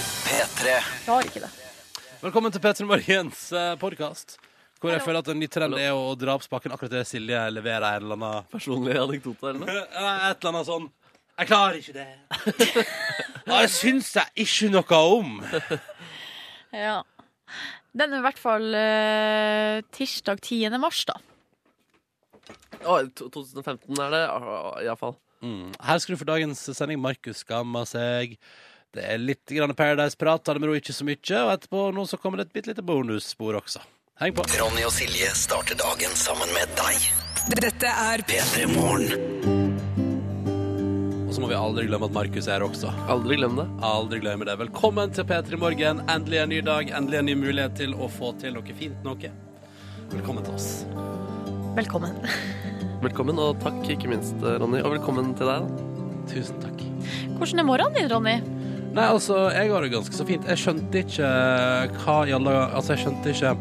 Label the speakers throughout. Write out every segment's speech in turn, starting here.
Speaker 1: P3.
Speaker 2: Jeg har ikke det.
Speaker 3: Velkommen til P3 Morgens podkast. Hvor jeg føler at en ny trend er å dra opp spaken akkurat det Silje leverer en eller annen
Speaker 4: Personlig anekdote eller noe?
Speaker 3: Nei, Et eller annet sånn Jeg klarer ikke det. Ja, det syns jeg ikke noe om.
Speaker 2: Ja. Den er i hvert fall eh, tirsdag 10. mars, da.
Speaker 4: Å, to- 2015 er det, ah, i hvert fall.
Speaker 3: Mm. Her skal du få dagens sending. Markus skammer seg. Det er litt grann Paradise-prat, ta det med ro, ikke så mye. Og etterpå nå så kommer det et bitte lite bonusspor også. Heng på.
Speaker 1: Ronny og Silje starter dagen sammen med deg.
Speaker 5: Dette er
Speaker 1: P3 Morgen.
Speaker 3: Og så må vi aldri glemme at Markus er her også.
Speaker 4: Aldri glem det.
Speaker 3: Aldri glemme det. Velkommen til P3 Morgen. Endelig en ny dag, endelig en ny mulighet til å få til noe fint noe. Velkommen til oss.
Speaker 2: Velkommen.
Speaker 4: Velkommen, og takk ikke minst, eh, Ronny. Og velkommen til deg. da.
Speaker 3: Tusen takk.
Speaker 2: Hvordan er morgenen din, Ronny?
Speaker 3: Nei, altså, jeg har det ganske så fint. Jeg skjønte ikke hva i alle dager Altså, jeg skjønte ikke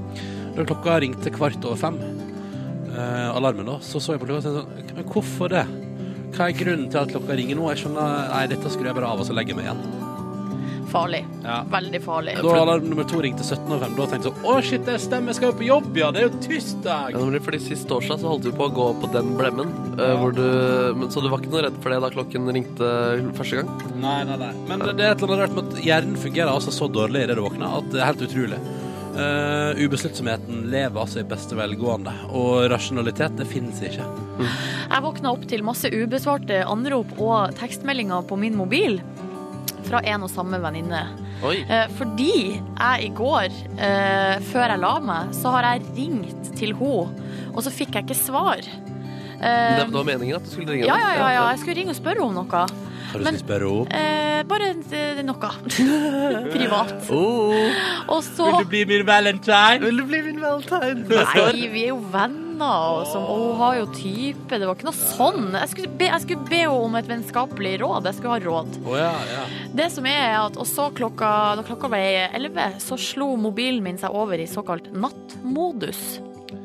Speaker 3: Da klokka ringte kvart over fem, eh, alarmen, da, så så jeg på klokka og så tenkte jeg sånn Men hvorfor det? Hva er grunnen til at klokka ringer nå? Jeg skjønner Nei, dette skrur jeg bare av og så legger jeg meg igjen.
Speaker 2: Farlig.
Speaker 3: Ja.
Speaker 2: Veldig farlig.
Speaker 3: Da alarm nummer to ringte 17.05, da tenkte jeg sånn Å, shit, det stemmer, jeg skal jo på jobb, ja! Det er jo
Speaker 4: Ja,
Speaker 3: tirsdag!
Speaker 4: nemlig, fordi Sist torsdag så holdt vi på å gå på den blemmen. eh, Hvor du, men, så du var ikke noe redd for det da klokken ringte første gang?
Speaker 3: Nei, nei, nei. Men det er et eller annet rart med at hjernen fungerer altså så dårlig idet du våkner, at det er helt utrolig. Eh, ubesluttsomheten lever altså i beste velgående, og rasjonalitet, det finnes ikke.
Speaker 2: Jeg våkna opp til masse ubesvarte anrop og tekstmeldinger på min mobil fra en og samme venninne.
Speaker 4: Oi.
Speaker 2: Eh, Fordi jeg i går, eh, før jeg la meg, så har jeg ringt til henne, og så fikk jeg ikke svar. Eh,
Speaker 4: Det, det var meningen at du skulle ringe?
Speaker 2: ja,
Speaker 4: da.
Speaker 2: ja, ja, ja. Jeg skulle ringe og spørre om noe.
Speaker 3: Har du
Speaker 2: Men-
Speaker 3: lyst til å spørre opp?
Speaker 2: Eh, bare eh, noe. Privat. Og så
Speaker 3: Oh, bli min valentine?
Speaker 4: Vil du bli min valentine?
Speaker 2: Nei, vi er jo venner, og, sånn, og hun har jo type. Det var ikke noe sånn. Jeg skulle, be, jeg skulle be henne om et vennskapelig råd. Jeg skulle ha råd.
Speaker 3: Å ja, ja.
Speaker 2: Det som er, er at Og så klokka, da klokka ble elleve, så slo mobilen min seg over i såkalt nattmodus.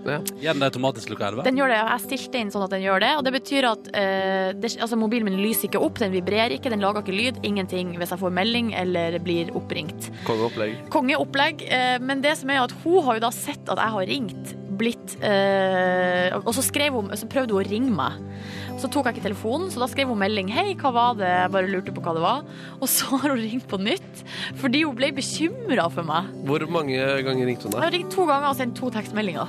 Speaker 4: Ja.
Speaker 3: Gjør den det automatisk klokka elleve?
Speaker 2: Den gjør det, og Jeg stilte inn sånn at den gjør det, og det betyr at eh, det, altså mobilen min lyser ikke opp, den vibrerer ikke, den lager ikke lyd, ingenting hvis jeg får melding eller blir oppringt.
Speaker 4: Kongeopplegg.
Speaker 2: Kongeopplegg, eh, men det som er at hun har jo da sett at jeg har ringt, blitt eh, Og så, skrev hun, så prøvde hun å ringe meg. Så tok jeg ikke telefonen, så da skrev hun melding. 'Hei, hva var det?' Jeg bare lurte på hva det var. Og så har hun ringt på nytt, fordi hun ble bekymra for meg.
Speaker 4: Hvor mange ganger ringte hun
Speaker 2: Jeg
Speaker 4: deg?
Speaker 2: har ringt to ganger og sendt to tekstmeldinger.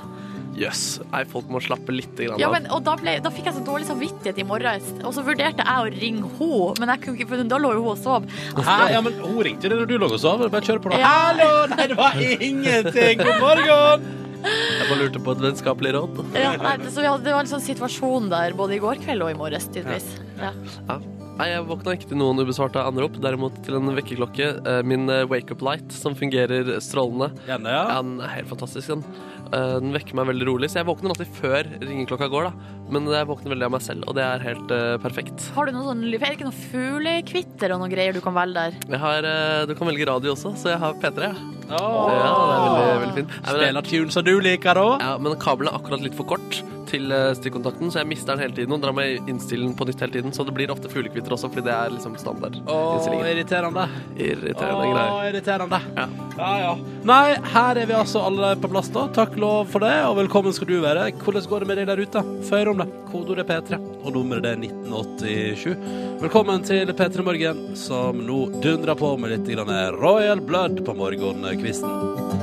Speaker 4: Jøss. Nei, folk må slappe litt grann av.
Speaker 2: Eh. Ja, men, og da, ble, da fikk jeg så dårlig samvittighet i morges, og så vurderte jeg å ringe henne, men jeg kunne ikke, for da lå jo hun og sov.
Speaker 3: Hæ? Ja, men hun ringte jo det når du lå og sov. Bare kjør på, da.
Speaker 2: Ja.
Speaker 3: Hallo! Nei, det var ingenting! God morgen!
Speaker 4: Jeg bare lurte på et vennskapelig råd.
Speaker 2: Ja, nei, så vi hadde, det var en sånn situasjon der både i går kveld og i morges, tydeligvis. Ja.
Speaker 4: Ja. Nei, Jeg våkna ikke til noen ubesvarte anrop, derimot til en vekkerklokke. eh, Min eh, wake-up light, som fungerer strålende.
Speaker 3: Gjerne, ja.
Speaker 4: Ja, Den er helt fantastisk, den. Eh, Den vekker meg veldig rolig, så jeg våkner alltid før ringeklokka går, da. Men jeg våkner veldig av meg selv, og det er helt eh, perfekt.
Speaker 2: Har du noe sånn, er det ikke noe fuglekvitter og noe greier du kan velge der?
Speaker 4: Jeg har, eh, du kan velge radio også, så jeg har P3. Ja,
Speaker 3: Åh.
Speaker 4: ja det er veldig, veldig fint. Nei, men det-
Speaker 3: Spiller tunes som du liker, da.
Speaker 4: Ja, men kabelen er akkurat litt for kort til eh, stikkontakten, så jeg mister den hele tiden og drar meg innstille den på nytt hele tiden. Så det blir ofte fuglekvitter også, fordi det er liksom standard.
Speaker 3: Åh,
Speaker 4: innstillingen.
Speaker 3: irriterende.
Speaker 4: Irriterende greier.
Speaker 3: Åh, irriterende.
Speaker 4: Ja.
Speaker 3: Ja, ja. Nei, her er vi altså alle på plass nå. Takk lov for det, og velkommen skal du være. Hvordan går det med deg der ute? Før om det. Kodeordet P3, og nummeret det er 1987. Velkommen til P3 Morgen, som nå dundrer på med litt grann Royal Blood på morgenkvisten.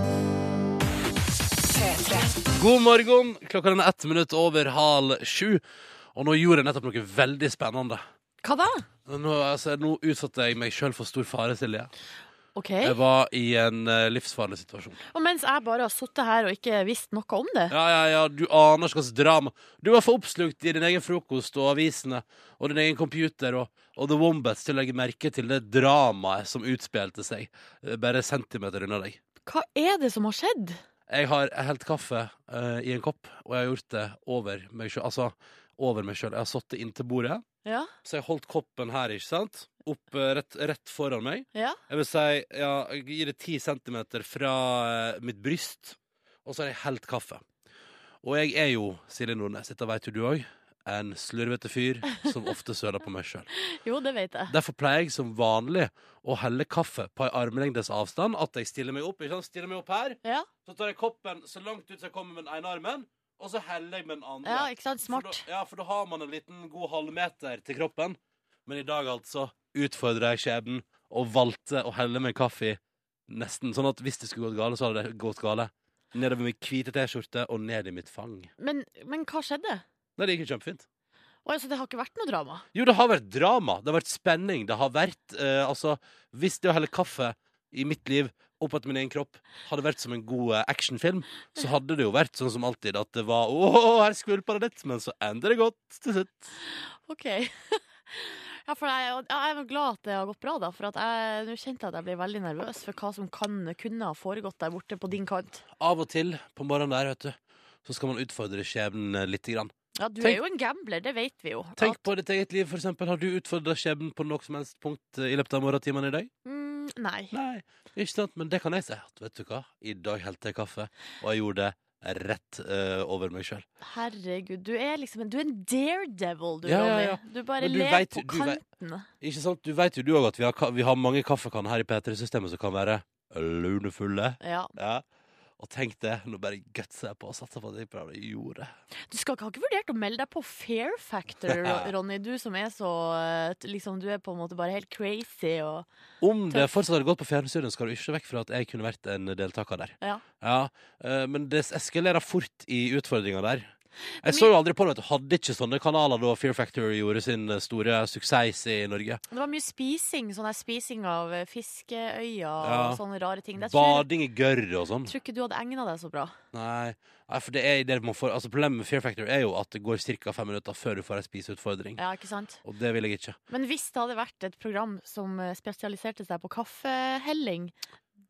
Speaker 3: God morgen. Klokka den er ett minutt over halv sju, og nå gjorde jeg nettopp noe veldig spennende.
Speaker 2: Hva da?
Speaker 3: Nå, altså, nå utsatte jeg meg sjøl for stor fare, Silje.
Speaker 2: Ok,
Speaker 3: Jeg var i en eh, livsfarlig situasjon.
Speaker 2: og mens jeg bare har suttet her og ikke visst noe om det.
Speaker 3: Ja, ja, ja, du aner ikke hva slags drama. Du var for oppslukt i din egen frokost og avisene og din egen computer og, og The Wombats til å legge merke til det dramaet som utspilte seg eh, bare centimeter unna deg.
Speaker 2: Hva er det som har skjedd?
Speaker 3: Jeg har helt kaffe eh, i en kopp, og jeg har gjort det over meg sjøl. Altså, over meg sjøl. Jeg har satt det inntil bordet,
Speaker 2: Ja,
Speaker 3: så jeg holdt koppen her, ikke sant? Opp eh, rett, rett foran meg.
Speaker 2: ja.
Speaker 3: Jeg vil si, ja, jeg gir det ti centimeter fra eh, mitt bryst, og så har jeg helt kaffe. Og jeg er jo, Silje Nordnes, dette vet jo du òg, en slurvete fyr som ofte søler på meg sjøl.
Speaker 2: Jo, det vet jeg.
Speaker 3: Derfor pleier jeg som vanlig å helle kaffe på ei armlengdes avstand. At jeg stiller meg opp, ikke sant? Stiller meg opp her,
Speaker 2: Ja,
Speaker 3: så tar jeg koppen så langt ut som jeg kommer med den ene armen, og så heller jeg med den andre.
Speaker 2: ja ikke sant?
Speaker 3: For
Speaker 2: Smart.
Speaker 3: da, ja, for da har man en liten god halvmeter til kroppen. Men i dag altså utfordra jeg skjebnen og valgte å helle meg kaffe i nesten sånn at hvis det skulle gått gale, så hadde det gått gale. Nedover min hvite T-skjorte og ned i mitt fang.
Speaker 2: Men, men hva skjedde?
Speaker 3: Nei, det gikk jo kjempefint.
Speaker 2: Å, altså, det har ikke vært noe drama?
Speaker 3: Jo, det har vært drama. Det har vært spenning. Det har vært eh, Altså, hvis det å helle kaffe i mitt liv opp etter min egen kropp hadde vært som en god eh, actionfilm, så hadde det jo vært sånn som alltid at det var Å, her skvulpa det litt, men så ender det godt til slutt.
Speaker 2: OK. Ja, for jeg, ja, jeg er jo glad at det har gått bra, da. For at jeg, nå kjente jeg at jeg ble veldig nervøs for hva som kan, kunne ha foregått der borte på din kant.
Speaker 3: Av og til på morgenen der, vet du, så skal man utfordre skjebnen eh, lite grann.
Speaker 2: Ja, du
Speaker 3: Tenk-
Speaker 2: er jo en gambler, det vet vi jo.
Speaker 3: Tenk
Speaker 2: At-
Speaker 3: på ditt eget liv, for eksempel. Har du utfordra skjebnen på noe som helst punkt eh, i løpet av morgentimene i dag?
Speaker 2: Mm, nei.
Speaker 3: Nei, ikke sant, men det kan jeg si. at, Vet du hva, i dag helte jeg kaffe, og jeg gjorde det rett eh, over meg sjøl.
Speaker 2: Herregud, du er liksom en, du er en daredevil, du,
Speaker 3: Ja, ja,
Speaker 2: Ronny.
Speaker 3: ja.
Speaker 2: Du bare
Speaker 3: Men du
Speaker 2: lever
Speaker 3: vet-
Speaker 2: på
Speaker 3: du vet-
Speaker 2: kanten.
Speaker 3: Ikke sant? Du vet jo du òg at vi har, ka- vi har mange kaffekanner her i P3-systemet som kan være lunefulle.
Speaker 2: Ja.
Speaker 3: Ja. Og tenk det, nå bare gutser jeg på og satser på at jeg prøver å gjøre det.
Speaker 2: Du skal ikke, har ikke vurdert å melde deg på Fair Factor, Ro- Ronny. Du som er så eh, t- liksom, Du er på en måte bare helt crazy og
Speaker 3: Om det fortsatt hadde gått på fjernsynet, skal du ikke vekk fra at jeg kunne vært en deltaker der.
Speaker 2: Ja.
Speaker 3: eh, Men det eskalerer fort i utfordringa der. Jeg så jo aldri på det, vet du. Hadde ikke sånne kanaler da Fear Factor gjorde sin eh, store suksess i Norge.
Speaker 2: Det var mye spising. Sånn der spising av eh, fiskeøyer
Speaker 3: Ja.
Speaker 2: og sånne rare ting. Det tror,
Speaker 3: Bading i gørr og sånn.
Speaker 2: tror ikke du hadde egna deg så bra.
Speaker 3: Nei, Nei, for det er det man får Altså Problemet med Fear Factor er jo at det går ca. fem minutter før du får ei spiseutfordring.
Speaker 2: Ja, ikke sant?
Speaker 3: Og det vil jeg ikke.
Speaker 2: Men hvis det hadde vært et program som eh, spesialiserte seg på kaffehelling,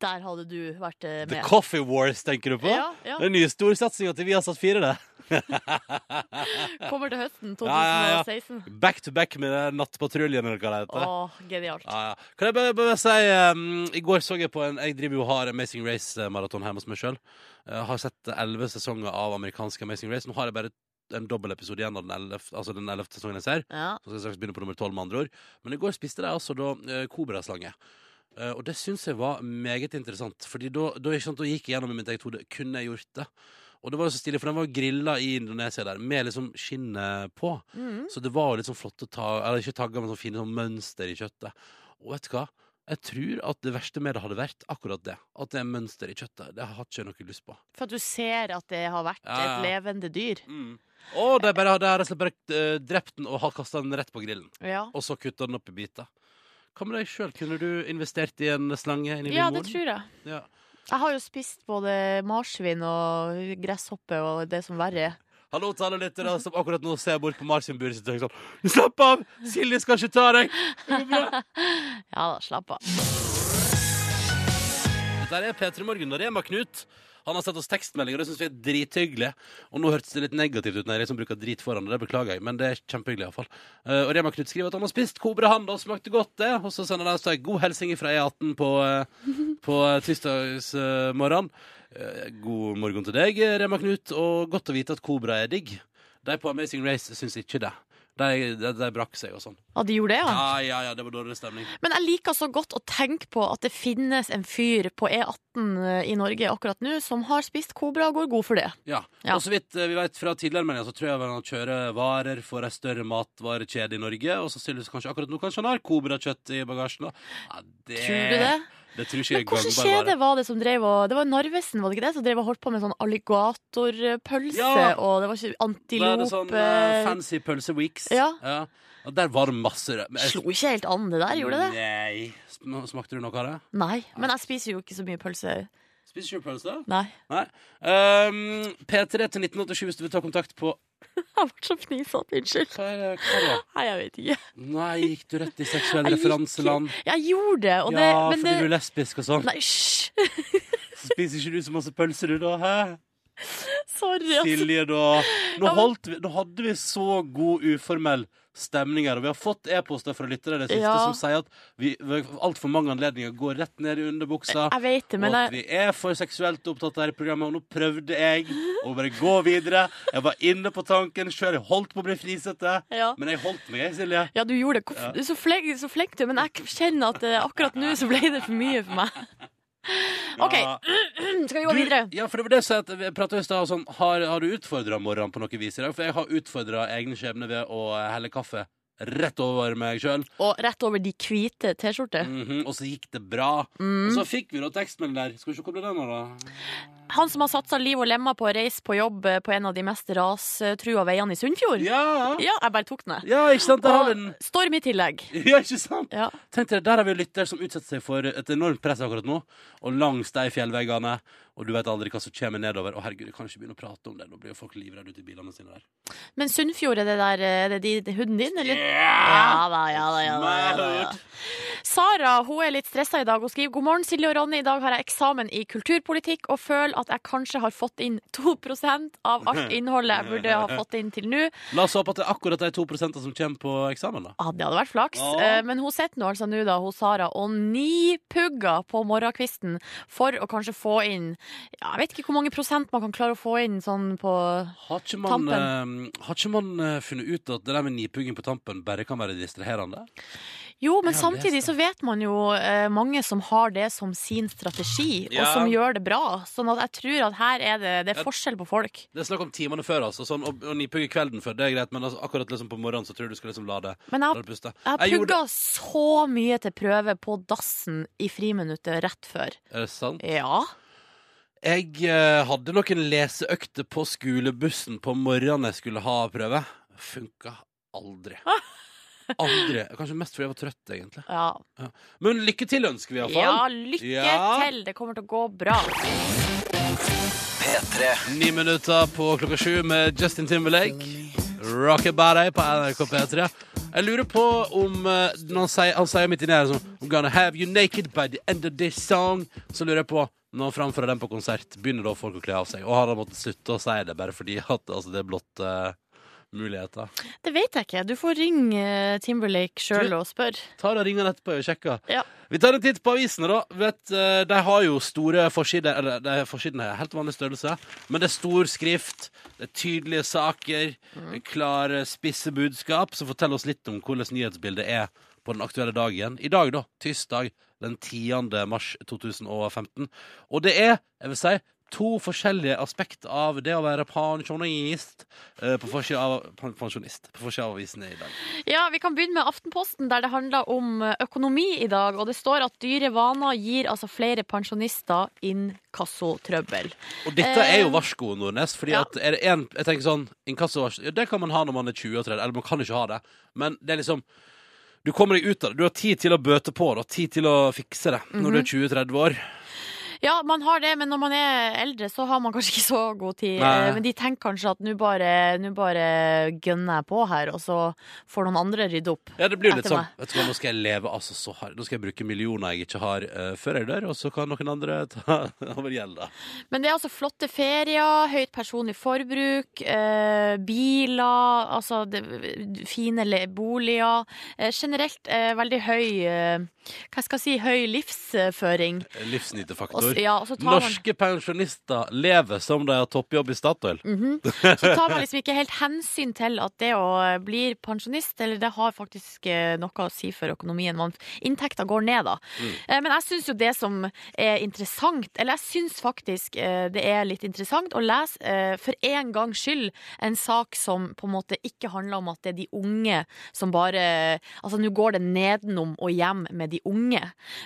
Speaker 2: der hadde du vært eh,
Speaker 3: The
Speaker 2: med.
Speaker 3: Coffee Wars, tenker du på?
Speaker 2: Ja, ja.
Speaker 3: Den nye storsatsinga til Viasat 4, det.
Speaker 2: Kommer til høsten
Speaker 3: Ja, ja, ja.
Speaker 2: 2016.
Speaker 3: Back to back med det Nattpatruljen, eller hva det heter.
Speaker 2: Åh, genialt.
Speaker 3: Ja, ja. Kan jeg bare, bare si um, I går så jeg på en Jeg driver jo og har Amazing Race-maraton hjemme hos meg sjøl. har sett elleve sesonger av amerikansk Amazing Race. Nå har jeg bare en dobbel episode igjen av den ellevte altså den 11. sesongen jeg ser.
Speaker 2: Ja.
Speaker 3: Så skal jeg straks begynne på nummer tolv, med andre ord. Men i går spiste de altså da eh, kobraslange. Eh, og det syns jeg var meget interessant. Fordi da, da, ikke sant, da gikk jeg gjennom i mitt eget hode kunne jeg gjort det. Og det var jo så stilig, for den var grilla i Indonesia der, med liksom skinnet på.
Speaker 2: Mm.
Speaker 3: Så det var jo litt sånn flotte tag, eller ikke tagger, men sånn fine sånn mønster i kjøttet. Og vet du hva? Jeg tror at det verste med det hadde vært akkurat det. At det er mønster i kjøttet. Det har ikke jeg noe lyst på.
Speaker 2: For at du ser at det har vært
Speaker 3: Ja, ja.
Speaker 2: et levende dyr.
Speaker 3: Å, de bare hadde rett og slett bare eh, drept den og har kasta den rett på grillen.
Speaker 2: Ja.
Speaker 3: Og så kutta den opp i biter. Hva med deg sjøl? Kunne du investert i en slange? Inn i
Speaker 2: ja, det tror jeg.
Speaker 3: Ja.
Speaker 2: Jeg har jo spist både marsvin og gresshoppe og det som verre er.
Speaker 3: Hallo til alle lyttere som akkurat nå ser bort på Marsinburet sitt og tenker sånn Slapp av! Silje skal ikke ta deg!
Speaker 2: Ja da, slapp av.
Speaker 3: Dette er P3 Morgen og Rema Knut. Han har sett oss tekstmeldinger, og det syns vi er drithyggelig. Og nå hørtes det litt negativt ut når jeg liksom bruker drit foran, og det beklager jeg, men det er kjempehyggelig iallfall. Eh, Og Rema Knut skriver at han har spist kobra han, da smakte godt det. Og så sender han oss en god hilsen fra E18 på, eh, på tirsdagsmorgenen. God morgen til deg, Rema Knut, og godt å vite at kobra er digg. De på Amazing Race syns ikke det. De, de, de brakk seg og sånn.
Speaker 2: Ja, de gjorde det, ja.
Speaker 3: Ja, ja, ja, det var dårlig stemning.
Speaker 2: Men jeg liker så godt å tenke på at det finnes en fyr på E18 i Norge akkurat nå som har spist kobra og går god for det.
Speaker 3: Ja.
Speaker 2: Ja.
Speaker 3: Og så vidt eh, vi vet fra tidligere meldinger, så tror jeg vel han kjører varer for ei større matvarekjede i Norge. Og sannsynligvis kanskje akkurat nå kanskje han har kobrakjøtt i bagasjen. da. Ja, det,
Speaker 2: Tror du det?
Speaker 3: Det tror ikke
Speaker 2: Men
Speaker 3: jeg er
Speaker 2: hvilken
Speaker 3: gangbar
Speaker 2: kjede
Speaker 3: vare.
Speaker 2: var det som drev og Det var Narvesen, var det ikke det? Som drev og holdt på med sånn alligatorpølse
Speaker 3: Ja.
Speaker 2: og det var ikke
Speaker 3: Da er
Speaker 2: antilope
Speaker 3: det sånn eh, fancy pølse weeks.
Speaker 2: Ja.
Speaker 3: Og der var det masse rød.
Speaker 2: Slo ikke helt an det der, gjorde det det?
Speaker 3: Nei. Sm- Smakte du noe av det?
Speaker 2: Nei. Men jeg spiser jo ikke så mye pølse.
Speaker 3: Spiser ikke du pølse?
Speaker 2: Nei.
Speaker 3: Nei. Um, P3 til 1987 hvis du vil ta kontakt på
Speaker 2: Jeg ble så fnisete, unnskyld.
Speaker 3: Hva er det? Hva er det?
Speaker 2: Nei, jeg vet ikke.
Speaker 3: Nei, gikk du rett i seksuell
Speaker 2: Jeg gikk-
Speaker 3: referanseland?
Speaker 2: Jeg gjorde det, og det
Speaker 3: ja,
Speaker 2: Men
Speaker 3: fordi du er
Speaker 2: det
Speaker 3: lesbisk og sånn.
Speaker 2: Nei, hysj!
Speaker 3: Spiser ikke du så masse pølser du, da? Hæ?
Speaker 2: Sorry, altså.
Speaker 3: Silje, da. Nå,
Speaker 2: Ja, men-
Speaker 3: holdt vi, nå hadde vi så god uformell stemninger. Og vi har fått e-poster fra lyttere det siste
Speaker 2: Ja.
Speaker 3: som sier at vi ved altfor mange anledninger går rett ned i underbuksa.
Speaker 2: Jeg vet det, Eh, men
Speaker 3: og at
Speaker 2: jeg,
Speaker 3: vi er for seksuelt opptatt av dette programmet, og nå prøvde jeg å bare gå videre. Jeg var inne på tanken sjøl, jeg holdt på å bli frisete,
Speaker 2: ja.
Speaker 3: men jeg holdt meg, jeg, Silje.
Speaker 2: ja, du gjorde det. Hvorf- Du er så flink, så flink du er, men jeg kjenner at eh, akkurat nå så ble det for mye for meg. OK,
Speaker 3: Ja.
Speaker 2: skal vi gå videre?
Speaker 3: Du, ja, for det var det jeg sa, at vi pratet i stad om sånn, har, har du utfordra morgenen på noe vis i dag? For jeg har utfordra egen skjebne ved å helle kaffe rett over meg sjøl.
Speaker 2: Og rett over de hvite T-skjorter.
Speaker 3: Og så gikk det bra.
Speaker 2: Mm.
Speaker 3: Og så fikk vi da tekstmelding der. Skal vi se hvor ble den av, da?
Speaker 2: Han som har satsa liv og lemmer på å reise på jobb eh, på en av de mest rastrua veiene i Sunnfjord.
Speaker 3: Ja!
Speaker 2: Ja, jeg bare tok den, jeg.
Speaker 3: Ja, ikke sant? Der har vi den.
Speaker 2: Og Storm i tillegg.
Speaker 3: Ja, ikke sant?
Speaker 2: Ja.
Speaker 3: Tenk dere, Der har vi lytter som utsetter seg for et enormt press akkurat nå. Og langs de fjellveggene. Og du vet aldri hva som kommer nedover. Å, herregud, jeg kan ikke begynne å prate om det. Nå blir jo folk livredde ute i bilene sine der.
Speaker 2: Men Sunnfjord, er det der eh, er det de, det hunden din, eller? Ja da, ja da, ja da. Ja, da, ja. Sara hun er litt stressa i dag. Hun skriver god morgen, Silje og Ronny. I dag har jeg eksamen i kulturpolitikk og føler at jeg kanskje har fått inn 2 av alt innholdet jeg burde ha fått inn til nå.
Speaker 3: La oss håpe at det er akkurat de to prosentene som kommer på eksamen, da.
Speaker 2: Ja, det hadde vært flaks.
Speaker 3: Ja.
Speaker 2: Eh, Men hun sitter nå altså nå, da, hun Sara, og nipugger på morgenkvisten for å kanskje få inn ja, Jeg vet ikke hvor mange prosent man kan klare å få inn sånn på
Speaker 3: Har ikke man, eh, har ikke man eh, funnet ut at det der med nipugging på tampen bare kan være distraherende?
Speaker 2: Jo, men
Speaker 3: Ja,
Speaker 2: samtidig
Speaker 3: det er
Speaker 2: så vet man jo eh, mange som har det som sin strategi, og
Speaker 3: Ja.
Speaker 2: som gjør det bra. Sånn at jeg tror at her er det, det er forskjell på folk.
Speaker 3: Det er snakk om timene før, altså. Sånn, og, og nipugge kvelden før, det er greit, men altså, akkurat liksom på morgenen så tror jeg du skal liksom la det,
Speaker 2: Men
Speaker 3: la
Speaker 2: jeg,
Speaker 3: det puste.
Speaker 2: jeg har
Speaker 3: Jeg gjorde-
Speaker 2: pugga så mye til prøve på dassen i friminuttet rett før.
Speaker 3: Er det sant?
Speaker 2: Ja.
Speaker 3: Jeg eh, hadde noen leseøkter på skolebussen på morgenen jeg skulle ha prøve. Funka aldri.
Speaker 2: Ah.
Speaker 3: Aldri. Kanskje mest fordi jeg var trøtt, egentlig.
Speaker 2: ja.
Speaker 3: Men lykke til ønsker vi
Speaker 2: Ja,
Speaker 3: iallfall.
Speaker 2: lykke
Speaker 3: Ja.
Speaker 2: til! Det kommer til å gå bra.
Speaker 1: P3.
Speaker 3: Ni minutter på klokka sju med Justin Timberlake. Rockabody på NRK P3. Jeg lurer på om eh, når han sier, han sier midt inni her sånn I'm gonna have you naked by the end of this song. Så lurer jeg på når han framfører den på konsert, begynner da folk å kle av seg? Og har han måttet slutte å si det bare fordi at altså, det er blott eh, muligheter?
Speaker 2: Det vet jeg ikke. Du får ringe eh, Timberlake sjøl og spørre.
Speaker 3: tar og ringer han etterpå og sjekker.
Speaker 2: Ja.
Speaker 3: Vi tar en titt på avisene, da. Vet, eh, de har jo store forsider. Eller de forsidene er helt vanlig størrelse, men det er stor skrift, det er tydelige saker, klare, spisse budskap som forteller oss litt om hvordan nyhetsbildet er på den aktuelle dagen. I dag, da. Tirsdag den 10. mars 2015. Og det er, jeg vil si To forskjellige aspekter av det å være pensjonist eh, på forsida av, pen- pensjonist, på forsida av avisene i dag.
Speaker 2: Ja, Vi kan begynne med Aftenposten, der det handler om eh, økonomi i dag. og Det står at dyre vaner gir altså flere pensjonister inkassotrøbbel.
Speaker 3: Og dette er jo
Speaker 2: Eh,
Speaker 3: varsko, Nordnes. Fordi
Speaker 2: ja.
Speaker 3: at er det en, jeg tenker sånn Inkassovarsel ja, Det kan man ha når man er 20 og 30, eller man kan ikke ha det. Men det er liksom Du kommer deg ut av det. Du har tid til å bøte på det, og tid til å fikse det når
Speaker 2: Mhm.
Speaker 3: du er 20-30 år.
Speaker 2: Ja, man har det, men når man er eldre, så har man kanskje ikke så god tid.
Speaker 3: Nei.
Speaker 2: Eh, Men de tenker kanskje at nå bare, nå bare gønner jeg på her, og så får noen andre rydde opp.
Speaker 3: Ja, det blir jo litt
Speaker 2: Etter
Speaker 3: sånn
Speaker 2: meg.
Speaker 3: Vet du hva, Nå skal jeg leve altså så hardt. Nå skal jeg bruke millioner jeg ikke har eh, før jeg dør, og så kan noen andre ta over gjelda.
Speaker 2: Men det er altså flotte ferier, høyt personlig forbruk, eh, biler, altså det, fine le- boliger. Eh, generelt eh, veldig høy eh, Hva skal jeg si høy livsføring. Og, s-
Speaker 3: Livsnytefaktor.
Speaker 2: ja, og så tar man,
Speaker 3: Norske pensjonister lever som de har toppjobb i Statoil.
Speaker 2: Mhm. så tar man liksom ikke helt hensyn til at det å bli pensjonist, eller det har faktisk eh, noe å si for økonomien. Man, inntekta går ned, da. Eh, Men jeg syns jo det som er interessant, eller jeg syns faktisk eh, det er litt interessant å lese eh, for en gangs skyld en sak som på en måte ikke handler om at det er de unge som bare Altså nå går det nedenom og hjem med de unge.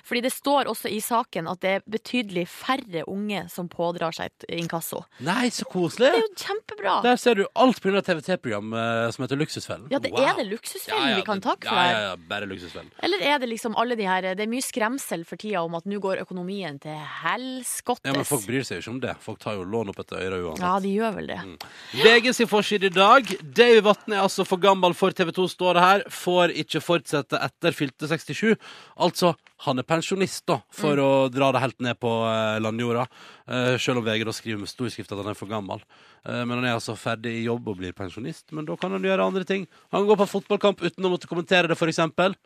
Speaker 2: Fordi det står også i saken at det er betydelig færre unge som pådrar seg et inkasso.
Speaker 3: Nei, så koselig!
Speaker 2: Det er jo kjempebra!
Speaker 3: Der ser du alt pga. TVT-program eh, som heter Luksusfellen.
Speaker 2: Ja, det
Speaker 3: Wow.
Speaker 2: er det luksusfellen vi kan
Speaker 3: det-
Speaker 2: takke for
Speaker 3: ja,
Speaker 2: her.
Speaker 3: ja, ja, bare luksusfellen.
Speaker 2: Eller er det liksom alle de her Det er mye skremsel for tida om at nå går økonomien til helskottes.
Speaker 3: Ja, men folk bryr seg jo ikke om det. Folk tar jo lån opp etter øra uansett.
Speaker 2: Ja, de gjør vel det.
Speaker 3: Mm. VG sin forside i dag. Davy Vatne er altså for gammel for TV2, står det her. Får ikke
Speaker 2: Mm.
Speaker 3: fortsette etter fylte 67. Altså, han er pensjonist, da, for å dra det helt ned på eh, landjorda. Eh, Selv om VG da skriver med stor skrift at han er for gammel. Eh, Men han er altså ferdig i jobb og blir pensjonist. Men da kan han gjøre andre ting. Han går på fotballkamp uten å måtte kommentere det, f.eks.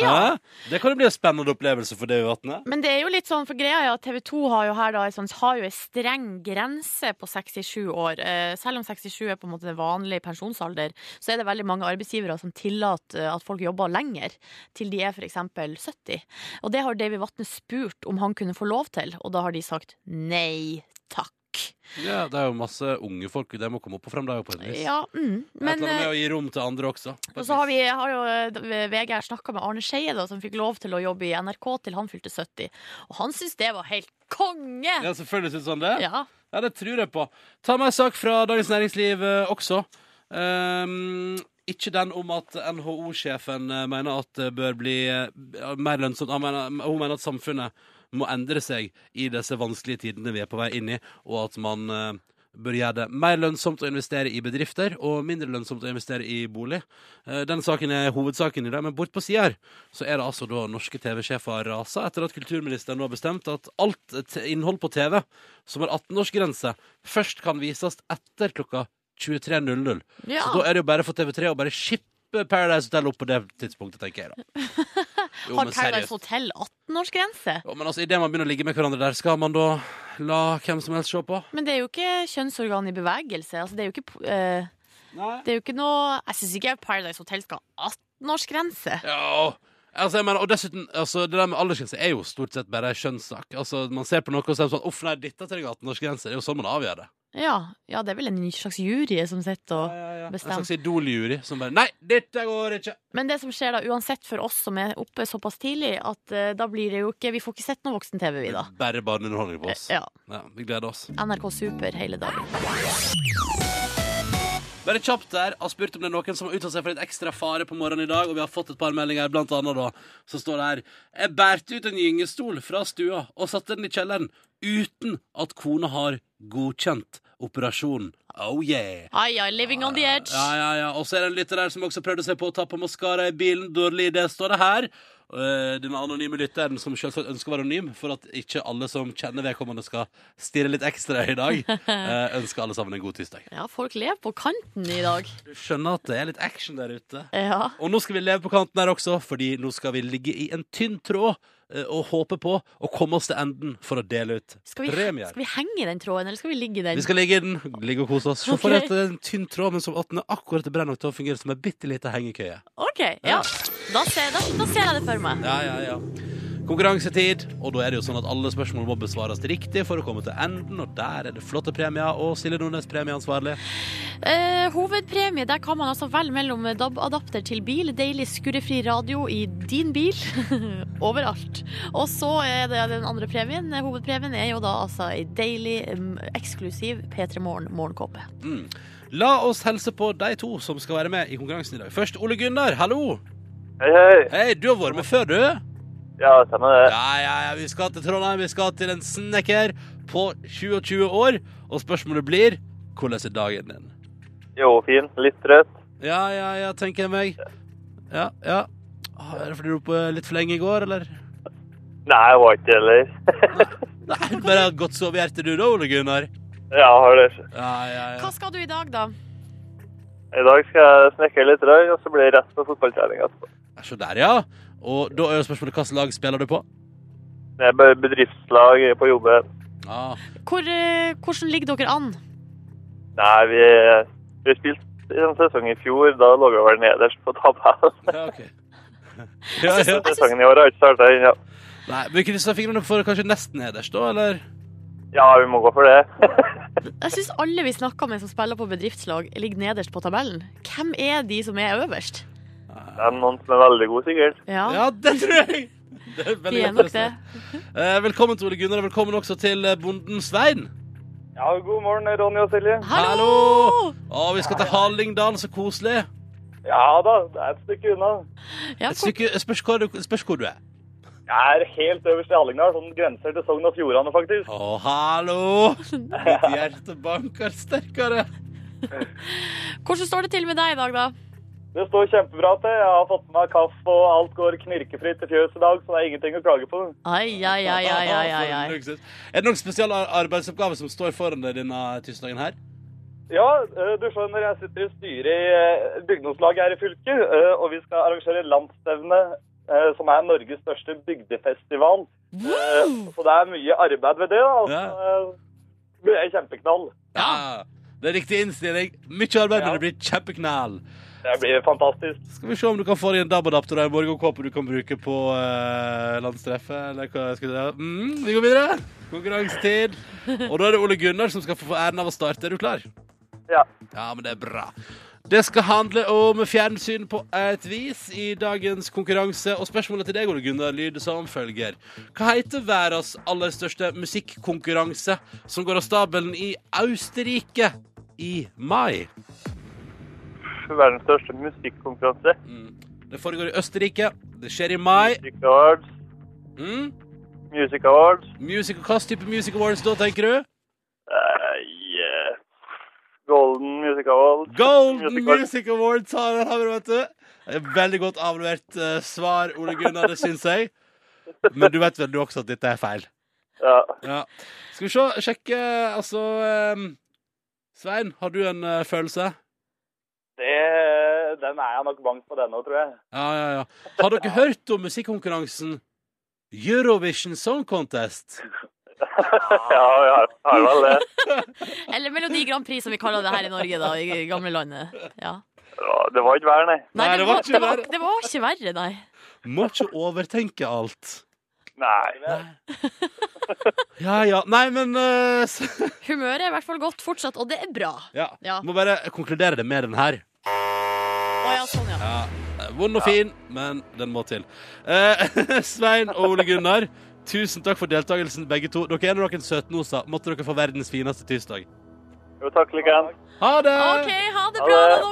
Speaker 2: Ja.
Speaker 3: Det kan jo bli en spennende opplevelse for det uvatnet.
Speaker 2: Men det er jo litt sånn, for greia er at TV 2 har jo her da en sånn, har jo en streng grense på 67 år. Eh, Selv om 67 er på en måte den vanlige pensjonsalder, så er det veldig mange arbeidsgivere som tillater eh, at folk jobber lenger, til de er f.eks. 70. Og det har Davy Vatne spurt om han kunne få lov til, og da har de sagt nei takk.
Speaker 3: Ja, det er jo masse unge folk. De må komme opp og frem, de òg, på et vis.
Speaker 2: Ja, mm.
Speaker 3: Men,
Speaker 2: men...
Speaker 3: Et eller annet
Speaker 2: eh,
Speaker 3: med å gi rom til andre også. på et
Speaker 2: Og så har,
Speaker 3: vis.
Speaker 2: vi, har jo eh, VG her snakka med Arne Skeie, da, som fikk lov til å jobbe i NRK til han fylte 70. Og han syntes det var helt konge!
Speaker 3: Ja, selvfølgelig synes han det.
Speaker 2: Ja.
Speaker 3: Ja, det tror jeg på. Ta med en sak fra Dagens Næringsliv eh, også. Ehm, ikke den om at NHO-sjefen eh, mener at det bør bli eh, mer lønnsomt. Han mener, hun mener at samfunnet må endre seg i disse vanskelige tidene vi er på vei inn i, og at man eh, bør gjøre det mer lønnsomt å investere i bedrifter og mindre lønnsomt å investere i bolig. Eh, Den saken er hovedsaken i det, men bort på sida her så er det altså da norske TV-sjefer rasa etter at kulturministeren nå har bestemt at alt t- innhold på TV som har 18-årsgrense, først kan vises etter klokka 23.00.
Speaker 2: ja.
Speaker 3: Så da er det jo bare for TV3 å bare shippe Paradise Hotel opp på det tidspunktet, tenker jeg da. Jo,
Speaker 2: Har
Speaker 3: men
Speaker 2: Paradise
Speaker 3: seriøst.
Speaker 2: Hotel 18-årsgrense?
Speaker 3: Jo, men altså, Idet man begynner å ligge med hverandre der, skal man da la hvem som helst se på?
Speaker 2: Men det er jo ikke kjønnsorgan i bevegelse. Altså, det er jo ikke, eh, det er jo ikke noe Jeg syns ikke Paradise Hotel skal ha 18-årsgrense.
Speaker 3: Ja, altså jeg mener, og dessuten, altså det der med aldersgrense er jo stort sett bare en skjønnssak. Altså man ser på noe og så er det sånn, uff nei, dette trenger 18-årsgrense, det er jo sånn man avgjør det.
Speaker 2: Ja, ja, det er vel en slags jury som sitter og
Speaker 3: En
Speaker 2: bestemmer.
Speaker 3: slags idoljury som bare, nei, dette går ikke.
Speaker 2: Men det som skjer da, uansett for oss som er oppe såpass tidlig, at eh, da blir det jo ikke Vi får ikke sett noe voksen-TV, vi da.
Speaker 3: Bare barneunderholdning på oss.
Speaker 2: Ja.
Speaker 3: Ja, vi gleder oss.
Speaker 2: NRK Super hele dagen.
Speaker 3: Bare kjapt der, har spurt om det er noen som har uttalt seg for litt ekstra fare på morgenen i dag, og vi har fått et par meldinger, blant annet da, så står det her Jeg bærte ut en gyngestol fra stua og satte den i kjelleren uten at kona har godkjent operasjonen. Oh yeah!
Speaker 2: Ai, ai, living on the edge.
Speaker 3: Ja, ja, ja. Og så er det en lytter her som også prøvde seg på å ta på maskara i bilen. Dårlig idé, står det her. Eh, Den anonyme lytteren som selvsagt ønsker å være anonym, for at ikke alle som kjenner vedkommende skal stirre litt ekstra i dag, eh, ønsker alle sammen en god tirsdag.
Speaker 2: Ja, folk lever på kanten i dag.
Speaker 3: Du skjønner at det er litt action der ute.
Speaker 2: Ja.
Speaker 3: Og nå skal vi leve på kanten her også, fordi nå skal vi ligge i en tynn tråd eh, og håpe på å komme oss til enden for å dele ut
Speaker 2: Skal vi,
Speaker 3: premier.
Speaker 2: skal vi henge i den tråden, eller skal vi ligge i den?
Speaker 3: Vi skal ligge i den, ligge og kose oss. Se for
Speaker 2: Ok.
Speaker 3: deg at det er en eh, tynn tråd, men som at den er akkurat brenner nok til å fungere som en bitte liten hengekøye.
Speaker 2: OK, ja. Da ser, da, da ser jeg det for meg.
Speaker 3: Ja, ja, ja. Konkurransetid, og da er det jo sånn at alle spørsmål må besvares riktig for å komme til enden, og der er det flotte premier, og Silje Nordnes premieansvarlig.
Speaker 2: Eh, hovedpremie, der kan man altså velge mellom DAB-adapter til bil, deilig skurrefri radio i din bil, overalt. Og så er det den andre premien. Hovedpremien er jo da altså ei deilig, mm, eksklusiv P3 Morgen-morgenkåpe.
Speaker 3: La oss helse på de to som skal være med i konkurransen i dag. Først Ole Gunnar, hallo!
Speaker 5: Hei, hei.
Speaker 3: Hei, du har vært med før, du?
Speaker 5: Ja, stemmer det.
Speaker 3: Ja, ja, ja, vi skal til Trondheim, vi skal til en snekker på 27 år, og spørsmålet blir, hvordan er dagen din?
Speaker 5: Jo, fin. Litt trøtt.
Speaker 3: Ja, ja, ja, tenker jeg meg. Ja, ja. Ah, Er det fordi du var oppe litt for lenge i går, eller?
Speaker 5: Nei, jeg var ikke det heller.
Speaker 3: Nei, du bare har et godt sovehjerte du da, Ole Gunnar.
Speaker 5: ja, har det.
Speaker 3: Ja, ja, ja.
Speaker 2: Hva skal du i dag, da?
Speaker 5: I dag skal jeg snekke litt røy, og så blir det rett på fotballtrening etterpå.
Speaker 3: Ja, Så der, ja. Og da er jo spørsmålet hvilket lag spiller du på?
Speaker 5: Det er bare bedriftslag på jobben.
Speaker 3: Ja.
Speaker 2: Hvor, eh, hvordan ligger dere an?
Speaker 5: Nei, vi, vi spilte i en sesong i fjor. Da lå vi vel nederst på tabellen.
Speaker 3: ja, ok. Ja, ja.
Speaker 5: Sesongen i år har ikke starta ennå.
Speaker 3: Nei, Vi krysser fingrene for kanskje nesten nederst, da, eller?
Speaker 5: Ja, vi må gå for det.
Speaker 2: Jeg syns alle vi snakker med som spiller på bedriftslag, ligger nederst på tabellen. Hvem er de som er øverst?
Speaker 5: det er noen som er veldig god, sikkert.
Speaker 2: Ja,
Speaker 3: Ja, det tror jeg! Det er
Speaker 2: de
Speaker 3: veldig
Speaker 2: er
Speaker 3: godt
Speaker 2: nok det.
Speaker 3: interessant. Eh, velkommen til Ole Gunnar, og velkommen også til eh, bonden Svein.
Speaker 5: Ja, god morgen, Ronny og Silje.
Speaker 2: Hallo!
Speaker 3: Å, vi skal til Hallingdal, så koselig.
Speaker 5: Ja da, det er et stykke unna.
Speaker 2: Ja,
Speaker 3: Et stykke, spørs, hvor du, spørs hvor du er.
Speaker 5: Jeg er helt øverst i Hallingdal, sånn grenser til Sogn og Fjordane, faktisk.
Speaker 3: Å, hallo! Mitt hjerte banker sterkere.
Speaker 2: Hvordan står det til med deg i dag, da?
Speaker 5: Det står kjempebra til. Jeg har fått med meg kaffe, og alt går knirkefritt i fjøset i dag, så det er ingenting å klage på.
Speaker 2: Ai, ai, ai, ai, ai, ai,
Speaker 3: For en
Speaker 2: ai.
Speaker 3: luksus. Er det noen spesielle ar- arbeidsoppgaver som står foran deg denne tirsdagen her?
Speaker 5: Ja, eh, du skjønner, jeg sitter i styret i eh, bygningslaget her i fylket, eh, og vi skal arrangere landsstevne, eh, som er Norges største bygdefestival. Eh, Så det er mye arbeid ved det, da. og så, eh, Det blir kjempeknall.
Speaker 3: Ja. Det er riktig innstilling. Mye arbeid,
Speaker 5: Ja.
Speaker 3: men det blir kjempeknall.
Speaker 5: Det blir fantastisk.
Speaker 3: Skal vi se om du kan få deg en DAB-adapter og en morgenkåpe du kan bruke på eh, landstreffet. Eller hva jeg skal si. Mm, vi går videre. Konkurransetid. Og da er det Ole Gunnar som skal få æren av å starte. Er du klar?
Speaker 5: Ja.
Speaker 3: Ja, men det er bra. Det skal handle om fjernsyn på et vis i dagens konkurranse. Og spørsmålet til deg, Ole Gunnar, lyder som følger. Hva heter verdens aller største musikkonkurranse som går av stabelen i Austerrike i mai?
Speaker 5: Verdens største musikkonkurranse.
Speaker 3: Mm. Det foregår i Østerrike. Det skjer i mai.
Speaker 5: Music Awards.
Speaker 3: Mm.
Speaker 5: Music Awards.
Speaker 3: Music, hva slags type Music Awards da, tenker du?
Speaker 5: Eh, yeah. Golden Music Awards.
Speaker 3: Golden
Speaker 5: Music Awards.
Speaker 3: Music Awards har han, vet du. Det er Veldig godt avlevert eh, svar, Ole Gunnar, det syns jeg. Men du vet vel du også at dette er feil?
Speaker 5: Ja.
Speaker 3: Ja. Skal vi se, sjekke Altså eh, Svein, har du en eh, følelse?
Speaker 5: Det, den er jeg nok bank på denne, tror jeg.
Speaker 3: Ja, ja, ja. Har dere hørt om musikkonkurransen Eurovision Song Contest?
Speaker 5: ja, jeg har- har vel det.
Speaker 2: Eller Melodi Grand Prix, som vi kaller det her i Norge, da, i gamlelandet. Ja.
Speaker 5: Ja, Det var ikke verre, nei.
Speaker 2: Nei, det var, det, var,
Speaker 3: verre.
Speaker 2: det var ikke verre, nei.
Speaker 3: Må ikke overtenke alt.
Speaker 5: Nei.
Speaker 3: Ja, ja. Nei, men eh, s-
Speaker 2: Humøret er i hvert fall godt fortsatt, og det er bra.
Speaker 3: Ja.
Speaker 2: Ja.
Speaker 3: Må bare konkludere det med den her.
Speaker 2: Å ja, sånn, ja.
Speaker 3: Ja, eh, Vond og fin, men den må til. Eh, Svein og Ole Gunnar, tusen takk for deltakelsen, begge to. Dere er noen søtnoser. Måtte dere få verdens fineste tirsdag.
Speaker 5: Jo, takk, Likan.
Speaker 3: Ha det!
Speaker 2: OK, ha det bra, da, dere.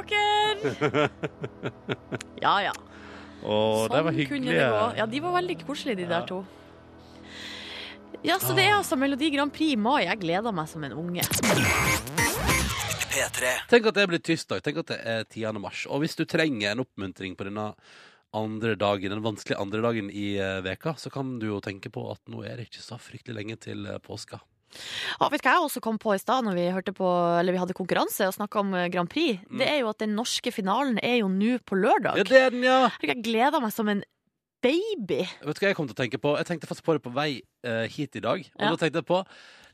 Speaker 2: Ja ja.
Speaker 3: Å, det
Speaker 2: Sånn
Speaker 3: var hyggelig.
Speaker 2: Ja, de var veldig koselige, de der to. Ja, så
Speaker 3: Ah.
Speaker 2: det er altså Melodi Grand Prix i mai. Jeg gleder meg som en unge.
Speaker 1: P3.
Speaker 3: Tenk at det er blitt tirsdag. Tenk at det er 10. mars. Og hvis du trenger en oppmuntring på denne andre dagen, den vanskelige andre dagen i eh, veka, så kan du jo tenke på at nå er det ikke så fryktelig lenge til eh, påska.
Speaker 2: Ja, Ah, vet du hva jeg også kom på i stad, når vi, hørte på, eller vi hadde konkurranse og snakka om eh, Grand Prix? Det er jo at den norske finalen er jo nå på lørdag.
Speaker 3: Mm. Ja, det er den, ja!
Speaker 2: Jeg gleder meg som en baby.
Speaker 3: Vet du hva jeg kom til å tenke på? Jeg tenkte faktisk på det på vei eh, hit i dag. Og
Speaker 2: Ja.
Speaker 3: da tenkte jeg på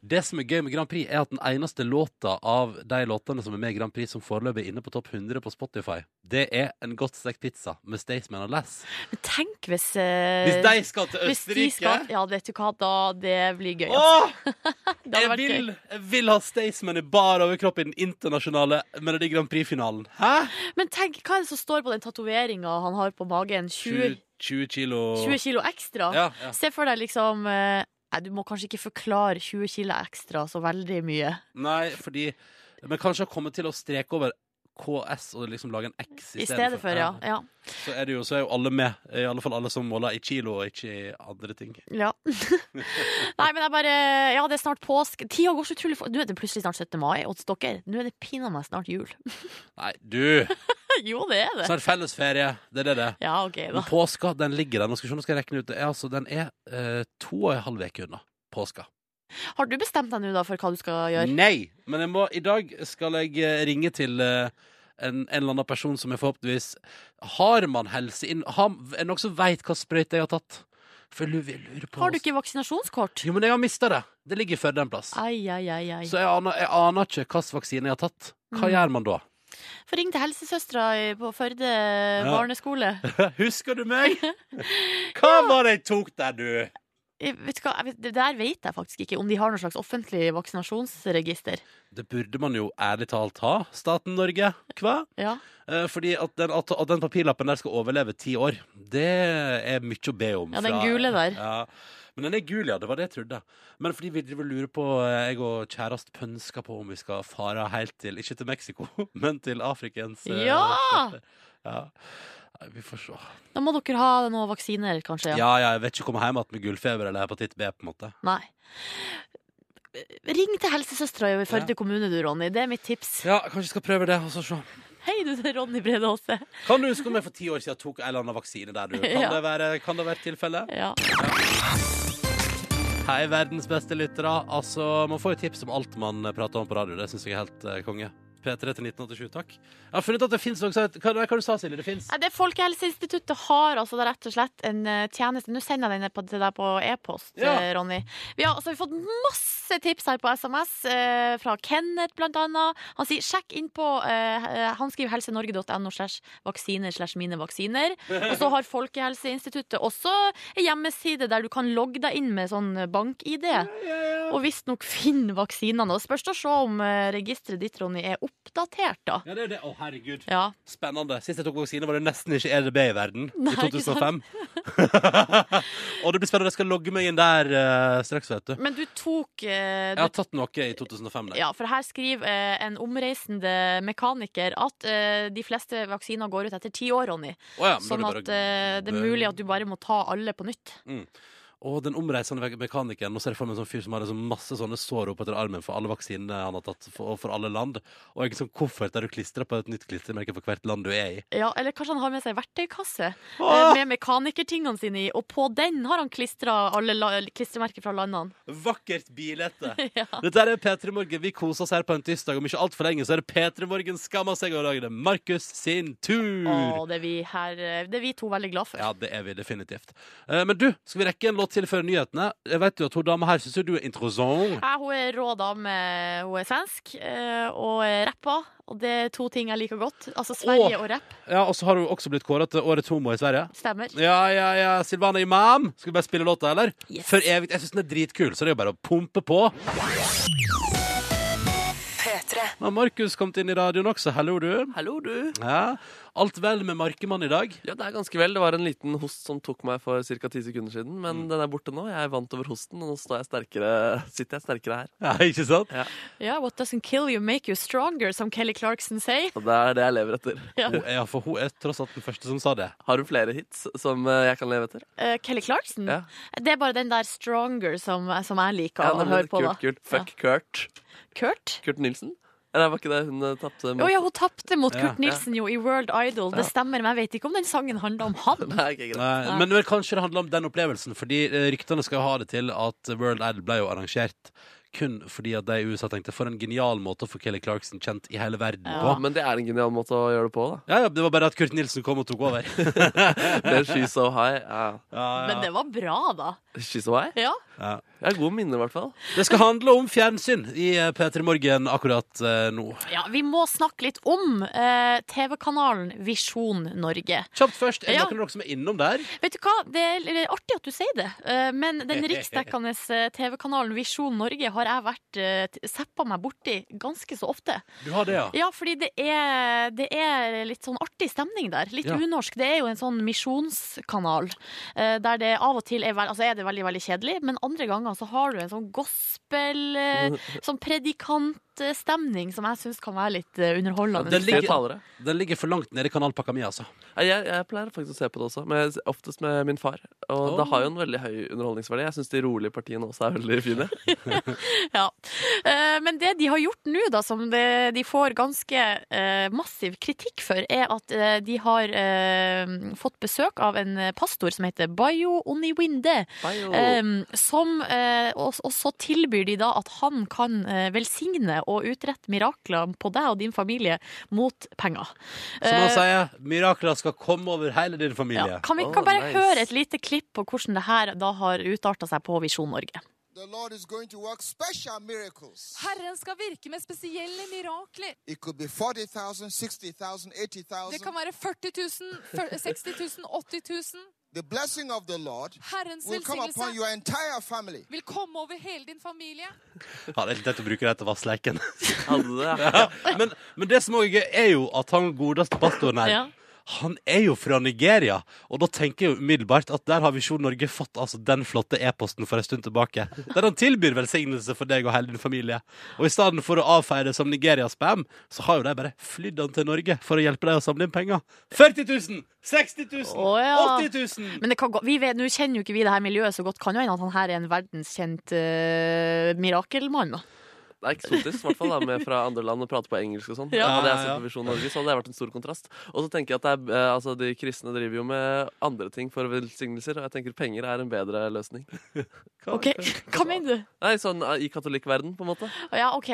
Speaker 3: Det som er gøy med Grand Prix, er at den eneste låta av de låtene som er med i Grand Prix, som foreløpig er inne på topp 100 på Spotify, det er En godt stekt pizza med Staysman og Lass.
Speaker 2: Men tenk hvis eh,
Speaker 3: Hvis de skal til
Speaker 2: hvis de
Speaker 3: Østerrike
Speaker 2: skal- Ja, vet du hva, da det blir gøy. altså.
Speaker 3: Åh!
Speaker 2: Det
Speaker 3: Jeg
Speaker 2: hadde vært
Speaker 3: vil,
Speaker 2: gøy.
Speaker 3: jeg vil ha Staysman i bar overkropp i den internasjonale Melodi Grand Prix-finalen. Hæ?
Speaker 2: Men tenk, hva er det som står på den tatoveringa han har på magen?
Speaker 3: 20,
Speaker 2: 20,
Speaker 3: 20 kilo
Speaker 2: 20 kilo ekstra?
Speaker 3: Ja, ja.
Speaker 2: Se for deg liksom eh, Nei, du må kanskje ikke forklare 20 kilo ekstra så veldig mye.
Speaker 3: Nei, fordi Men kanskje har kommet til å streke over KS og liksom lage en X
Speaker 2: I stedet for, ja. ja.
Speaker 3: så er, det jo, så er jo alle med. I alle fall alle som måler i kilo, og ikke i andre ting.
Speaker 2: ja. Nei, men jeg bare Ja, det er snart påske. Tida går så utrolig fort. Nå er det plutselig snart 17. mai. Og dere, nå er det pinadø meg snart jul.
Speaker 3: Nei, du!
Speaker 2: jo, det er det.
Speaker 3: Snart fellesferie. Det er det det. er.
Speaker 2: Ja, OK, da.
Speaker 3: Men påska, den ligger der. Nå skal vi se, nå skal jeg regne ut. Det er, altså, den er eh, to og en halv uke unna påska.
Speaker 2: Har du bestemt deg nå da for hva du skal gjøre?
Speaker 3: Nei! Men jeg må, i dag skal jeg eh, ringe til eh, en, en eller annen person som jeg forhåpentligvis Har man helse inn har, Er det noen som veit hva sprøyte jeg har tatt? For jeg lurer jeg lurer på
Speaker 2: Har du ikke vaksinasjonskort?
Speaker 3: Jo, men jeg har mista det. Det ligger i Førde en plass.
Speaker 2: Ai, ai, ai, ai.
Speaker 3: Så jeg aner, jeg aner ikke hvilken vaksine jeg har tatt. Hva
Speaker 2: Mm.
Speaker 3: gjør man da?
Speaker 2: Få ringe til helsesøstera i- på Førde barneskole.
Speaker 3: Husker du meg? Hva var det jeg tok der, du?
Speaker 2: Jeg Vet du hva, jeg vet, det der vet jeg faktisk ikke om de har noe slags offentlig vaksinasjonsregister.
Speaker 3: Det burde man jo ærlig talt ha, staten Norge. Hva?
Speaker 2: Ja.
Speaker 3: Eh, Fordi at den, at, at den papirlappen der skal overleve ti år, det er mye å be om.
Speaker 2: Ja, den gule der.
Speaker 3: Ja. Men den er gul, ja. Det var det jeg trodde. Men fordi vi driver og lurer på, eh, jeg og kjærest pønsker på om vi skal fare helt til Ikke til Mexico, men til Afrikens eh,
Speaker 2: Ja!
Speaker 3: støtter. ja. Nei, Vi får se.
Speaker 2: Da må dere ha noen vaksiner, kanskje.
Speaker 3: Ja, ja, jeg vet ikke om jeg kommer hjem igjen med gullfeber eller hepatitt B, på en måte.
Speaker 2: Nei. Ring til helsesøstera i Førde kommune, du, Ronny. Det er mitt tips.
Speaker 3: Ja, kanskje jeg skal prøve det, og så se.
Speaker 2: Hei, du det er Ronny Brede Aase.
Speaker 3: Kan du huske om jeg for ti år siden tok en eller annen vaksine der, du? Kan
Speaker 2: Ja.
Speaker 3: det være, kan det være tilfelle?
Speaker 2: Ja.
Speaker 3: Hei, verdens beste lyttere. Altså, man får jo tips om alt man prater om på radio. Det syns jeg er helt eh, konge. P3 til 1987, takk. Jeg har funnet ut at det fins noe som heter- Hva, nei, hva du sa Silje? Det fins
Speaker 2: Nei, Det Folkehelseinstituttet har altså da rett og slett en eh, tjeneste. Nå sender jeg den på- til deg på e-post,
Speaker 3: Ja.
Speaker 2: eh, Ronny. Vi har altså vi har fått masse tips her på SMS, eh, fra Kenneth blant annet. Han sier sjekk inn på eh, Han skriver helsenorge.no slash vaksiner slash mine vaksiner. Og så har Folkehelseinstituttet også en hjemmeside der du kan logge deg inn med sånn bank-ID. Og visstnok finne vaksinene. Og det spørs å se om eh, registeret ditt, Ronny, er oppdatert, da.
Speaker 3: Ja, det er det. Å, herregud.
Speaker 2: Ja.
Speaker 3: Spennende. Sist jeg tok vaksine, var det nesten ikke EDB i verden.
Speaker 2: Nei,
Speaker 3: I
Speaker 2: ikke
Speaker 3: 2005. Og det blir spennende. Jeg skal logge meg inn der eh, straks, vet du.
Speaker 2: Men du tok eh,
Speaker 3: Jeg har tatt noe i 2005. Der.
Speaker 2: Ja, for her skriver eh, en omreisende mekaniker at eh, de fleste vaksiner går ut etter ti år, Ronny.
Speaker 3: Å ja, men da er
Speaker 2: sånn at
Speaker 3: det
Speaker 2: eh,
Speaker 3: bare-
Speaker 2: det er mulig at du bare må ta alle på nytt.
Speaker 3: Og den omreisende ve- mekanikeren. Nå ser jeg for meg en sånn fyr som har liksom masse sånne sår oppetter armen for alle vaksinene han har tatt for, for alle land. Og en sånn koffert der du klistrer på et nytt klistremerke for hvert land du er i.
Speaker 2: Ja, Eller kanskje han har med seg verktøykasse eh,
Speaker 3: Åh!
Speaker 2: med mekanikertingene sine i, og på den har han klistra alle la klistremerker fra landene.
Speaker 3: Vakkert bilete.
Speaker 2: Ja.
Speaker 3: Dette er P3 Morgen. Vi koser oss her på en tirsdag. Om ikke altfor lenge så er det P3 Morgen skammer seg over dagen. Det er Markus sin tur.
Speaker 2: Og det er, vi her, eh, det er vi to veldig glad for.
Speaker 3: Ja, det er vi definitivt. Eh, Men du, skal vi rekke en låt til før nyhetene? Jeg vet jo at hun dama her syns du er interessant.
Speaker 2: Ja, hun er rå dame. Hun er svensk eh, og er rapper. Og det er to ting jeg liker godt. Altså Sverige og rapp.
Speaker 3: Ja, Og så har hun også blitt kåra til årets homo i Sverige.
Speaker 2: Stemmer.
Speaker 3: Ja, ja, ja. Silvana Imam. Skal vi bare spille låta, eller?
Speaker 2: Yes.
Speaker 3: For evig. Jeg syns den er dritkul, så det er jo bare å pumpe på. Nå har Markus kommet inn i radioen også. Hallo, du.
Speaker 4: Hallo, du.
Speaker 3: Ja. Alt vel med Markemann i dag?
Speaker 4: Ja, det er ganske vel. Det var en liten host som tok meg for ca. ti sekunder siden,
Speaker 2: Mm.
Speaker 4: men den er borte nå. Jeg vant over hosten, og nå står jeg sterkere, sitter jeg sterkere her.
Speaker 3: Ja, ikke sant?
Speaker 2: Ja, What doesn't kill you make you stronger, som Kelly Clarkson sier.
Speaker 4: Og det er det jeg lever etter.
Speaker 3: Hun er, for hun er tross alt den første som sa det.
Speaker 4: Har du flere hits som eh, jeg kan leve etter?
Speaker 2: Eh, Kelly Clarkson?
Speaker 4: Ja.
Speaker 2: Det er bare den der 'Stronger' som, eh, som jeg liker å
Speaker 4: nemlig.
Speaker 2: høre på.
Speaker 4: kult,
Speaker 2: da
Speaker 4: kult. Fuck Kurt.
Speaker 2: Kurt?
Speaker 4: Kurt Nilsen? Eller var ikke det hun eh, tapte
Speaker 2: Å ja, hun tapte mot
Speaker 3: Ja.
Speaker 2: Kurt Nilsen jo i World Idol. Det stemmer, men jeg vet ikke om den sangen handler om han.
Speaker 4: Nei, ikke greit.
Speaker 3: Nei, Eh, men vel, kanskje det handler om den opplevelsen, fordi eh, ryktene skal jo ha det til at World Idol ble jo arrangert kun fordi at de i USA tenkte for en genial måte å få Kelly Clarkson kjent i hele verden
Speaker 2: Ja.
Speaker 3: på.
Speaker 4: Men det er en genial måte å gjøre det på, da.
Speaker 3: Ja, ja, Det var bare at Kurt Nilsen kom og tok over. Ja,
Speaker 4: Det er She's So High. Ja.
Speaker 2: Men det var bra, da.
Speaker 4: She's So High?
Speaker 2: Ja.
Speaker 4: Jeg har gode minner, i hvert fall.
Speaker 3: Det skal handle om fjernsyn i eh, P3 Morgen akkurat eh, nå.
Speaker 2: ja, vi må snakke litt om eh, TV-kanalen Visjon Norge.
Speaker 3: Kjapt først, er det
Speaker 2: Ja.
Speaker 3: noen av dere som er innom der?
Speaker 2: Vet du hva, det er litt artig at du sier det, eh, men den riksdekkende eh, TV-kanalen Visjon Norge har jeg vært eh, t- zappa meg borti ganske så ofte.
Speaker 3: Du har det, ja.
Speaker 2: Ja, fordi det er, det er litt sånn artig stemning der. Litt
Speaker 3: Ja.
Speaker 2: unorsk. Det er jo en sånn misjonskanal eh, der det av og til er, vel- altså er det veldig, veldig kjedelig, men andre ganger så har du en sånn gospel, eh, sånn predikantstemning som jeg syns kan være litt eh, underholdende.
Speaker 3: Den ligger-
Speaker 4: Tre talere.
Speaker 3: Den ligger for langt nede i kanalpakka mi, altså.
Speaker 4: Nei, Jeg, jeg pleier faktisk å se på det også, men oftest med min far. Og det har jo en veldig høy underholdningsverdi. Jeg syns de rolige partiene også er veldig fine.
Speaker 2: Ja. Eh, Men det de har gjort nå, da, som det, de får ganske eh, massiv kritikk for, er at eh, de har eh, fått besøk av en eh, pastor som heter Bayo Oniwinde.
Speaker 4: Bayo.
Speaker 2: eh, som, eh, og, og så tilbyr de da at han kan eh, velsigne og utrette mirakler på deg og din familie mot penger.
Speaker 3: Som han
Speaker 2: Eh,
Speaker 3: sier, mirakler skal komme over hele din
Speaker 2: ja.
Speaker 3: familie.
Speaker 2: Kan vi
Speaker 4: Å,
Speaker 2: kan bare
Speaker 4: nice.
Speaker 2: høre et lite klipp på hvordan det her da har utarta seg på Visjon Norge?
Speaker 6: The Lord is going to work special miracles.
Speaker 7: Herren skal virke med spesielle mirakler.
Speaker 6: It could be 40,000, 60,000,
Speaker 7: Det
Speaker 6: 80,000.
Speaker 7: kan være 40 000, 40 60 000, 80 000.
Speaker 6: The blessing of the Lord
Speaker 7: Herrens
Speaker 6: will come upon
Speaker 7: velsignelse
Speaker 6: your entire family.
Speaker 7: vil komme over hele din familie.
Speaker 3: Ja, det er litt lett å bruke det til vassleiken.
Speaker 4: Hadde det.
Speaker 3: Ja, men, men det som også er gøy, er jo at han godeste pastoren her
Speaker 2: Ja.
Speaker 3: Han er jo fra Nigeria, og da tenker jeg jo umiddelbart at der har Visjon Norge fått altså, den flotte e-posten for en stund tilbake. Der han tilbyr velsignelse for deg og hele din familie. Og i stedet for å avfeie det som Nigeria-spam, så har jo de bare flydd han til Norge for å hjelpe deg å samle inn penger. 40 000! 60 000!
Speaker 2: Å, ja.
Speaker 3: 80 000!
Speaker 2: Men det kan gå, vi vet, nå kjenner jo ikke vi det her miljøet så godt. Kan jo hende at han her er en verdenskjent eh, mirakelmann. da.
Speaker 4: Det er eksotisk, i hvert fall, da, med fra andre land og prate på engelsk og sånn.
Speaker 2: Ja.
Speaker 4: Hadde jeg
Speaker 3: Ja, ja.
Speaker 4: sett på Visjon Norge, så hadde det vært en stor kontrast. Og så tenker jeg at det er, eh, altså, de kristne driver jo med andre ting for velsignelser, og jeg tenker penger er en bedre løsning.
Speaker 2: OK, hva mener du?
Speaker 4: Nei, sånn eh, i katolikkverden, på en måte.
Speaker 2: Å Ja, OK.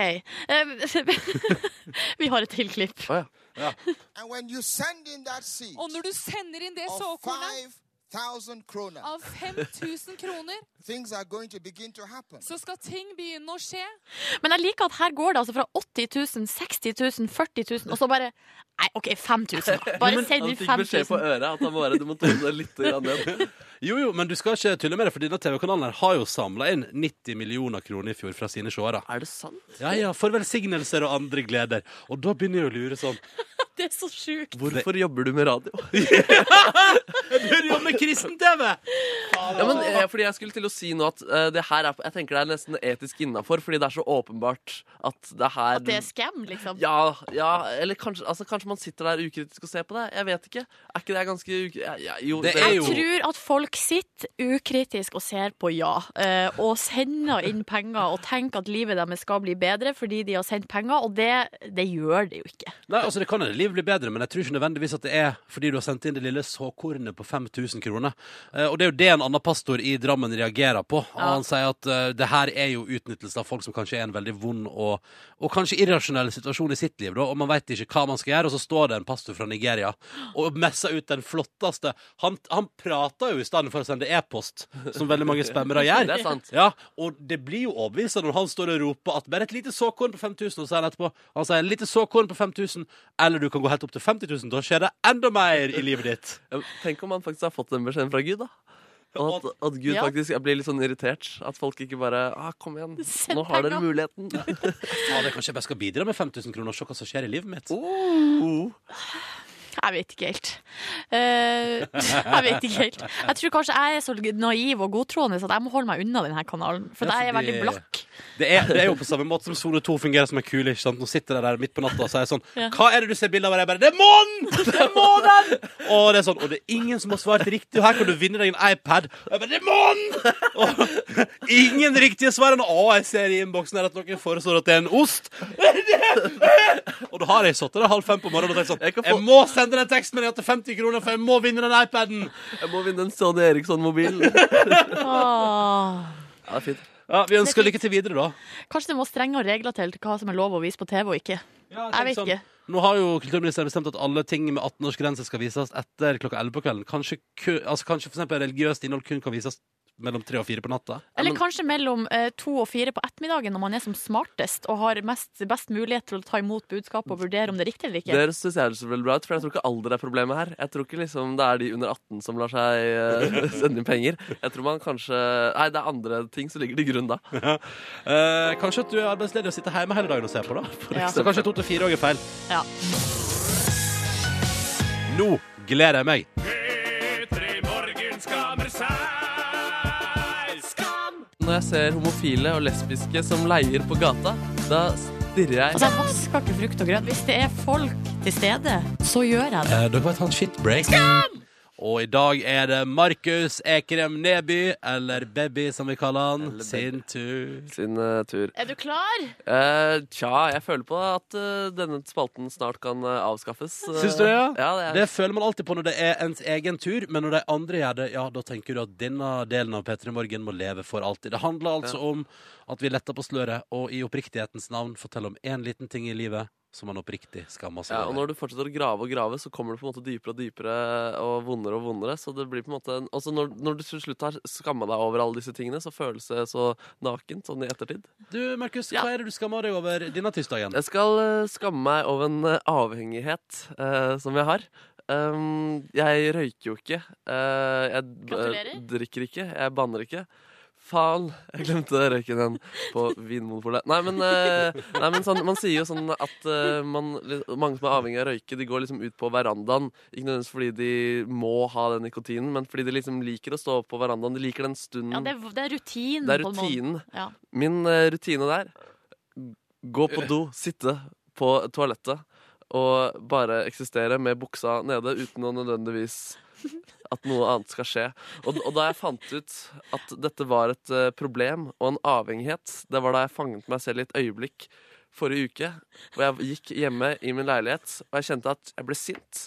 Speaker 2: Eh, Vi har et til klipp.
Speaker 4: Å ja.
Speaker 6: And when you send in that seed
Speaker 7: Og når du sender inn det
Speaker 6: of
Speaker 7: såkornet
Speaker 6: 5,000 krona,
Speaker 7: av 5000 kroner,
Speaker 6: things are going to begin to happen.
Speaker 7: så skal ting begynne å skje.
Speaker 2: Men jeg liker at her går det altså fra 80 000, 60 000, 40 000, og så bare Nei, OK, 5000. da. Bare send
Speaker 4: Han
Speaker 2: inn
Speaker 4: fikk beskjed på
Speaker 2: 5000.
Speaker 4: øret at han må være, du må tone det litt grann ned.
Speaker 3: Jo, jo, men du skal ikke tulle med det, for denne TV-kanalen her har jo samla inn 90 millioner kroner i fjor fra sine seere.
Speaker 4: Er det sant?
Speaker 3: Ja, ja, for velsignelser og andre gleder. Og da begynner jeg å lure sånn
Speaker 2: Det er så sjukt.
Speaker 4: Hvorfor jobber du med radio?
Speaker 3: Hør jo med kristen-TV!
Speaker 4: Ja, men eh, fordi Jeg skulle til å si nå at eh, det her er, jeg tenker det er nesten etisk innafor, fordi det er så åpenbart at det her
Speaker 2: At det er scam, liksom.
Speaker 4: Ja, ja, eller kanskje, altså, kanskje man sitter der ukritisk og ser på det. Jeg vet ikke. Er ikke det ganske uk... Ja, ja, jo,
Speaker 3: Det er
Speaker 2: Jeg
Speaker 3: jo-
Speaker 2: tror at folk sitter ukritisk og ser på ja, eh, og sender inn penger og tenker at livet deres skal bli bedre fordi de har sendt penger, og det, det gjør det jo ikke.
Speaker 3: Nei, altså det kan hende livet blir bedre, men jeg tror ikke nødvendigvis at det er fordi du har sendt inn det lille såkornet på 5000 kroner. Eh, og det er jo det en annen pastor i Drammen reagerer på.
Speaker 2: Ja.
Speaker 3: Han sier at eh, det her er jo utnyttelse av folk som kanskje er i en veldig vond og, og kanskje irrasjonell situasjon i sitt liv, da, og man veit ikke hva man skal gjøre, og så står det en pastor fra Nigeria og messer ut den flotteste Han, han prater jo i stedet for å sende e-post, som veldig mange spammere gjør.
Speaker 4: Det er sant.
Speaker 3: Ja, og det blir jo overbevisende når han står og roper at bare et lite såkorn på 5000, og så sier han etterpå Han sier lite såkorn på 5000, eller du kan gå helt opp til 50 000. Da skjer det enda mer i livet ditt.
Speaker 4: Ja, Tenk om man faktisk har fått den beskjeden fra Gud, da. Og at, at Gud
Speaker 2: Ja.
Speaker 4: faktisk jeg blir litt sånn irritert. At folk ikke bare ah, 'Kom igjen,
Speaker 2: Send
Speaker 4: nå har dere
Speaker 2: penger.»
Speaker 4: muligheten'.
Speaker 3: Ja, det er Kanskje jeg bare skal bidra med 5000 kroner og se hva som skjer i livet mitt.
Speaker 4: Oh.
Speaker 2: Jeg vet ikke helt. Eh, jeg vet ikke helt. Jeg tror kanskje jeg er så naiv og godtroende så at jeg må holde meg unna denne kanalen, for
Speaker 3: Ja,
Speaker 2: jeg er
Speaker 3: fordi-
Speaker 2: veldig blakk.
Speaker 3: Det er, det er jo på samme måte som Sone 2 fungerer som en kule. ikke sant? Nå sitter jeg der midt på natta og sier sånn Hva er det du ser bilde av? Og jeg bare Det er månen! Det er månen! Og det er sånn Og det er ingen som har svart riktig, og her kan du vinne deg en iPad. Og jeg bare Det er månen! Og ingen riktige svar. Og å, jeg ser i innboksen her at noen foreslår at det er en ost. Og da har jeg sittet der halv fem på morgenen og tenkt sånn
Speaker 4: Jeg
Speaker 3: Jeg,
Speaker 4: kan få-
Speaker 3: må sende den tekstmeldinga til 50 kroner, for jeg må vinne den iPaden.
Speaker 4: Jeg må vinne en Sony Eriksson-mobil. Ja,
Speaker 2: Åh.
Speaker 4: det er fint.
Speaker 3: Ja, Vi ønsker lykke til videre, da.
Speaker 2: Kanskje det må strengere regler til til hva som er lov å vise på TV og ikke.
Speaker 3: Ja,
Speaker 2: Jeg
Speaker 3: tenk
Speaker 2: vet ikke.
Speaker 3: Nå har jo kulturministeren bestemt at alle ting med 18-årsgrense skal vises etter klokka 11 på kvelden. Kanskje, ku- altså kanskje for eksempel religiøst innhold kun kan vises mellom 3 og 4 på natta.
Speaker 2: Eller
Speaker 4: men-
Speaker 2: kanskje mellom eh, to og fire på ettermiddagen, når man er som smartest og har mest, best mulighet til å ta imot budskapet og vurdere om det er riktig eller ikke.
Speaker 4: Det høres veldig bra ut, for jeg tror ikke alder er problemet her. Jeg tror ikke liksom det er de under 18 som lar seg eh, sende inn penger. Jeg tror man kanskje Nei, det er andre ting som ligger til grunn da.
Speaker 3: Eh, kanskje at du er arbeidsledig og sitter hjemme hele dagen og ser på, da.
Speaker 2: Ja.
Speaker 3: Så kanskje 2 til 4 òg er feil.
Speaker 2: Ja.
Speaker 3: Nå gleder jeg meg.
Speaker 4: Når jeg ser homofile og lesbiske som leier på gata, da stirrer jeg
Speaker 2: Altså, jeg vasker ikke frukt og grønt. Hvis det er folk til stede, så gjør jeg det.
Speaker 3: Eh, dere må ta en shitbreak. Og i dag er det Markus Ekrem Neby, eller Baby som vi kaller han,
Speaker 4: Baby.
Speaker 3: sin tur.
Speaker 4: sin eh, tur.
Speaker 2: Er du klar?
Speaker 4: Eh, tja, jeg føler på at eh, denne spalten snart kan eh, avskaffes. Eh,
Speaker 3: Syns du det, ja?
Speaker 4: Ja, det er,
Speaker 3: Det føler man alltid på når det er ens egen tur, men når de andre gjør det, ja, da tenker du at denne delen av P3 Morgen må leve for alltid. Det handler altså om at vi letter på sløret, og i oppriktighetens navn forteller om én liten ting i livet som man oppriktig skammer seg
Speaker 4: ja, og
Speaker 3: over.
Speaker 4: når du fortsetter å grave og grave, så kommer det på en måte dypere og dypere og vondere og vondere. Så det blir på en måte en- Og så når, når du til slutt har skamma deg over alle disse tingene, så føles det så nakent sånn i ettertid.
Speaker 3: Du, Markus,
Speaker 4: Ja.
Speaker 3: hva er det du skammer deg over denne tirsdagen?
Speaker 4: Jeg skal eh, skamme meg over en eh, avhengighet eh, som jeg har. Um, jeg røyker jo ikke. eh, jeg b-
Speaker 2: Gratulerer.
Speaker 4: drikker ikke. Jeg banner ikke. Faen, jeg glemte røyken igjen på Vinmonopolet. Nei, men, eh, nei, men sånn, man sier jo sånn at eh, man, li- mange som er avhengig av å røyke, de går liksom ut på verandaen. Ikke nødvendigvis fordi de må ha den nikotinen, men fordi de liksom liker å stå på verandaen. De liker den stunden.
Speaker 2: Ja, det er, det er rutinen.
Speaker 4: det er
Speaker 2: på en måte.
Speaker 4: rutinen.
Speaker 2: Ja.
Speaker 4: Min eh, rutine der Gå på do, sitte på toalettet og bare eksistere med buksa nede uten å nødvendigvis at noe annet skal skje. Og, og da jeg fant ut at dette var et eh, problem og en avhengighet, det var da jeg fanget meg selv i et øyeblikk forrige uke, hvor jeg gikk hjemme i min leilighet, og jeg kjente at jeg ble sint.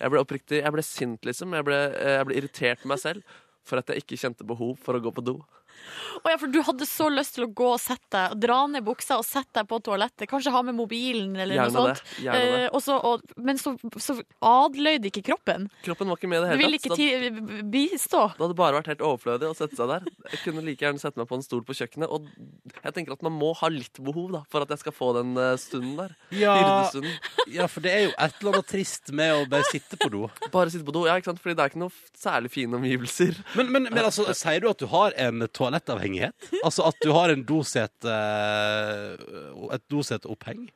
Speaker 4: Jeg ble oppriktig, jeg ble sint, liksom. Jeg ble, eh, jeg ble irritert på meg selv for at jeg ikke kjente behov for å gå på do.
Speaker 2: Å ja, for du hadde så lyst til å gå og sette deg, og dra ned buksa og sette deg på toalettet. Kanskje ha med mobilen eller
Speaker 4: Gjerne
Speaker 2: noe
Speaker 4: det.
Speaker 2: sånt.
Speaker 4: Gjerne det.
Speaker 2: Eh, og så, og, men så, så adløyde ikke kroppen.
Speaker 4: Kroppen var ikke med i det
Speaker 2: Du
Speaker 4: hele
Speaker 2: ville
Speaker 4: tatt. så
Speaker 2: ikke
Speaker 4: da-
Speaker 2: ti- eh, bistå.
Speaker 4: Det hadde bare vært helt overflødig å sette seg der. Jeg kunne like gjerne sette meg på en stol på kjøkkenet. Og jeg tenker at man må ha litt behov da, for at jeg skal få den eh, stunden der.
Speaker 3: Ja,
Speaker 4: Hyrdestunden.
Speaker 3: ja, for det er jo et eller annet trist med å bare sitte på do.
Speaker 4: Bare sitte på do. Ja, ikke sant? Fordi det er ikke noe f- særlig fine omgivelser.
Speaker 3: Men, men, men altså, sier du at du har en toalettavhengighet? Altså at du har en dosete Et doseteoppheng?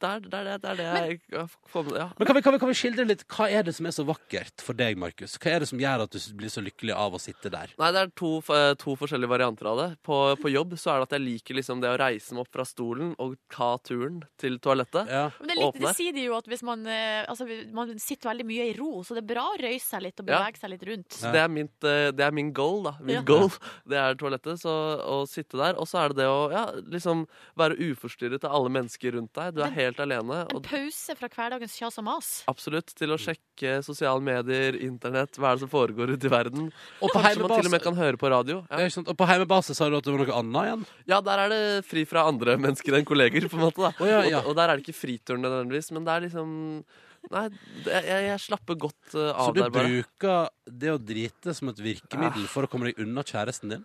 Speaker 4: Det er det, er, det- det, er det jeg ja, får med ja.
Speaker 3: Men kan vi, kan, vi, kan vi skildre litt Hva er det som er så vakkert for deg, Markus? Hva er det som gjør at du blir så lykkelig av å sitte der?
Speaker 4: Nei, det er to, f- eh, to forskjellige varianter av det. På, på jobb så er det at jeg liker liksom det å reise meg opp fra stolen og ta turen til toalettet.
Speaker 3: Ja.
Speaker 2: Men det, er litt,
Speaker 4: Åpne.
Speaker 2: det sier de jo at hvis man, eh, altså, man sitter veldig mye i ro, så det er bra å røyse seg litt og
Speaker 4: Ja.
Speaker 2: bevege seg litt rundt.
Speaker 4: Så det er, mitt, eh, det er min goal, da. Min
Speaker 2: Ja.
Speaker 4: goal, Det er toalettet. Så å sitte der. Og så er det det å ja, liksom være uforstyrret av alle mennesker rundt deg. Du er helt alene.
Speaker 2: En
Speaker 4: Og
Speaker 2: pause fra hverdagens kjas og mas.
Speaker 4: absolutt til å sjekke sosiale medier, internett, hva er det som foregår ute i verden.
Speaker 3: Og på
Speaker 4: Kanskje man til og med
Speaker 3: heimebase
Speaker 4: kan høre på radio. Ja,
Speaker 3: ja, ikke sant? Og på heimebase sa du at det var noe annet igjen?
Speaker 4: ja der er det fri fra andre mennesker enn kolleger, på en måte. da
Speaker 3: Å, ja, ja.
Speaker 4: Og, og der er det ikke friturene nødvendigvis, men det er liksom Nei, det, jeg, jeg slapper godt eh,
Speaker 3: Så
Speaker 4: av
Speaker 3: du
Speaker 4: der, bare.
Speaker 3: bruker det å drite som et virkemiddel for å komme deg unna kjæresten din?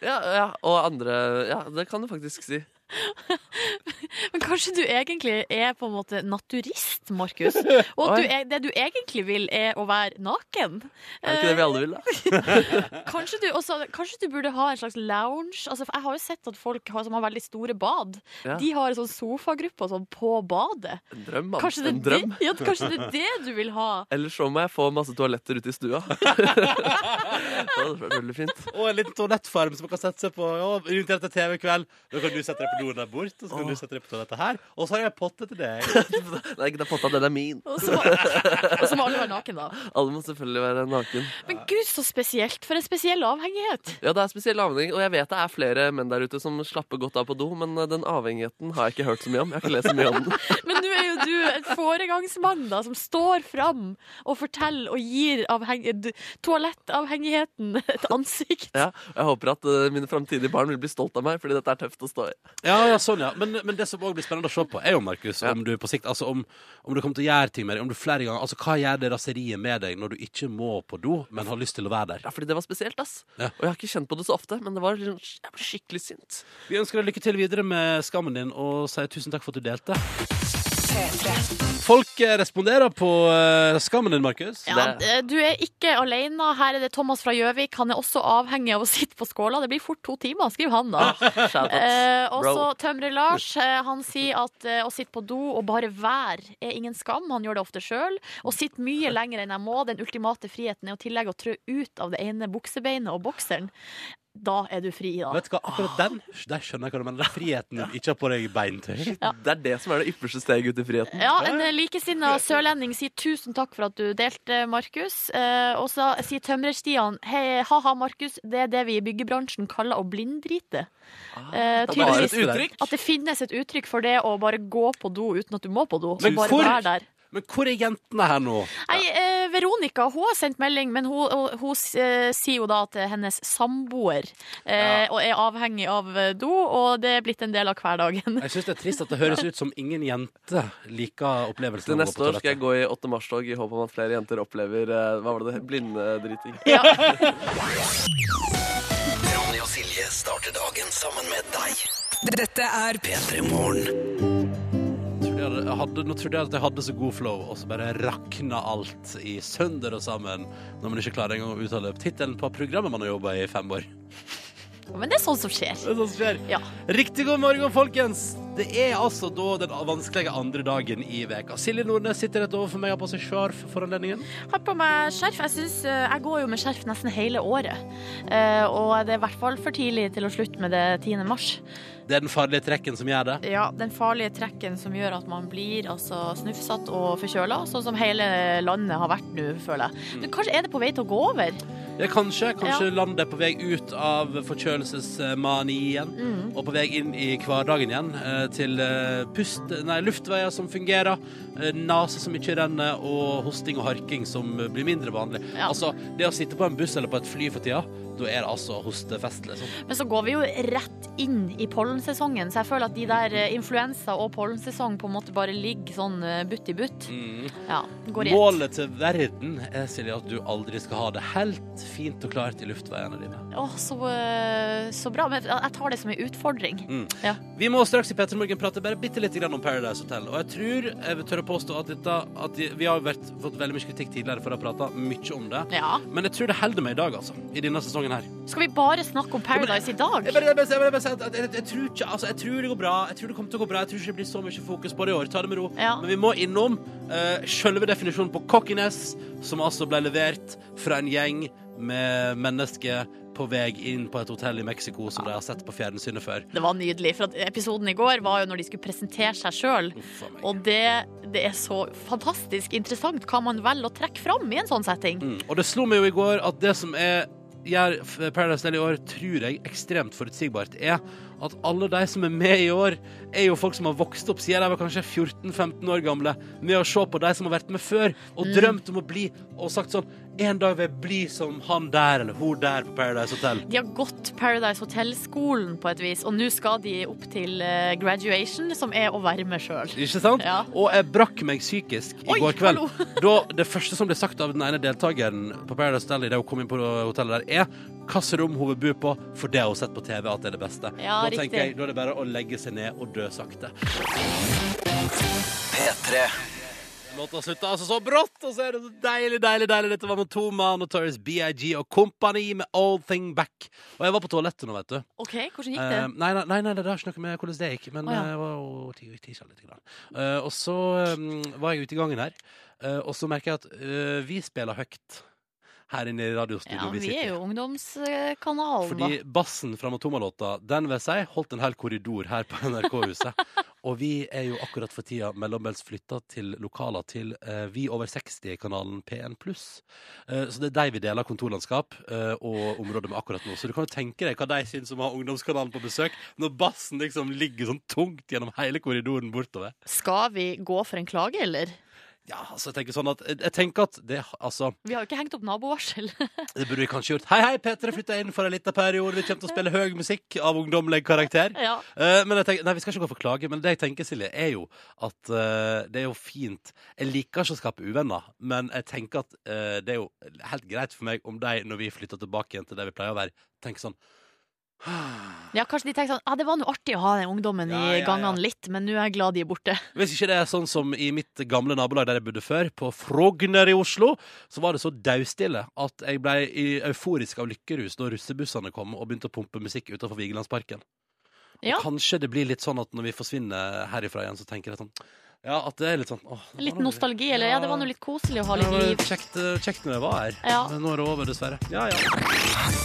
Speaker 4: Ja, ja, og andre Ja, det kan du faktisk si.
Speaker 2: Men kanskje du egentlig er på en måte naturist, Markus? Og at du
Speaker 4: Oi.
Speaker 2: er, det du egentlig vil, er å være naken?
Speaker 4: Er det ikke det vi alle vil, da?
Speaker 2: Kanskje du, også, kanskje du burde ha en slags lounge? Altså, for jeg har jo sett at folk har, som har veldig store bad,
Speaker 4: Ja.
Speaker 2: de har en sånn sofagruppe og sånn på badet.
Speaker 4: En drøm, mann.
Speaker 2: Kanskje det,
Speaker 4: En
Speaker 2: er
Speaker 4: drøm.
Speaker 2: Det, ja, kanskje det er det du vil ha?
Speaker 4: Ellers så må jeg få masse toaletter ute i stua. det hadde vært veldig fint.
Speaker 3: Og en liten toalettfarm som man kan sette seg på. Ja, invitert til TV-kveld. Da kan du sette deg på doen der borte, og så kan du sette deg på toalettet her. Og så har jeg en potte til deg.
Speaker 4: Nei, ikke det er potta, den er min.
Speaker 2: Og så må, og så må alle være naken, da.
Speaker 4: Alle må selvfølgelig være naken.
Speaker 2: Men gud, så spesielt. For en spesiell avhengighet.
Speaker 4: Ja, det er spesiell avhengig, og jeg vet det er flere menn der ute som slapper godt av på do, men eh, den avhengigheten har jeg ikke hørt så mye om. Jeg har ikke lest så mye om den.
Speaker 2: Men nå er jo du en foregangsmann da, som står fram og forteller og gir avheng d- toalettavhengigheten et ansikt.
Speaker 4: Ja, og jeg håper at eh, mine framtidige barn vil bli stolt av meg, fordi dette er tøft å stå i.
Speaker 3: Ja, ja, sånn, ja. Men, men det som òg blir spennende å se på, er jo, Markus, om du på sikt Altså om, om du kommer til å gjøre ting med deg, om du flere ganger Altså, hva gjør det raseriet med deg når du ikke må på do, men har lyst til å være der?
Speaker 4: Ja, fordi det var spesielt, ass.
Speaker 3: Ja.
Speaker 4: Og jeg har ikke kjent på det så ofte, men det var, liksom- jeg ble skikkelig sint.
Speaker 3: Vi ønsker deg lykke til videre med skammen din, og sier tusen takk for at du delte. Folk eh, responderer på eh, skammen din, Markus.
Speaker 2: Ja, d- du er ikke alene. Her er det Thomas fra Gjøvik. Han er også avhengig av å sitte på skåla. Det blir fort to timer, skriver han da.
Speaker 4: Shout out.
Speaker 2: Eh, og
Speaker 4: bro.
Speaker 2: så Tømrer Lars eh, Han sier at eh, å sitte på do og bare være er ingen skam. Han gjør det ofte sjøl. Og sitter mye lenger enn jeg må. Den ultimate friheten er å tillegge å trø ut av det ene buksebeinet og bokseren. Da er du fri, da.
Speaker 3: Vet du hva, akkurat den Der skjønner jeg hva du mener. Det er friheten når du ikke har på deg beintøy.
Speaker 4: Det er det som er det ypperste steget ut i friheten.
Speaker 2: Ja, En eh, likesinna sørlending sier tusen takk for at du delte, Markus. Eh, og så sier Tømrer-Stian hei, ha-ha, Markus, det er det vi i byggebransjen kaller å blinddrite. Eh,
Speaker 4: Det var et
Speaker 2: tydeligvis
Speaker 4: uttrykk.
Speaker 2: at det finnes et uttrykk for det å bare gå på do uten at du må på do.
Speaker 3: Men
Speaker 2: og bare
Speaker 3: hvor-
Speaker 2: være der.
Speaker 3: Men hvor er jentene her nå?
Speaker 2: Nei, eh, Veronica hun har sendt melding, men hun, hun, hun eh, sier jo da at hennes samboer eh, og er avhengig av eh, do, og det er blitt en del av hverdagen.
Speaker 3: Jeg syns det er trist at det høres ut som ingen jente liker opplevelsen
Speaker 4: Til
Speaker 3: av å gå
Speaker 4: neste
Speaker 3: på
Speaker 4: år skal jeg
Speaker 3: toalettet.
Speaker 4: gå i 8. mars-tog i håp om at flere jenter opplever eh, hva var det, det het? blindedriting.
Speaker 2: Ja.
Speaker 1: Ronny og Silje starter dagen sammen med deg.
Speaker 8: Dette er
Speaker 1: P3 Morgen.
Speaker 3: Trodde jeg hadde- jeg hadde, nå trodde jeg at jeg hadde så god flow, og så bare rakna alt i sønder og sammen når man ikke klarer engang å uttale tittelen på programmet man har jobba i i fem år.
Speaker 2: Men det er sånn som skjer.
Speaker 3: Det er sånt som skjer.
Speaker 2: Ja.
Speaker 3: Riktig god morgen, folkens. Det er altså da den vanskelige andre dagen i veka. Silje Nordnes sitter rett overfor meg og har på seg sjarf for anledningen.
Speaker 2: Har på meg skjerf. Jeg, synes, eh, jeg går jo med skjerf nesten hele året. Eh, og det er i hvert fall for tidlig til å slutte med det 10. mars.
Speaker 3: Det er den farlige trekken som gjør det.
Speaker 2: Ja, den farlige trekken som gjør at man blir altså, snufsatt og forkjøla, sånn som hele landet har vært nå, føler jeg. Men kanskje er det på vei til å gå over?
Speaker 3: Ja, kanskje. Kanskje landet er på vei ut av forkjølelsesmanien
Speaker 2: Mm.
Speaker 3: og på vei inn i hverdagen igjen. eh, Til eh, pust, nei, luftveier som fungerer, eh, nese som ikke renner, og hosting og harking som eh, blir mindre vanlig.
Speaker 2: Ja.
Speaker 3: Altså, det å sitte på en buss eller på et fly for tida, da er det altså hostefest, liksom.
Speaker 2: Men så går vi jo rett inn i pollensesongen, så jeg føler at de der eh, influensa og pollensesong på en måte bare ligger sånn eh, butt i butt. Ja, går i ett.
Speaker 3: Mm. Målet til verden er, Silje, at du aldri skal ha det helt fint og klart i luftveiene dine.
Speaker 2: Å, så, eh, så bra. Men jeg tar det som en utfordring. Ja.
Speaker 3: Vi må straks i Petter Morgen prate bare bitte litt om Paradise Hotel. Og jeg tror jeg vil tørre å påstå at, dette, at vi har jo vært, fått veldig mye kritikk tidligere for å ha prata mye om det.
Speaker 2: Ja.
Speaker 3: Men jeg tror det holder meg i dag, altså. I denne sesongen her.
Speaker 2: Skal vi bare snakke om Paradise i
Speaker 3: Jeg,
Speaker 2: dag?
Speaker 3: bare, jeg, bare, jeg, bare, jeg, bare, sier at- at jeg, jeg, tror ikke, altså, jeg tror det går bra. Jeg tror det kommer til å gå bra. Jeg tror ikke det blir så mye fokus på det i år. Ta det med ro.
Speaker 2: Ja.
Speaker 3: Men vi må innom uh, selve definisjonen på cockiness, som altså ble levert fra en gjeng med mennesker på vei inn på et hotell i Mexico som de har sett på fjernsynet før.
Speaker 2: Det var nydelig, for at episoden i går var jo når de skulle presentere seg sjøl.
Speaker 3: Uff a meg.
Speaker 2: Og det, det er så fantastisk interessant hva man velger å trekke fram i en sånn setting.
Speaker 3: Mm. Og det slo meg jo i går at det som er gjør f- Paradise Hotel i år, tror jeg, ekstremt forutsigbart, er at alle de som er med i år, er jo folk som har vokst opp siden de var kanskje 14-15 år gamle, med å se på de som har vært med før, og drømt om å bli, og sagt sånn En dag vil jeg bli som han der eller hun der på Paradise Hotel.
Speaker 2: De har gått Paradise Hotel-skolen på et vis, og nå skal de opp til eh, graduation, som er å være med sjøl.
Speaker 3: Ikke sant?
Speaker 2: Ja.
Speaker 3: Og jeg brakk meg psykisk i
Speaker 2: Oi,
Speaker 3: går kveld.
Speaker 2: hallo.
Speaker 3: da det første som ble sagt av den ene deltakeren på Paradise Hotel idet hun kom inn på hotellet der, er hvilket rom hun vil bo på, for det har hun sett på TV at det er det beste.
Speaker 2: Ja,
Speaker 3: da
Speaker 2: riktig.
Speaker 3: tenker jeg, da er det bare å legge seg ned og dø sakte.
Speaker 1: P3.
Speaker 3: Låta slutta altså så brått, og så er det så deilig, deilig, deilig. Dette var med to mann og Torres BIG og kompani med Old Thing Back. Og jeg var på toalettet nå, vet du.
Speaker 2: OK, hvordan gikk det?
Speaker 3: Eh, nei, nei, nei, nei, det har ikke noe med hvordan det gikk, men
Speaker 2: Å, ja.
Speaker 3: eh, jeg var jo ti- tisa litt. Grann. Eh, og så eh, var jeg ute i gangen her, eh, og så merker jeg at eh, vi spiller høyt her inne i
Speaker 2: Ja,
Speaker 3: radiostudioet vi
Speaker 2: vi
Speaker 3: sitter i.
Speaker 2: er jo ungdomskanalen, da.
Speaker 3: Fordi bassen fra Matoma-låta, den vil jeg si, holdt en hel korridor her på NRK-huset. og vi er jo akkurat for tida mellombels flytta til lokaler til eh, Vi over 60-kanalen P1 pluss. Eh, så det er de vi deler kontorlandskap eh, og område med akkurat nå. Så du kan jo tenke deg hva de syns om å ha ungdomskanalen på besøk, når bassen liksom ligger sånn tungt gjennom hele korridoren bortover.
Speaker 2: Skal vi gå for en klage, eller?
Speaker 3: Ja, altså, jeg tenker sånn at, jeg tenker at det, altså
Speaker 2: Vi har jo ikke hengt opp nabovarsel.
Speaker 3: Det burde vi kanskje gjort. Hei, hei, Peter, flytta inn for en liten periode. Vi kommer til å spille høy musikk av ungdommelig karakter.
Speaker 2: ja.
Speaker 3: Eh, men jeg tenker, nei, Vi skal ikke gå for klage, men det jeg tenker, Silje, er jo at eh, det er jo fint Jeg liker ikke å skape uvenner, men jeg tenker at eh, det er jo helt greit for meg om de, når vi flytter tilbake igjen til der vi pleier å være, tenker sånn
Speaker 2: ja, kanskje de tenker sånn ah, Det var nå artig å ha den ungdommen
Speaker 3: Ja,
Speaker 2: i
Speaker 3: ja,
Speaker 2: gangene
Speaker 3: ja.
Speaker 2: litt, men nå er jeg glad de er borte.
Speaker 3: Hvis ikke det er sånn som i mitt gamle nabolag der jeg bodde før, på Frogner i Oslo, så var det så daustille at jeg ble i- euforisk av lykkerus da russebussene kom og begynte å pumpe musikk utenfor Vigelandsparken.
Speaker 2: Ja.
Speaker 3: Og kanskje det blir litt sånn at når vi forsvinner herifra igjen, så tenker jeg sånn Ja, at det er litt sånn åh, det var
Speaker 2: Litt
Speaker 3: nå-
Speaker 2: nostalgi, eller? Ja, det var nå litt koselig å ha litt
Speaker 3: Ja, det
Speaker 2: liv.
Speaker 3: var Kjekt, eh, kjekt når jeg var her.
Speaker 2: Ja.
Speaker 3: Men Nå er det over, dessverre. Ja, ja.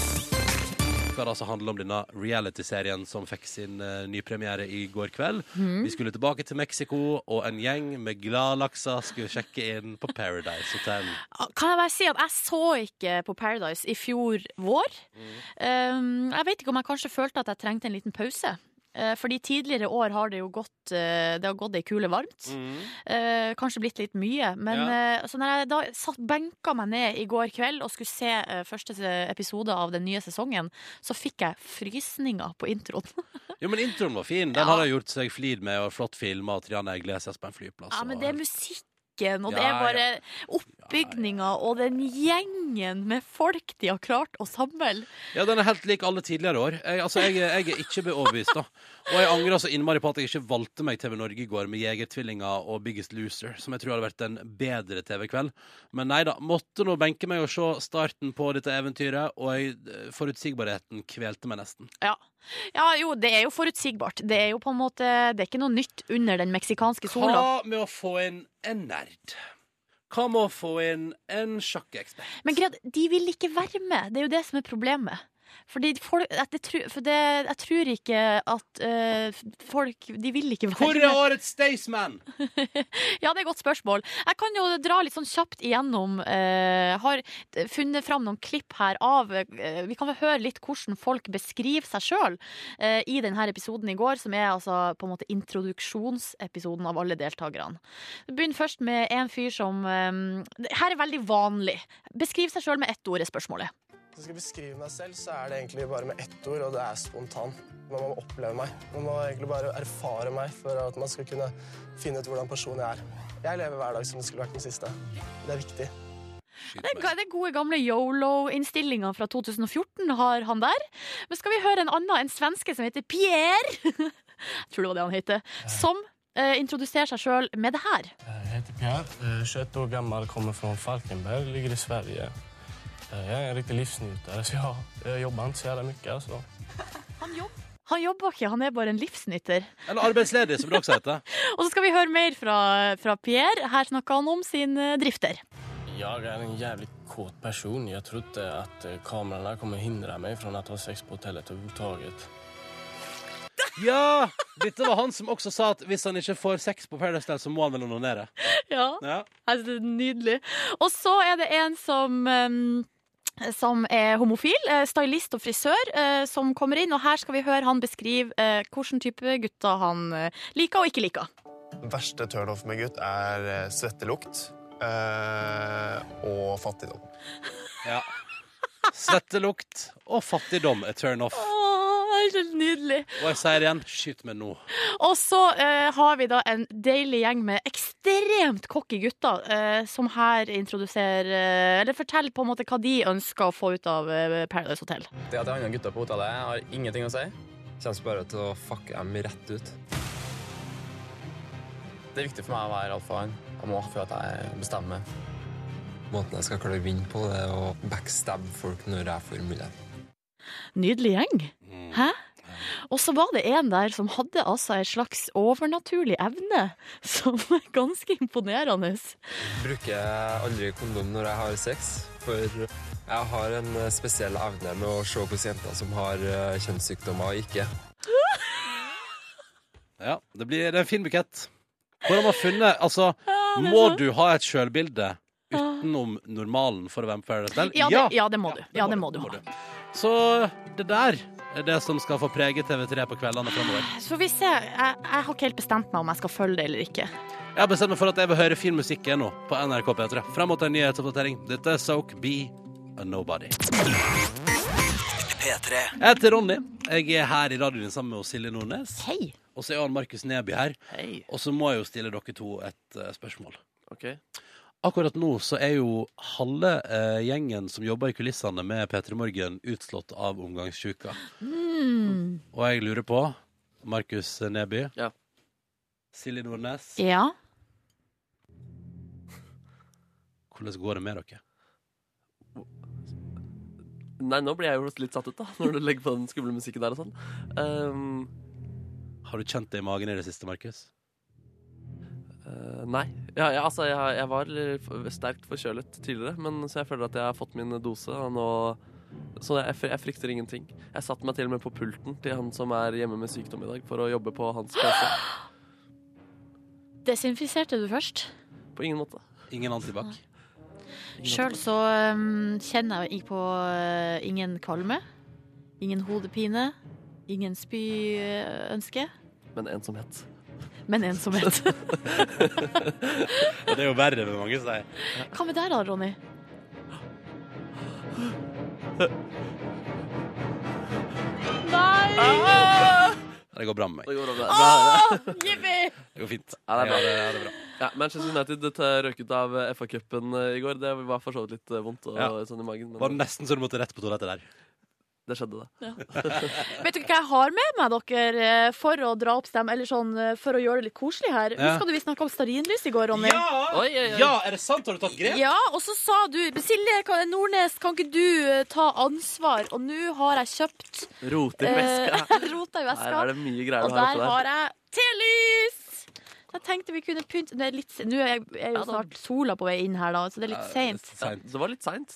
Speaker 3: Skal det altså handle om denne reality-serien som fikk sin eh, nypremiere i går kveld.
Speaker 2: Mhm.
Speaker 3: Vi skulle tilbake til Mexico, og en gjeng med gladlakser skulle sjekke inn på Paradise Hotel.
Speaker 2: Ah, Kan jeg bare si at jeg så ikke på Paradise i fjor vår.
Speaker 3: Mm.
Speaker 2: Um, jeg vet ikke om jeg kanskje følte at jeg trengte en liten pause. Eh, Fordi tidligere år har det jo gått eh, Det har gått ei kule varmt.
Speaker 3: Mm. Mhm.
Speaker 2: Eh, Kanskje blitt litt mye. Men eh, så når jeg da satt, benka meg ned i går kveld og skulle se eh, første se- episode av den nye sesongen, så fikk jeg frysninger på introen.
Speaker 3: Altså. Jo, men introen var fin. Den
Speaker 2: Ja.
Speaker 3: har de gjort seg flid med, og flott filma, og Triana Iglesias på en flyplass.
Speaker 2: Ja, men det er
Speaker 3: og-
Speaker 2: musikken, og det
Speaker 3: Ja,
Speaker 2: er bare bygninga og den gjengen med folk de har klart å samle.
Speaker 3: Ja, den er helt lik alle tidligere år. Jeg, altså, jeg, jeg er ikke overbevist, da. Og jeg angrer så innmari på at jeg ikke valgte meg TV Norge i går med Jegertvillinger og Biggest Loser, som jeg tror hadde vært en bedre TV-kveld. Men nei da. Måtte nå benke meg og se starten på dette eventyret, og jeg, eh, forutsigbarheten kvelte meg nesten.
Speaker 2: Ja. ja, jo, det er jo forutsigbart. Det er jo på en måte Det er ikke noe nytt under den meksikanske sola.
Speaker 3: Hva med å få inn en nerd? Hva med å få inn en sjakkekspert?
Speaker 2: Men greit, de vil ikke være med. Det er jo det som er problemet. Fordi folk, at det, tru- for det, jeg tror ikke at eh, folk De vil ikke være
Speaker 3: Hvor
Speaker 2: med.
Speaker 3: er årets Staysman?
Speaker 2: Ja, det er et godt spørsmål. Jeg kan jo dra litt sånn kjapt igjennom. eh, har funnet fram noen klipp her av eh, Vi kan vel høre litt hvordan folk beskriver seg sjøl i denne episoden i går, som er altså på en måte introduksjonsepisoden av alle deltakerne. Vi begynner først med en fyr som eh, Her er veldig vanlig. Beskriv seg sjøl med ett ord, er spørsmålet.
Speaker 8: Hvis jeg skal beskrive meg selv, så er det egentlig bare med ett ord, og det er spontan. Man må oppleve meg. Man må egentlig bare erfare meg for at man skal kunne finne ut hvordan person jeg er. Jeg lever hver dag som det skulle vært den siste. Det er viktig.
Speaker 2: Den, ga- den gode gamle yolo-innstillinga fra 2014 har han der. Men skal vi høre en annen, en svenske som heter Pierre, jeg tror det var det han het, som eh, introduserer seg sjøl med det her.
Speaker 8: Jeg heter Pierre, 21 år gammel, kommer fra Falkenberg, ligger i Sverige. Jeg er en riktig livsnyter, så jeg jobber ikke så jævla mye. Altså.
Speaker 2: Han jobber. Han jobber ikke, han er bare en livsnyter.
Speaker 3: Eller arbeidsledig, som det også heter.
Speaker 2: Og så skal vi høre mer fra, fra Pierre. Her snakker han om sin eh, drifter.
Speaker 8: Jeg er en jævlig kåt person. Jeg trodde at eh, kameraene kunne hindre meg fra å ha sex på hotellet overhodet.
Speaker 3: Ja! Dette var han som også sa at hvis han ikke får sex på Paradise Hotel, så må han vel onanere.
Speaker 2: Ja.
Speaker 3: Ja.
Speaker 2: Jeg synes Altså, det er nydelig. Og så er det en som eh, som er homofil, eh, stylist og frisør, eh, som kommer inn. Og her skal vi høre han beskrive eh, hvilken type gutter han eh, liker og ikke liker.
Speaker 8: Den verste turnoff med gutt er eh, svettelukt eh, og fattigdom.
Speaker 3: ja. Svettelukt og fattigdom er turn off.
Speaker 2: Åh, det er så nydelig.
Speaker 3: Og jeg sier igjen, skyt meg nå.
Speaker 2: Og så eh, har vi da en deilig gjeng med ekstremt cocky gutter, eh, som her introduserer eh, Eller forteller på en måte hva de ønsker å få ut av eh, Paradise Hotel.
Speaker 9: Det at det er andre gutter på hotellet, har ingenting å si. Kjennes bare til å fucke dem rett ut. Det er viktig for meg å være alfaen. Jeg må føle at jeg bestemmer. Måten jeg skal klare å vinne på, det er å backstabbe folk når jeg får mulighet.
Speaker 2: Nydelig gjeng. Hæ? Og så var det en der som hadde altså en slags overnaturlig evne, som er ganske imponerende.
Speaker 9: Bruker aldri kondom når jeg har sex, for jeg har en eh, spesiell evne med å se hvordan jenter som har eh, kjønnssykdommer og ikke.
Speaker 3: Ja, det blir det er en fin bukett. Hvordan man funnet Altså,
Speaker 2: Ah,
Speaker 3: må du ha et sjølbilde utenom normalen for å være med på Paradise Hotel?
Speaker 2: Ja, det, ja, det må du. Ja, det må du
Speaker 3: må
Speaker 2: ha.
Speaker 3: Så det der er det som skal få prege TV3 på kveldene framover.
Speaker 2: Så får vi se. Jeg, jeg har ikke helt bestemt meg om jeg skal følge det eller ikke.
Speaker 3: Jeg har bestemt meg for at jeg vil høre fin musikk igjen nå på NRK P3. Frem mot en nyhetsoppdatering. Dette er Soak Be a Nobody.
Speaker 1: P3.
Speaker 3: Jeg heter Ronny. Jeg er her i radioen sammen med Silje Nordnes.
Speaker 2: Hei.
Speaker 3: Og så er han Markus Neby her.
Speaker 4: Hei.
Speaker 3: Og så må jeg jo stille dere to et eh, spørsmål.
Speaker 4: Ok.
Speaker 3: Akkurat nå så er jo halve eh, gjengen som jobber i kulissene med P3 Morgen, utslått av omgangssjuka. Og jeg lurer på Markus Neby.
Speaker 4: Ja.
Speaker 3: Silje Nordnes.
Speaker 2: Ja.
Speaker 3: Hvordan går det med dere?
Speaker 4: Nei, nå blir jeg jo litt satt ut, da, når du legger på den skumle musikken der og sånn. Ehm,
Speaker 3: Har du kjent det i magen i det siste, Markus?
Speaker 4: eh, nei. Ja, ja, altså, jeg, jeg var litt f- sterkt forkjølet tidligere, men så jeg føler at jeg har fått min dose, og nå Så jeg, fr- jeg frykter ingenting. Jeg satte meg til og med på pulten til han som er hjemme med sykdom i dag, for å jobbe på hans PC.
Speaker 2: Desinfiserte du først?
Speaker 4: På ingen måte.
Speaker 3: Ingen antibac?
Speaker 2: Sjøl så um, kjenner jeg på uh, ingen kvalme, ingen hodepine, ingen spyønske,
Speaker 4: Men ensomhet.
Speaker 2: men ensomhet.
Speaker 3: Det er jo verre med mange, sier jeg.
Speaker 2: Hva med deg da, Ronny? Nei!
Speaker 3: Det går bra med meg.
Speaker 4: Det går over. Nei, nei.
Speaker 2: Jippi!
Speaker 3: Det går fint.
Speaker 4: Ja, det er bra.
Speaker 3: Jeg har det bra.
Speaker 4: Ja, Manchester United eh, røk ut av eh, FA-cupen eh, i går. Det var for så vidt litt eh, vondt og,
Speaker 3: Ja.
Speaker 4: sånn i magen,
Speaker 3: Var det
Speaker 4: men
Speaker 3: nesten så du måtte rett på toalettet der.
Speaker 4: det skjedde, det.
Speaker 2: Vet dere hva jeg har med meg dere eh, for å dra opp stem, eller sånn eh, for å gjøre det litt koselig her?
Speaker 3: Ja.
Speaker 2: Husker du vi snakka om stearinlys i går, Ronny?
Speaker 4: Oi, oi, oi.
Speaker 3: Ja, er det sant? Har du tatt grep?
Speaker 2: Ja, og så sa du Silje kan, Nordnes, kan ikke du eh, ta ansvar? Og nå har jeg kjøpt
Speaker 4: Roter i
Speaker 2: eh,
Speaker 4: veska.
Speaker 2: Rota i
Speaker 4: Her er
Speaker 2: veska.
Speaker 4: det mye greier
Speaker 2: Og
Speaker 4: du har
Speaker 2: der
Speaker 4: oppe der.
Speaker 2: har jeg telys! Jeg tenkte vi kunne pynte Nå er, litt, nå er jeg, jeg er jo
Speaker 4: Ja, da.
Speaker 2: snart sola på vei inn her, da, så det er litt seint.
Speaker 4: Ja, det var litt seint.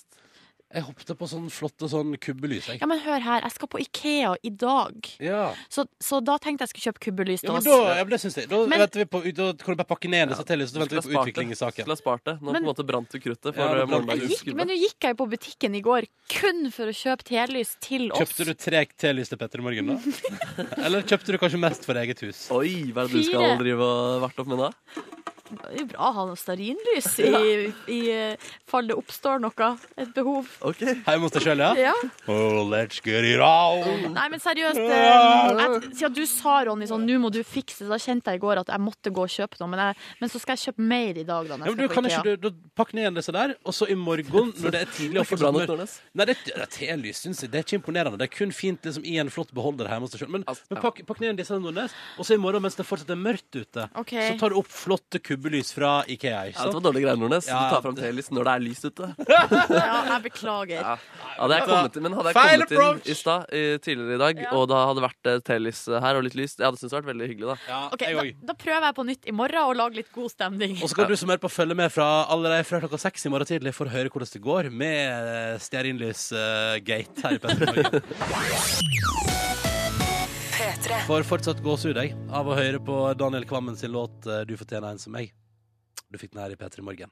Speaker 3: Jeg hoppet på sånn flotte sånn kubbelys, jeg.
Speaker 2: Ja, men hør her, jeg skal på Ikea i dag.
Speaker 3: Ja.
Speaker 2: Så, så da tenkte jeg skulle kjøpe kubbelys
Speaker 3: Ja,
Speaker 2: til
Speaker 3: men
Speaker 2: oss.
Speaker 3: da, ja, men det syns jeg. Da,
Speaker 2: Men-
Speaker 3: venter vi på, da kan du bare pakke ned disse tellysene, så venter vi på utvikling i saken.
Speaker 4: Skulle ha spart det. Nå på
Speaker 2: Men-
Speaker 4: en måte brant du kruttet for
Speaker 3: Ja, det
Speaker 4: eh,
Speaker 3: brant.
Speaker 2: Jeg
Speaker 4: morgendagens
Speaker 2: gikk, men
Speaker 4: skubbe.
Speaker 2: nå gikk jeg på butikken i går kun for å kjøpe telys til oss.
Speaker 3: Kjøpte du tre telys til Petter i morgen, da? Eller kjøpte du kanskje mest for eget hus?
Speaker 4: Oi, hva er det du skal
Speaker 2: Fire.
Speaker 4: drive og varte opp med da?
Speaker 2: Det er jo bra å ha noe stearinlys i, i eh, fall det oppstår noe. Et behov.
Speaker 4: Ok.
Speaker 3: Hjemme hos deg sjøl, ja?
Speaker 2: Ja.
Speaker 3: Oh, let's get it on!
Speaker 2: Nei, men seriøst. eh, Jeg, siden du sa, Ronny, sånn 'nå må du fikse', da kjente jeg i går at jeg måtte gå og kjøpe noe. Men, jeg, men så skal jeg kjøpe mer i dag, da. når jeg
Speaker 3: Ja, men du,
Speaker 2: skal på
Speaker 3: kan
Speaker 2: IKEA.
Speaker 3: ikke du, da, Pakk ned disse der, og så i morgen, når det er tidlig og
Speaker 4: Ikke bra nok,
Speaker 3: fortsatt mørkt-
Speaker 4: Nordnes.
Speaker 3: Nei, det, det er telys, syns jeg. Det er ikke imponerende. Det er kun fint liksom, i en flott beholder hjemme hos deg sjøl. Men,
Speaker 4: Altså,
Speaker 3: men
Speaker 4: ja.
Speaker 3: pakk, pakk ned disse Nordnes, og så i morgen mens det fortsatt er mørkt ute,
Speaker 2: Ok.
Speaker 3: så tar du opp flotte kubbelys fra Ikea. ikke
Speaker 4: Ja, det
Speaker 3: sant?
Speaker 4: var dårlige greier, Nordnes. Du
Speaker 3: Ja,
Speaker 4: tar fram
Speaker 3: det-
Speaker 4: telys når det er lyst ute.
Speaker 2: Ja, jeg beklager.
Speaker 4: Ja. Hadde jeg kommet inn, men hadde jeg
Speaker 3: Feil
Speaker 4: kommet
Speaker 3: approach!
Speaker 4: inn i stad, i- tidligere i dag,
Speaker 2: Ja.
Speaker 4: og da hadde det vært eh, telys her og litt lys, jeg hadde syntes det hadde vært veldig hyggelig, da.
Speaker 3: Ja,
Speaker 2: Ok,
Speaker 3: jeg
Speaker 2: da,
Speaker 3: òg.
Speaker 2: da prøver jeg på nytt i morgen å lage litt god stemning.
Speaker 3: Og så kan du som hører på følge med fra allerede fra klokka seks i morgen tidlig for å høre hvordan det går med eh, stearinlys-gate her i Petter Får fortsatt gåsehud jeg, av å høre på Daniel Kvammen sin låt eh, 'Du fortjener en som meg'. Du fikk den her i P3 Morgen.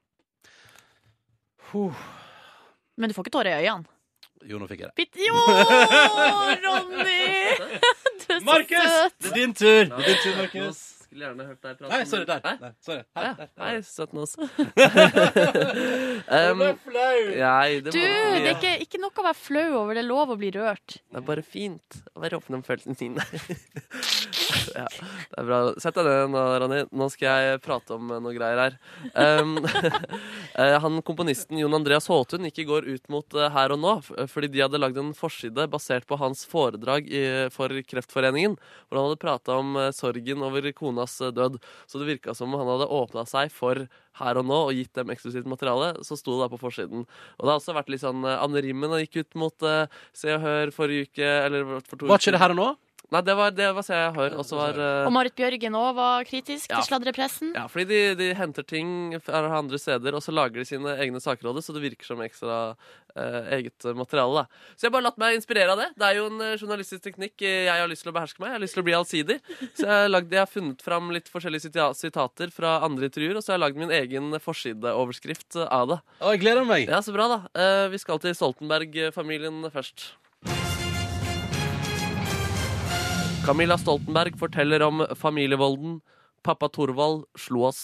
Speaker 3: Huh.
Speaker 2: Men du får ikke tårer i øynene.
Speaker 3: Jo, nå fikk jeg det.
Speaker 2: Bitt. Jo, Ronny! Du er så
Speaker 3: Markus!
Speaker 2: søt.
Speaker 3: Det er din tur! Det er din tur,
Speaker 4: Nå
Speaker 3: Markus.
Speaker 4: Skulle gjerne hørt deg prate
Speaker 3: Nei,
Speaker 4: om-
Speaker 3: sorry. Der.
Speaker 4: Hæ?
Speaker 3: Nei, sorry.
Speaker 4: Ja,
Speaker 3: Her, der.
Speaker 4: Nei, søt nå også.
Speaker 3: Det
Speaker 4: um,
Speaker 3: er flaut!
Speaker 4: nei, det,
Speaker 2: Du,
Speaker 4: var,
Speaker 2: det er ikke, ikke noe å være flau over. Det er lov å bli rørt.
Speaker 4: det er bare fint å være åpen om følelsene sine. ja, det er bra. Sett deg ned nå, Ronny. Nå skal jeg prate om eh, noe greier her. Um, eh, han Komponisten Jon Andreas Håtun gikk i går ut mot eh, Her og Nå, f- fordi de hadde lagd en forside basert på hans foredrag i, for Kreftforeningen, hvor han hadde prata om eh, sorgen over konas eh, død. Så det virka som om han hadde åpna seg for her og nå og gitt dem eksklusivt materiale. Så sto det da på forsiden. Og det har også vært litt sånn eh, Anne Rimmen gikk ut mot eh, Se og Hør forrige uke, eller for to
Speaker 3: Var ikke det her og nå?
Speaker 4: Nei, det var, det var Se og Hør. Og så var eh,
Speaker 2: Og Marit Bjørgen òg var kritisk
Speaker 4: Ja.
Speaker 2: til sladrepressen.
Speaker 4: ja, fordi de, de henter ting fra andre steder, og så lager de sine egne saker av det, så det virker som ekstra eh, eget materiale. Da. Så jeg har bare latt meg inspirere av det. Det er jo en eh, journalistisk teknikk eh, jeg har lyst til å beherske meg. Jeg har lyst til å bli allsidig. Så jeg har, lagd, jeg har funnet fram litt forskjellige sita- sitater fra andre intervjuer, og så har jeg lagd min egen forsideoverskrift eh, av det.
Speaker 3: Å, jeg gleder meg.
Speaker 4: Ja, så bra, da. Eh, vi skal til Stoltenberg-familien først. Camilla Stoltenberg forteller om familievolden. Pappa Thorvald slo oss.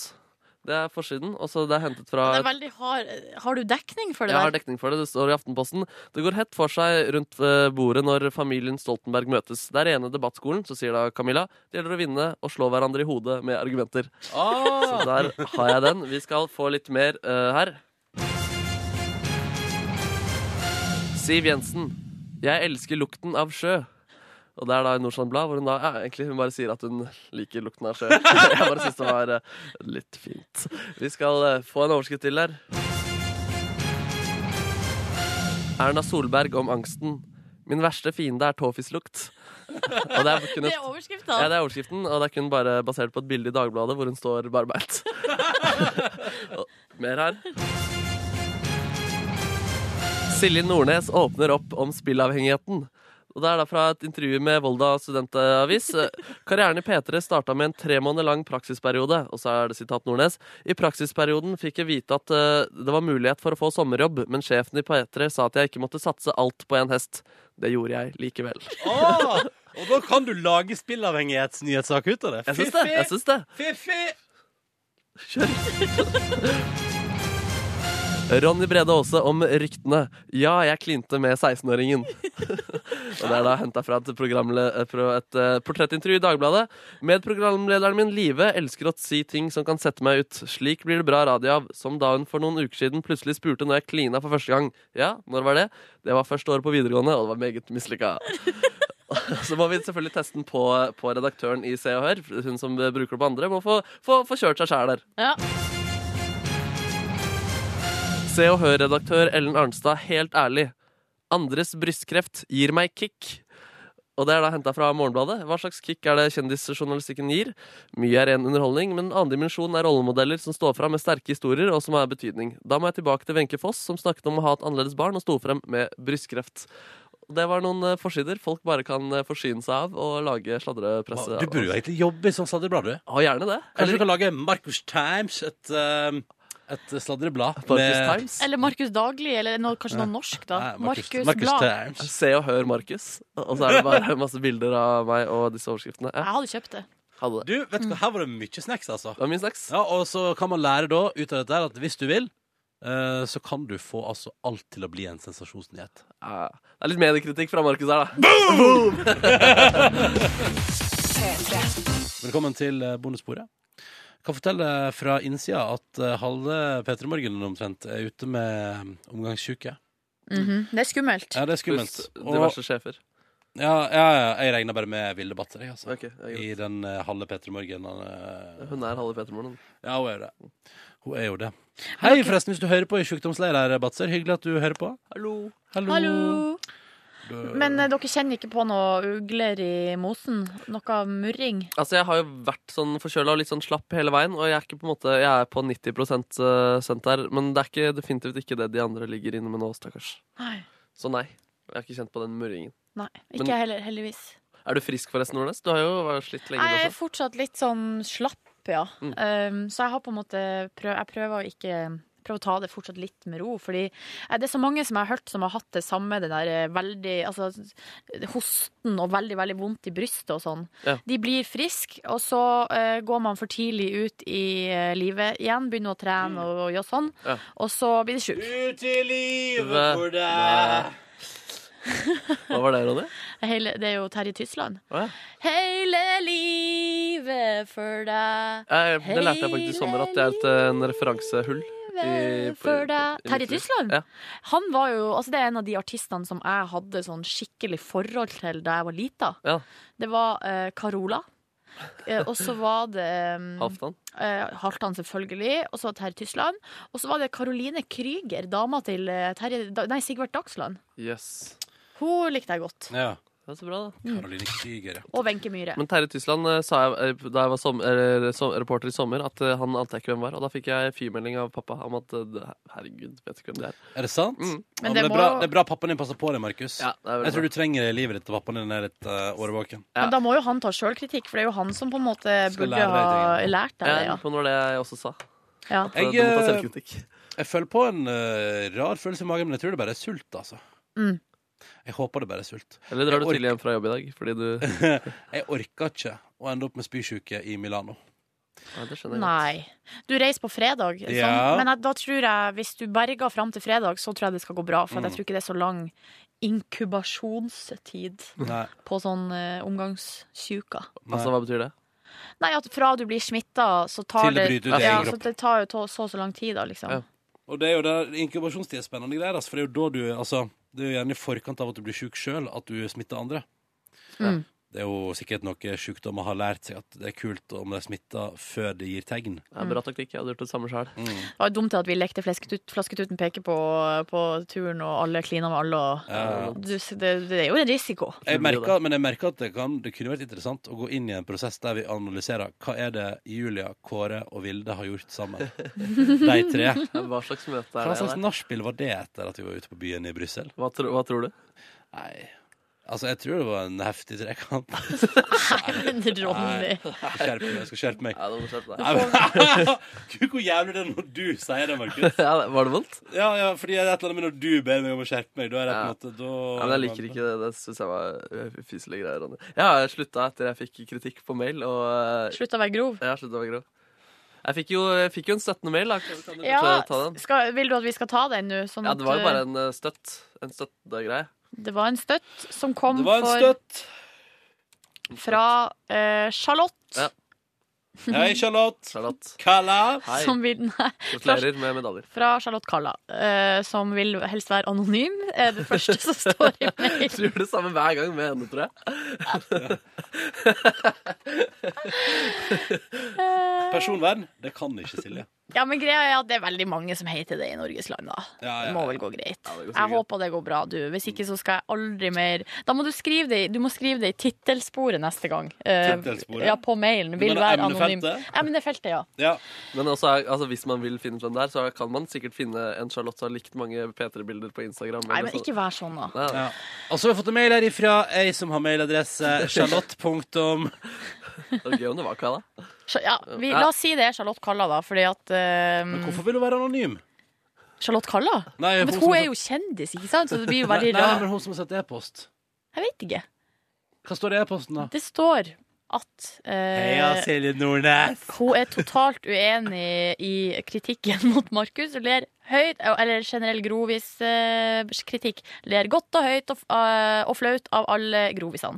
Speaker 4: Det er forsiden. Og så det er hentet fra
Speaker 2: Det er veldig hard. Har du dekning for det
Speaker 4: jeg har
Speaker 2: der?
Speaker 4: dekning for det, det står i Aftenposten. Det går hett for seg rundt eh, bordet når familien Stoltenberg møtes. Det er ene debattskolen, så sier da Camilla. Det gjelder å vinne og slå hverandre i hodet med argumenter. Så der har jeg den. Vi skal få litt mer eh, her. Siv Jensen. Jeg elsker lukten av sjø. Og det er da i Nordstrand Blad, hvor hun da ja, egentlig hun bare sier at hun liker lukten av sjø. Jeg bare syns det var eh, litt fint. Vi skal eh, få en overskrift til her. Erna Solberg om angsten. Min verste fiende er tåfislukt. Og det er kun et
Speaker 2: Det er
Speaker 4: ja,
Speaker 2: overskrifta.
Speaker 4: det er overskriften, og det er kun bare basert på et bilde i Dagbladet hvor hun står barbeint. Og Mer her. Silje Nordnes åpner opp om spillavhengigheten. Og Det er da fra et intervju med Volda studentavis. Karrieren i P3 starta med en tre måneder lang praksisperiode. Og så er det sitat Nordnes. I praksisperioden fikk jeg vite at eh, det var mulighet for å få sommerjobb, men sjefen i P3 sa at jeg ikke måtte satse alt på én hest. Det gjorde jeg likevel.
Speaker 3: Å, og da kan du lage spillavhengighetsnyhetssak ut av det.
Speaker 4: Jeg syns det. Jeg syns det.
Speaker 3: Fiffi!
Speaker 4: Kjør. Ronny Brede Aase om ryktene. Ja, jeg klinte med 16-åringen. Og det er da henta fra et, programle- eh, fra et eh, portrettintervju i Dagbladet. Med programlederen min Live elsker å si ting som kan sette meg ut. Slik blir det bra radio av. Som da hun for noen uker siden plutselig spurte når jeg klina for første gang. Ja, når var det? Det var første året på videregående, og det var meget mislykka. Så må vi selvfølgelig teste den på, på redaktøren i Se og Hør. Hun som bruker det på andre, må få, få, få kjørt seg sjæl der.
Speaker 2: Ja.
Speaker 4: Se og Hør-redaktør Ellen Arnstad, helt ærlig. Andres brystkreft gir meg kick. Og det er da henta fra Morgenbladet. Hva slags kick er det kjendisjournalistikken gir? Mye er ren underholdning, men en annen dimensjon er rollemodeller som står fram med sterke historier, og som har betydning. Da må jeg tilbake til Wenche Foss, som snakket om å ha et annerledes barn, og sto frem med brystkreft. Det var noen eh, forsider folk bare kan eh, forsyne seg av og lage sladrepresse.
Speaker 3: Du burde jo egentlig jobbe i sånn sladreblad, du.
Speaker 4: Ha gjerne det.
Speaker 3: Kanskje du kan lage Marcus Times, et, eh, et sladreblad
Speaker 4: Marcus Times.
Speaker 2: Eller Markus Dagli, eller noe, kanskje noe norsk, da.
Speaker 3: Nei,
Speaker 2: Markus
Speaker 3: Marcus, Marcus
Speaker 2: Blad.
Speaker 3: Times.
Speaker 4: Se og hør Markus. Og så er det bare masse bilder av meg og disse overskriftene. Ja,
Speaker 2: Jeg hadde kjøpt det.
Speaker 4: hadde det.
Speaker 3: Du, vet du hva, her var det mye snacks, altså.
Speaker 4: Det var min snacks.
Speaker 3: Ja, og så kan man lære da ut av dette her at hvis du vil, eh, så kan du få altså alt til å bli en sensasjonsnyhet.
Speaker 4: Ja. Det er litt mediekritikk fra Markus her, da.
Speaker 3: Velkommen til eh, bonussporet. Kan fortelle fra innsida at eh, halve P3 Morgen omtrent er ute med eh, omgangssjuke.
Speaker 2: Mhm. Det er skummelt.
Speaker 3: Ja, det er skummelt.
Speaker 4: Just
Speaker 3: Og,
Speaker 4: diverse sjefer.
Speaker 3: ja, ja, ja, jeg regner bare med Vilde Batzer, jeg, altså.
Speaker 4: Ok, det er greit.
Speaker 3: I den eh, halve P3 Morgen. eh,
Speaker 4: Hun er halve Petermoren.
Speaker 3: Ja, hun er jo det. Hun er jo det. Hei, forresten, hvis du hører på i sjukdomsleir her, Batzer. Hyggelig at du hører på.
Speaker 4: Hallo.
Speaker 3: Hallo.
Speaker 2: Hallo.
Speaker 3: Du-
Speaker 2: Men eh, dere kjenner ikke på noe ugler i mosen? Noe murring?
Speaker 4: Altså, jeg har jo vært sånn forkjøla og litt sånn slapp hele veien, og jeg er ikke på en måte Jeg er på 90 eh, sendt her, men det er ikke, definitivt ikke det de andre ligger inne med nå, stakkars.
Speaker 2: Nei.
Speaker 4: Så nei. Jeg har ikke kjent på den murringen.
Speaker 2: Nei, ikke
Speaker 4: Men-
Speaker 2: jeg heller, heldigvis.
Speaker 4: Er du frisk forresten, Nordnes? Du har jo vært slitt lenge.
Speaker 2: Jeg
Speaker 4: du
Speaker 2: er
Speaker 4: også. Mm.
Speaker 2: fortsatt litt sånn slapp, ja. Um, så jeg har på en måte prøv, Jeg prøver å ikke Prøve å ta det fortsatt litt med ro, fordi eh, det er så mange som jeg har hørt som har hatt det samme, det der eh, veldig Altså hosten og veldig, veldig vondt i brystet og sånn.
Speaker 4: Ja.
Speaker 2: De blir friske, og så eh, går man for tidlig ut i eh, livet igjen, begynner å trene og, og gjøre sånn,
Speaker 4: Mm. Ja.
Speaker 2: og så blir de sjuke.
Speaker 3: Ut i
Speaker 4: Hva-
Speaker 3: livet for
Speaker 4: Hva-
Speaker 3: deg.
Speaker 4: Hva var det, Ronny?
Speaker 2: Hele, det er jo Terje Tysland.
Speaker 4: Å, ja.
Speaker 2: Hele livet for deg.
Speaker 4: Jeg, Eh, det lærte jeg faktisk i sommer, at det er et, eh, en referansehull. i-
Speaker 2: Livet for deg.
Speaker 4: i- i-
Speaker 2: Terje Tysland?
Speaker 4: Ja.
Speaker 2: Han var jo, altså det er en av de artistene som jeg hadde sånn skikkelig forhold til da jeg var lita.
Speaker 4: Ja.
Speaker 2: Det var eh, Carola. Eh, og så var det eh,
Speaker 4: Halvdan.
Speaker 2: eh, Halvdan, selvfølgelig. Og så Terje Tysland. Og så var det Caroline Krüger, dama til eh, Terje da, Nei, Sigvard Dagsland.
Speaker 4: Yes.
Speaker 2: Hun likte jeg godt.
Speaker 3: Ja.
Speaker 4: Det er så bra, da.
Speaker 3: Karoline Krüger, ja.
Speaker 2: Og Wenche Myhre.
Speaker 4: Men Terje Tysland eh, sa jeg eh, da jeg var som, eh, som, reporter i sommer, at eh, han ante ikke hvem var. Og da fikk jeg fyrmelding av pappa om at eh, det- herregud, vet ikke hvem det er.
Speaker 3: Er det sant?
Speaker 4: Mm.
Speaker 3: Ja, men
Speaker 2: det
Speaker 3: det, er
Speaker 2: må-
Speaker 3: bra, det er bra pappaen din passer på deg, Markus.
Speaker 4: det er veldig
Speaker 3: Jeg tror
Speaker 4: bra.
Speaker 3: du trenger det i livet ditt at pappaen din er litt uh, årvåken.
Speaker 4: Ja.
Speaker 2: Men da må jo han ta sjølkritikk, for det er jo han som på en måte
Speaker 3: Skal
Speaker 2: burde
Speaker 3: lære deg
Speaker 2: ha
Speaker 3: ting,
Speaker 2: lært deg det.
Speaker 4: Jeg
Speaker 2: Ja.
Speaker 4: lurer på om det var det jeg også sa.
Speaker 2: Ja.
Speaker 4: Så
Speaker 3: Jeg,
Speaker 4: du må ta
Speaker 3: eh,
Speaker 4: selvkritikk.
Speaker 3: Jeg føler på en eh, rar følelse i magen, men jeg tror det bare er sult, altså.
Speaker 2: Mm.
Speaker 3: Jeg håper det bare er sult.
Speaker 4: Eller drar
Speaker 3: jeg
Speaker 4: du tidlig hjem fra jobb i dag? Fordi du
Speaker 3: Jeg orka ikke å ende opp med spysjuke i Milano.
Speaker 4: Nei, det skjønner jeg godt.
Speaker 2: Nei. Du reiser på fredag, sånn.
Speaker 3: Ja.
Speaker 2: men jeg, da tror jeg hvis du berger fram til fredag, så tror jeg det skal gå bra. For
Speaker 4: Mm.
Speaker 2: jeg tror ikke det er så lang inkubasjonstid
Speaker 3: Nei,
Speaker 2: på sånn eh, omgangssyka.
Speaker 4: Altså, hva betyr det?
Speaker 2: Nei, at fra du blir smitta, så tar
Speaker 3: Til det bryter ut i
Speaker 2: ja,
Speaker 3: egen
Speaker 2: så
Speaker 3: kropp.
Speaker 2: det tar jo to, så og så lang tid, da, liksom.
Speaker 4: Ja.
Speaker 3: Og det er jo der inkubasjonstid er spennende greier, altså, for det er jo da du altså, Det er jo gjerne i forkant av at du blir sjuk sjøl, at du smitter andre.
Speaker 2: Mm.
Speaker 3: Det er jo sikkert noe sjukdommer har lært seg at det er kult om de er smitta før det gir tegn.
Speaker 4: Det
Speaker 2: Mm.
Speaker 4: er bra taktikk. Jeg hadde gjort det samme sjøl.
Speaker 2: Det var jo dumt at vi lekte flesketut, Flasketuten peker på, på turen, og alle klina med alle, og
Speaker 3: Ja.
Speaker 2: du, det, det er jo en risiko.
Speaker 3: Eh, Jeg
Speaker 4: Blir det
Speaker 3: merker, men jeg merker at det, kan, det kunne vært interessant å gå inn i en prosess der vi analyserer hva er det Julia, Kåre og Vilde har gjort sammen. De tre.
Speaker 4: Hva slags møte er
Speaker 3: Hva
Speaker 4: det?
Speaker 3: slags
Speaker 4: der?
Speaker 3: nachspiel var det etter at vi var ute på byen i Brussel?
Speaker 4: Hva, tro, hva tror du?
Speaker 3: Nei. Altså, jeg tror det var en heftig trekant.
Speaker 2: Men Ronny.
Speaker 3: Jeg skjerper meg, jeg skal skjerpe meg.
Speaker 4: Ja, det var, skjønt, nei.
Speaker 3: Nei, men- Gud, hvor jævlig det er når du sier det, Markus.
Speaker 4: ja, det- var det vondt?
Speaker 3: Ja, ja, fordi det er et eller annet med når du ber meg om å skjerpe meg. Da er det på en måte da,
Speaker 4: Ja, men jeg liker ikke det. Det syns jeg var eh, fyselige greier. Ronny. Jeg har slutta etter jeg fikk kritikk på mail. Og eh,
Speaker 2: Slutt å være grov.
Speaker 4: jeg har sluttet å være grov. Jeg fikk jo, jeg fikk jo en støttende mail. Da. Kan, kan du
Speaker 2: Ja,
Speaker 4: ta- ta den?
Speaker 2: skal, vil du at vi skal ta den nå? Sånn
Speaker 4: Ja,
Speaker 2: at,
Speaker 4: det var jo bare
Speaker 2: uh,
Speaker 4: en eh, støtt. En støttegreie.
Speaker 2: det var en støtt som kom
Speaker 3: Det var en støtt.
Speaker 2: for, fra eh, Charlotte,
Speaker 4: Ja.
Speaker 3: Hei, Charlotte.
Speaker 4: Charlotte.
Speaker 3: Kalla.
Speaker 4: Hei.
Speaker 2: som vil, nei,
Speaker 4: Gratulerer med medaljer.
Speaker 2: fra Charlotte Kalla, eh, som vil helst være anonym. Er det første som står i
Speaker 4: Du
Speaker 2: mailen.
Speaker 4: gjør det samme hver gang med henne, tror jeg.
Speaker 3: Personvern. Det kan ikke Silje.
Speaker 2: Ja, men greia er at det er veldig mange som heter det i Norges land, da.
Speaker 3: Ja,
Speaker 2: Det
Speaker 3: ja,
Speaker 2: må
Speaker 3: ja.
Speaker 2: vel gå greit.
Speaker 4: det går sikkert.
Speaker 2: jeg håper det går bra, du. Hvis ikke så skal jeg aldri mer Da må du skrive det, i- du må skrive det i tittelsporet neste gang. Eh,
Speaker 3: Tittelsporet?
Speaker 2: Ja, på mailen. Vil
Speaker 3: mener
Speaker 2: være anonym.
Speaker 3: emnefeltet?
Speaker 2: Emnefeltet, ja.
Speaker 3: Ja.
Speaker 4: Men også, er- altså, hvis man vil finne ut hvem det er, så kan man sikkert finne en Charlotte som har likt mange P3-bilder på Instagram.
Speaker 2: Nei,
Speaker 4: eller
Speaker 2: men
Speaker 4: sånn.
Speaker 2: ikke vær sånn, da.
Speaker 4: Nei, nei.
Speaker 3: Ja. Og så har vi fått en mail her ifra ei som har mailadresse charlotte. punktum-
Speaker 4: Det var gøy om det var Kala.
Speaker 2: Sj- Ja, vi, la oss si det er Charlotte Kalla, da, fordi at eh,
Speaker 3: Hvorfor vil hun være anonym?
Speaker 2: Charlotte Kalla?
Speaker 3: Nei,
Speaker 2: Men
Speaker 3: som
Speaker 2: hun er
Speaker 3: har
Speaker 2: jo kjendis, ikke sant? Så det blir jo
Speaker 3: sett-
Speaker 2: veldig
Speaker 3: Nei, nei,
Speaker 2: rart.
Speaker 3: men hun som har sett e-post.
Speaker 2: Jeg vet ikke.
Speaker 3: Hva står det i e-posten, da?
Speaker 2: Det står at eh,
Speaker 3: Silje Nordnes.
Speaker 2: hun er totalt uenig i kritikken mot Markus. Hun ler høyt, eller generell grovis eh, kritikk. Ler godt og høyt og, f- eh, og flaut av alle grovisene.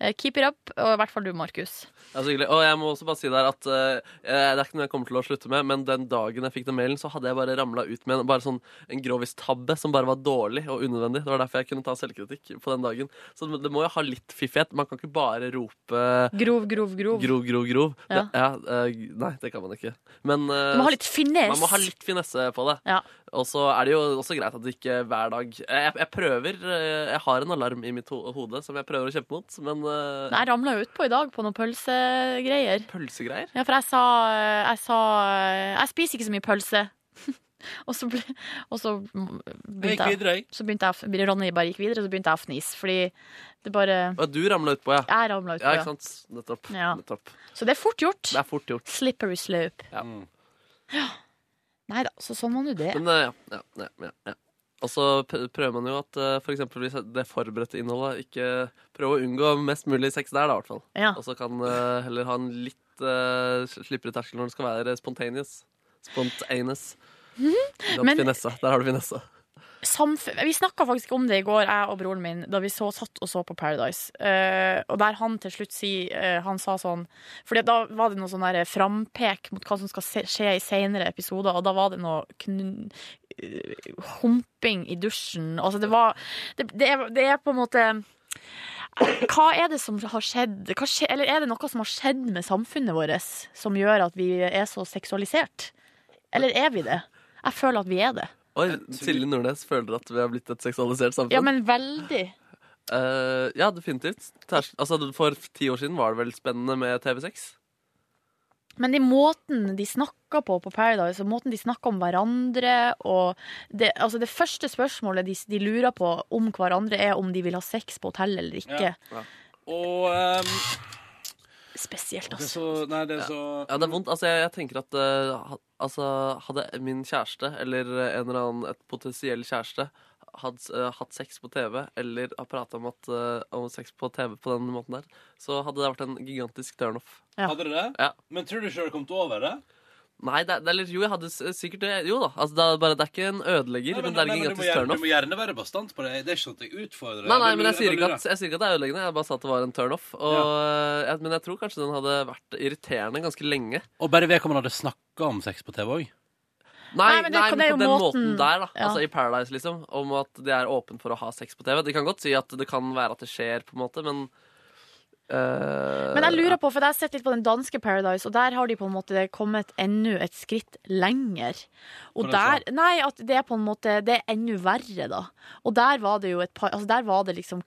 Speaker 2: Eh, keep it up, og i hvert fall du, Markus.
Speaker 4: Ja, så hyggelig. Og jeg må også bare si der at eh, det er ikke noe jeg kommer til å slutte med, men den dagen jeg fikk den mailen, så hadde jeg bare ramla ut med en, bare sånn, en grovis-tabbe som bare var dårlig og unødvendig. Det var derfor jeg kunne ta selvkritikk på den dagen. Så det må jo ha litt fiffighet. Man kan ikke bare rope
Speaker 2: Grov, grov, grov.
Speaker 4: grov, grov, grov.
Speaker 2: Ja.
Speaker 4: Det, ja, eh, nei, det kan man ikke. Men eh,
Speaker 2: Du må ha litt finnes.
Speaker 4: man må ha litt finesse på det.
Speaker 2: Ja.
Speaker 4: Og så er det jo også greit at det ikke hver dag Jeg, jeg prøver eh, Jeg har en alarm i mitt ho hode som jeg prøver å kjempe mot, men eh,
Speaker 2: Jeg ramla jo utpå i dag på noen pølsegreier.
Speaker 4: pølsegreier
Speaker 2: Ja, for jeg sa, eh, jeg sa eh, Jeg spiser ikke så mye pølse. og så, ble, og så
Speaker 3: Gikk
Speaker 2: begynte jeg,
Speaker 3: videre, jeg.
Speaker 2: så begynte jeg Ronny bare gikk videre, og så begynte jeg å fnise. Fordi det bare
Speaker 4: Ja, du ramla utpå, ja.
Speaker 2: Jeg ramla utpå.
Speaker 4: Ja,
Speaker 2: Ja,
Speaker 4: ikke sant? Nettopp.
Speaker 2: Ja.
Speaker 4: Nettopp.
Speaker 2: så det er fort gjort.
Speaker 4: Det er fort gjort.
Speaker 2: Slippery slope.
Speaker 4: Ja.
Speaker 2: Nei da, så sånn var nå det.
Speaker 4: Men eh, ja, ja, ja, ja, ja. Og så pr- prøver man jo at eh, for eksempel hvis det forberedte innholdet ikke Prøve å unngå mest mulig sex der, da, i hvert fall.
Speaker 2: Ja.
Speaker 4: Og så kan eh, heller ha en litt uh, slippere terskel når det skal være spontaneous. Spontaneous. Not
Speaker 2: Mhm. men-
Speaker 4: finesse. Der har du finesse.
Speaker 2: Samf vi snakka faktisk om det i går, jeg og broren min, da vi så, satt og så på Paradise. Eh, og der han til slutt sier eh, Han sa sånn For da var det noe sånn der frampek mot hva som skal se, skje i senere episoder, og da var det noe knun... eh, Humping i dusjen. Altså, det var det, det, er, det er på en måte Hva er det som har skjedd? Hva skje, eller er det noe som har skjedd med samfunnet vårt som gjør at vi er så seksualisert? Eller er vi det? Jeg føler at vi er det.
Speaker 4: Oi, Silje Nordnes føler at vi har blitt et seksualisert samfunn.
Speaker 2: Ja, men veldig.
Speaker 4: Eh, ja definitivt. Ters altså, for ti år siden var det vel spennende med TV6?
Speaker 2: Men i måten de snakka på på Paradise, og måten de snakka om hverandre og det, altså det første spørsmålet de, de lurer på om hverandre, er om de vil ha sex på hotell eller ikke.
Speaker 3: Og ehm,
Speaker 2: Spesielt,
Speaker 3: det er
Speaker 2: altså.
Speaker 3: så Nei, det er så
Speaker 4: Ja, det er vondt. Altså, jeg, jeg tenker at eh, ha- altså, hadde min kjæreste, eller en eller annen et potensiell kjæreste, hadde eh, hatt sex på TV, eller har prata om, at, eh, om sex på TV på den måten der, så hadde det vært en gigantisk turnoff.
Speaker 2: Ja.
Speaker 3: Hadde dere det?
Speaker 4: Ja.
Speaker 3: Men tror du ikke dere kom til over det?
Speaker 4: Nei, det, er- det er litt Jo, jeg hadde s- sikkert det. Jo da. Altså, det, er bare, det er ikke en ødelegger,
Speaker 3: Nei,
Speaker 4: men,
Speaker 3: men,
Speaker 4: det er en
Speaker 3: nei, men du, må
Speaker 4: gigantisk
Speaker 3: gjerne,
Speaker 4: turnoff.
Speaker 3: du må gjerne være bastant på det. Det er ikke sånn at jeg utfordrer deg.
Speaker 4: Nei, nei,
Speaker 3: Det
Speaker 4: men jeg
Speaker 3: lurer-
Speaker 4: sier,
Speaker 3: det
Speaker 4: ikke
Speaker 3: lurer.
Speaker 4: at, jeg sier ikke at det er ødeleggende. Jeg bare sa at det var en turnoff. Ja. Men eh, jeg tror kanskje den hadde vært irriterende ganske lenge.
Speaker 3: Og bare vedkommende hadde snakka om sex på TV òg.
Speaker 4: Nei,
Speaker 2: Nei,
Speaker 4: nei,
Speaker 2: men
Speaker 4: men,
Speaker 2: det- det er
Speaker 4: på
Speaker 2: jo
Speaker 4: den måten,
Speaker 2: måten-
Speaker 4: der, da.
Speaker 2: ja.
Speaker 4: Altså i Paradise, liksom. Om at de er åpne for å ha sex på TV. De kan godt si at det kan være at det skjer, på en måte, men eh,
Speaker 2: Men jeg lurer på, for jeg har sett litt på den danske Paradise, og der har de på en måte kommet enda et skritt lenger. Og
Speaker 3: Hvordan
Speaker 2: der Nei, at det er på en måte Det er enda verre, da. Og der var det jo et par Altså, der var det liksom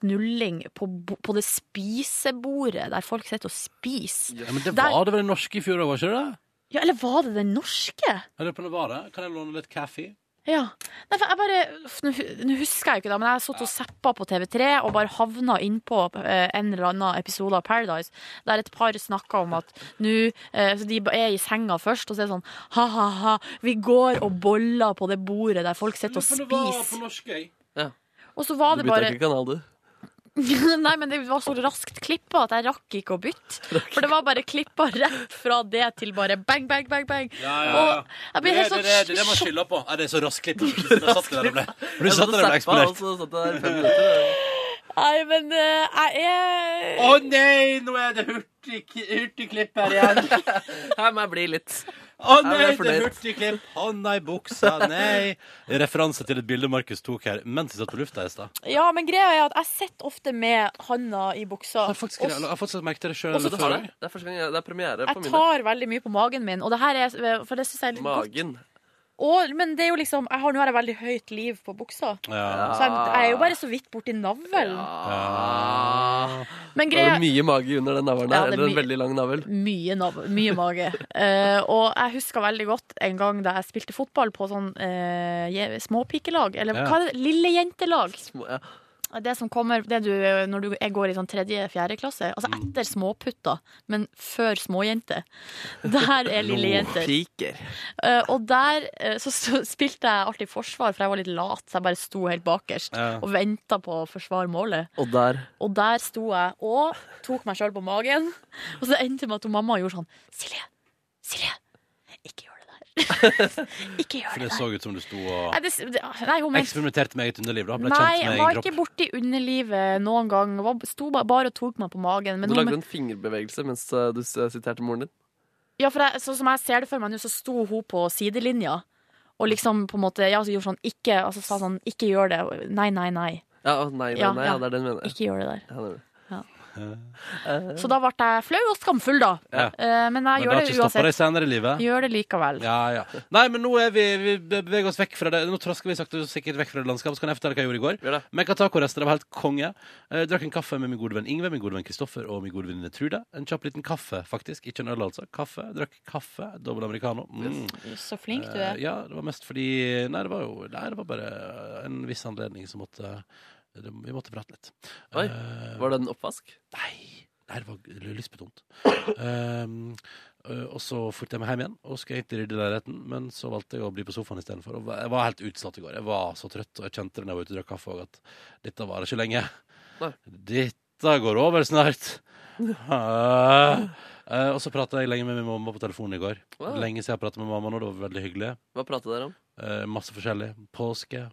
Speaker 2: knulling på, bo- på det spisebordet, der folk sitter og spiser.
Speaker 3: Ja, men det
Speaker 2: Der-
Speaker 3: var det vel det norske i fjor òg, var ikke det det?
Speaker 2: Ja, eller var det den norske?
Speaker 3: Jeg lurer på om det var det. Kan jeg låne litt kaffe?
Speaker 2: Ja. Nei, for jeg bare uff, Nå hu- nå husker jeg jo ikke det, men jeg satt og zappa på TV3 og bare havna innpå eh, en eller annen episode av Paradise der et par snakker om at nå eh, Så de er i senga først, og så er det sånn ha-ha-ha, vi går og boller på det bordet der folk sitter og
Speaker 3: Jeg lurer på om det var på
Speaker 2: spiser.
Speaker 3: norske, jeg.
Speaker 2: Og så var
Speaker 4: Du
Speaker 2: det
Speaker 4: bytta
Speaker 2: bare
Speaker 4: ikke kanal, du.
Speaker 2: Nei, men det var så raskt klippa at jeg rakk ikke å bytte. For det var bare klippa rett fra det til bare bang, bang, bang. bang.
Speaker 3: Ja, ja, ja.
Speaker 2: Og jeg blir helt
Speaker 3: det, det, det, det man
Speaker 2: sånn
Speaker 3: skylder på. Er det er så raskt Du satt der og ble, du satt der og ble eksponert.
Speaker 2: Nei, men eh, jeg er
Speaker 3: Å nei, nå er det hurtig, hurtigklipp her igjen.
Speaker 4: Her må jeg bli litt.
Speaker 3: Å
Speaker 4: Jeg ble
Speaker 3: nei, det er
Speaker 4: fornøyd.
Speaker 3: hurtigklipp. Å nei, buksa, nei. Referanse til et bilde Markus tok her mens vi satt på lufta i stad.
Speaker 2: Ja, men greia er at jeg sitter ofte med handa i buksa.
Speaker 3: Jeg har faktisk, jeg har faktisk merket det
Speaker 4: Også,
Speaker 3: sjøl.
Speaker 4: du tar det. Det er første gang jeg, det er premiere på
Speaker 2: Jeg
Speaker 4: mine.
Speaker 2: tar veldig mye på magen min, og det her er For det syns jeg er litt godt.
Speaker 4: Magen.
Speaker 2: Og, men det er jo liksom jeg har, Nå har jeg veldig høyt liv på buksa,
Speaker 3: Ja.
Speaker 2: så jeg, jeg er jo bare så vidt borti navlen.
Speaker 4: Ah.
Speaker 2: Men
Speaker 4: Det
Speaker 2: greia
Speaker 4: er mye mage under den navlen
Speaker 2: Ja,
Speaker 4: her.
Speaker 2: det er
Speaker 4: eller en
Speaker 2: mye.
Speaker 4: veldig lang navl.
Speaker 2: Mye, nav mye mage. Eh, og jeg husker veldig godt en gang da jeg spilte fotball på sånn eh, je- småpikelag, eller
Speaker 3: Ja.
Speaker 2: hva er det? Lillejentelag.
Speaker 4: Små- Ja.
Speaker 2: Det som kommer det du, når du jeg går i sånn tredje-fjerde klasse, altså etter småputta, men før småjente. Der er lillejenter.
Speaker 4: Piker.
Speaker 2: Eh, og der eh, så, så spilte jeg alltid forsvar, for jeg var litt lat, så jeg bare sto helt bakerst
Speaker 3: Ja.
Speaker 2: og venta på å forsvare målet.
Speaker 4: Og der
Speaker 2: Og der sto jeg og tok meg sjøl på magen. Og så endte det med at hun mamma gjorde sånn Silje, Silje, ikke gjør det der. ikke gjør
Speaker 3: For
Speaker 2: det
Speaker 3: det
Speaker 2: der.
Speaker 3: så ut som du sto og
Speaker 2: Nei, det, det, ah, nei hun mente
Speaker 3: eksperimenterte med eget underliv. da. Ble
Speaker 2: Nei,
Speaker 3: kjent med
Speaker 2: jeg
Speaker 3: egen
Speaker 2: var
Speaker 3: kropp.
Speaker 2: ikke borti underlivet noen gang. Jeg var- Sto bare, bare og tok meg på magen. Men
Speaker 4: Du
Speaker 2: hun-
Speaker 4: lagde en fingerbevegelse mens eh, du s- siterte moren din.
Speaker 2: ja, for jeg, sånn som jeg ser det for meg nå, så sto hun på sidelinja. Og liksom på en måte ja, så gjorde sånn, ikke, altså, sa sånn Ikke gjør det. Nei, nei, nei.
Speaker 4: Ja, å, nei, nei,
Speaker 2: Ja,
Speaker 4: nei,
Speaker 2: ja.
Speaker 4: ja, det er det jeg mener.
Speaker 2: Ikke gjør det der.
Speaker 4: Ja, det er det.
Speaker 2: Så da ble jeg flau og skamfull, da.
Speaker 3: Ja.
Speaker 2: Eh, Men jeg
Speaker 3: Men det
Speaker 2: gjør
Speaker 3: har
Speaker 2: det
Speaker 3: ikke stoppa deg
Speaker 2: uansett.
Speaker 3: senere i livet?
Speaker 2: Gjør det likevel.
Speaker 3: Ja, ja. Nei, men nå er vi, vi beveger oss vekk fra det. Nå trasker vi sakte og sikkert vekk fra det landskapet. Så kan jeg fortelle hva jeg gjorde i går.
Speaker 4: Gjør det.
Speaker 3: Mekka tacorester, det var helt konge. Jeg drakk en kaffe med min gode venn Ingve, min gode venn Kristoffer og min gode venninne Trude. En kjapp liten kaffe, faktisk. Ikke en øl, altså. Kaffe. Drakk kaffe. Dobbel americano. Mm.
Speaker 2: Så flink du
Speaker 3: Eh,
Speaker 2: er.
Speaker 3: ja, det var mest fordi Nei, det var jo Nei, det var bare en viss anledning som måtte det, Vi måtte prate litt.
Speaker 4: Oi,
Speaker 3: Eh,
Speaker 4: Var det en oppvask?
Speaker 3: Nei, nei, det var l- lystbetont. Ehm, ø, og så fulgte jeg meg hjem igjen og skulle egentlig rydde leiligheten, men så valgte jeg å bli på sofaen istedenfor. og var- Jeg var helt utslått i går. Jeg var så trøtt, og jeg kjente det når jeg var ute og drakk kaffe òg, at dette varer ikke lenge.
Speaker 4: Nei.
Speaker 3: Dette går over snart. Ah. Eh, og så prata jeg lenge med min mamma på telefonen i går.
Speaker 4: Wow.
Speaker 3: Lenge siden jeg prata med mamma nå. Det var veldig hyggelig.
Speaker 4: Hva pratet dere om?
Speaker 3: Eh, masse forskjellig. Påske,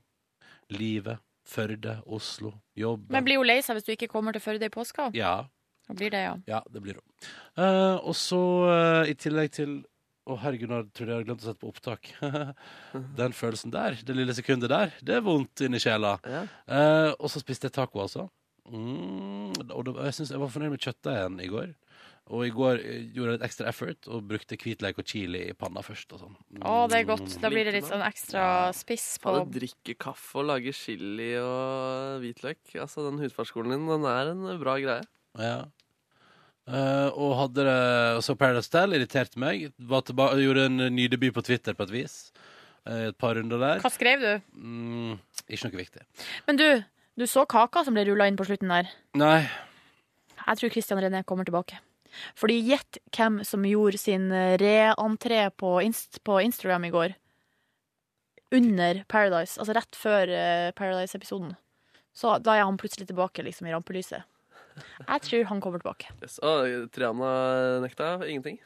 Speaker 3: livet, Førde, Oslo, jobb.
Speaker 2: Men blir hun lei seg hvis du ikke kommer til Førde i påska?
Speaker 3: Ja.
Speaker 2: Da blir det, ja.
Speaker 3: Ja, det blir hun. Eh, og så, eh, i tillegg til Å, herregud, nå tror jeg jeg har glemt å sette på opptak. Den følelsen der, det lille sekundet der, det er vondt inni sjela.
Speaker 4: Ja.
Speaker 3: Eh, og så spiste jeg taco, altså. Mm, og det, jeg, synes, jeg var fornøyd med kjøttdeigen i går. Og i går eh, gjorde jeg litt ekstra effort og brukte hvitløk og chili i panna først. og sånn.
Speaker 2: Å, det er godt. Da blir det litt sånn
Speaker 3: Ja.
Speaker 2: ekstra spiss på
Speaker 4: Fader, drikke kaffe og lage chili og hvitløk. Altså, Den hudfartsskolen din den er en bra greie.
Speaker 3: Ja. Eh, og hadde det, og så Paradise Tell irriterte meg. Var tilba- gjorde en nydebut på Twitter på et vis. Eh, et par runder der.
Speaker 2: Hva skrev du?
Speaker 3: Mm, ikke noe viktig.
Speaker 2: Men du, du så kaka som ble rulla inn på slutten der.
Speaker 3: Nei.
Speaker 2: Jeg tror Christian René kommer tilbake. Fordi gjett hvem som gjorde sin eh, re-entré på, inst på Instagram i går. Under Paradise. Altså rett før eh, Paradise-episoden. Så da er han plutselig tilbake liksom i rampelyset. Jeg tror han kommer tilbake.
Speaker 4: Yes. Og Triana nekta ingenting.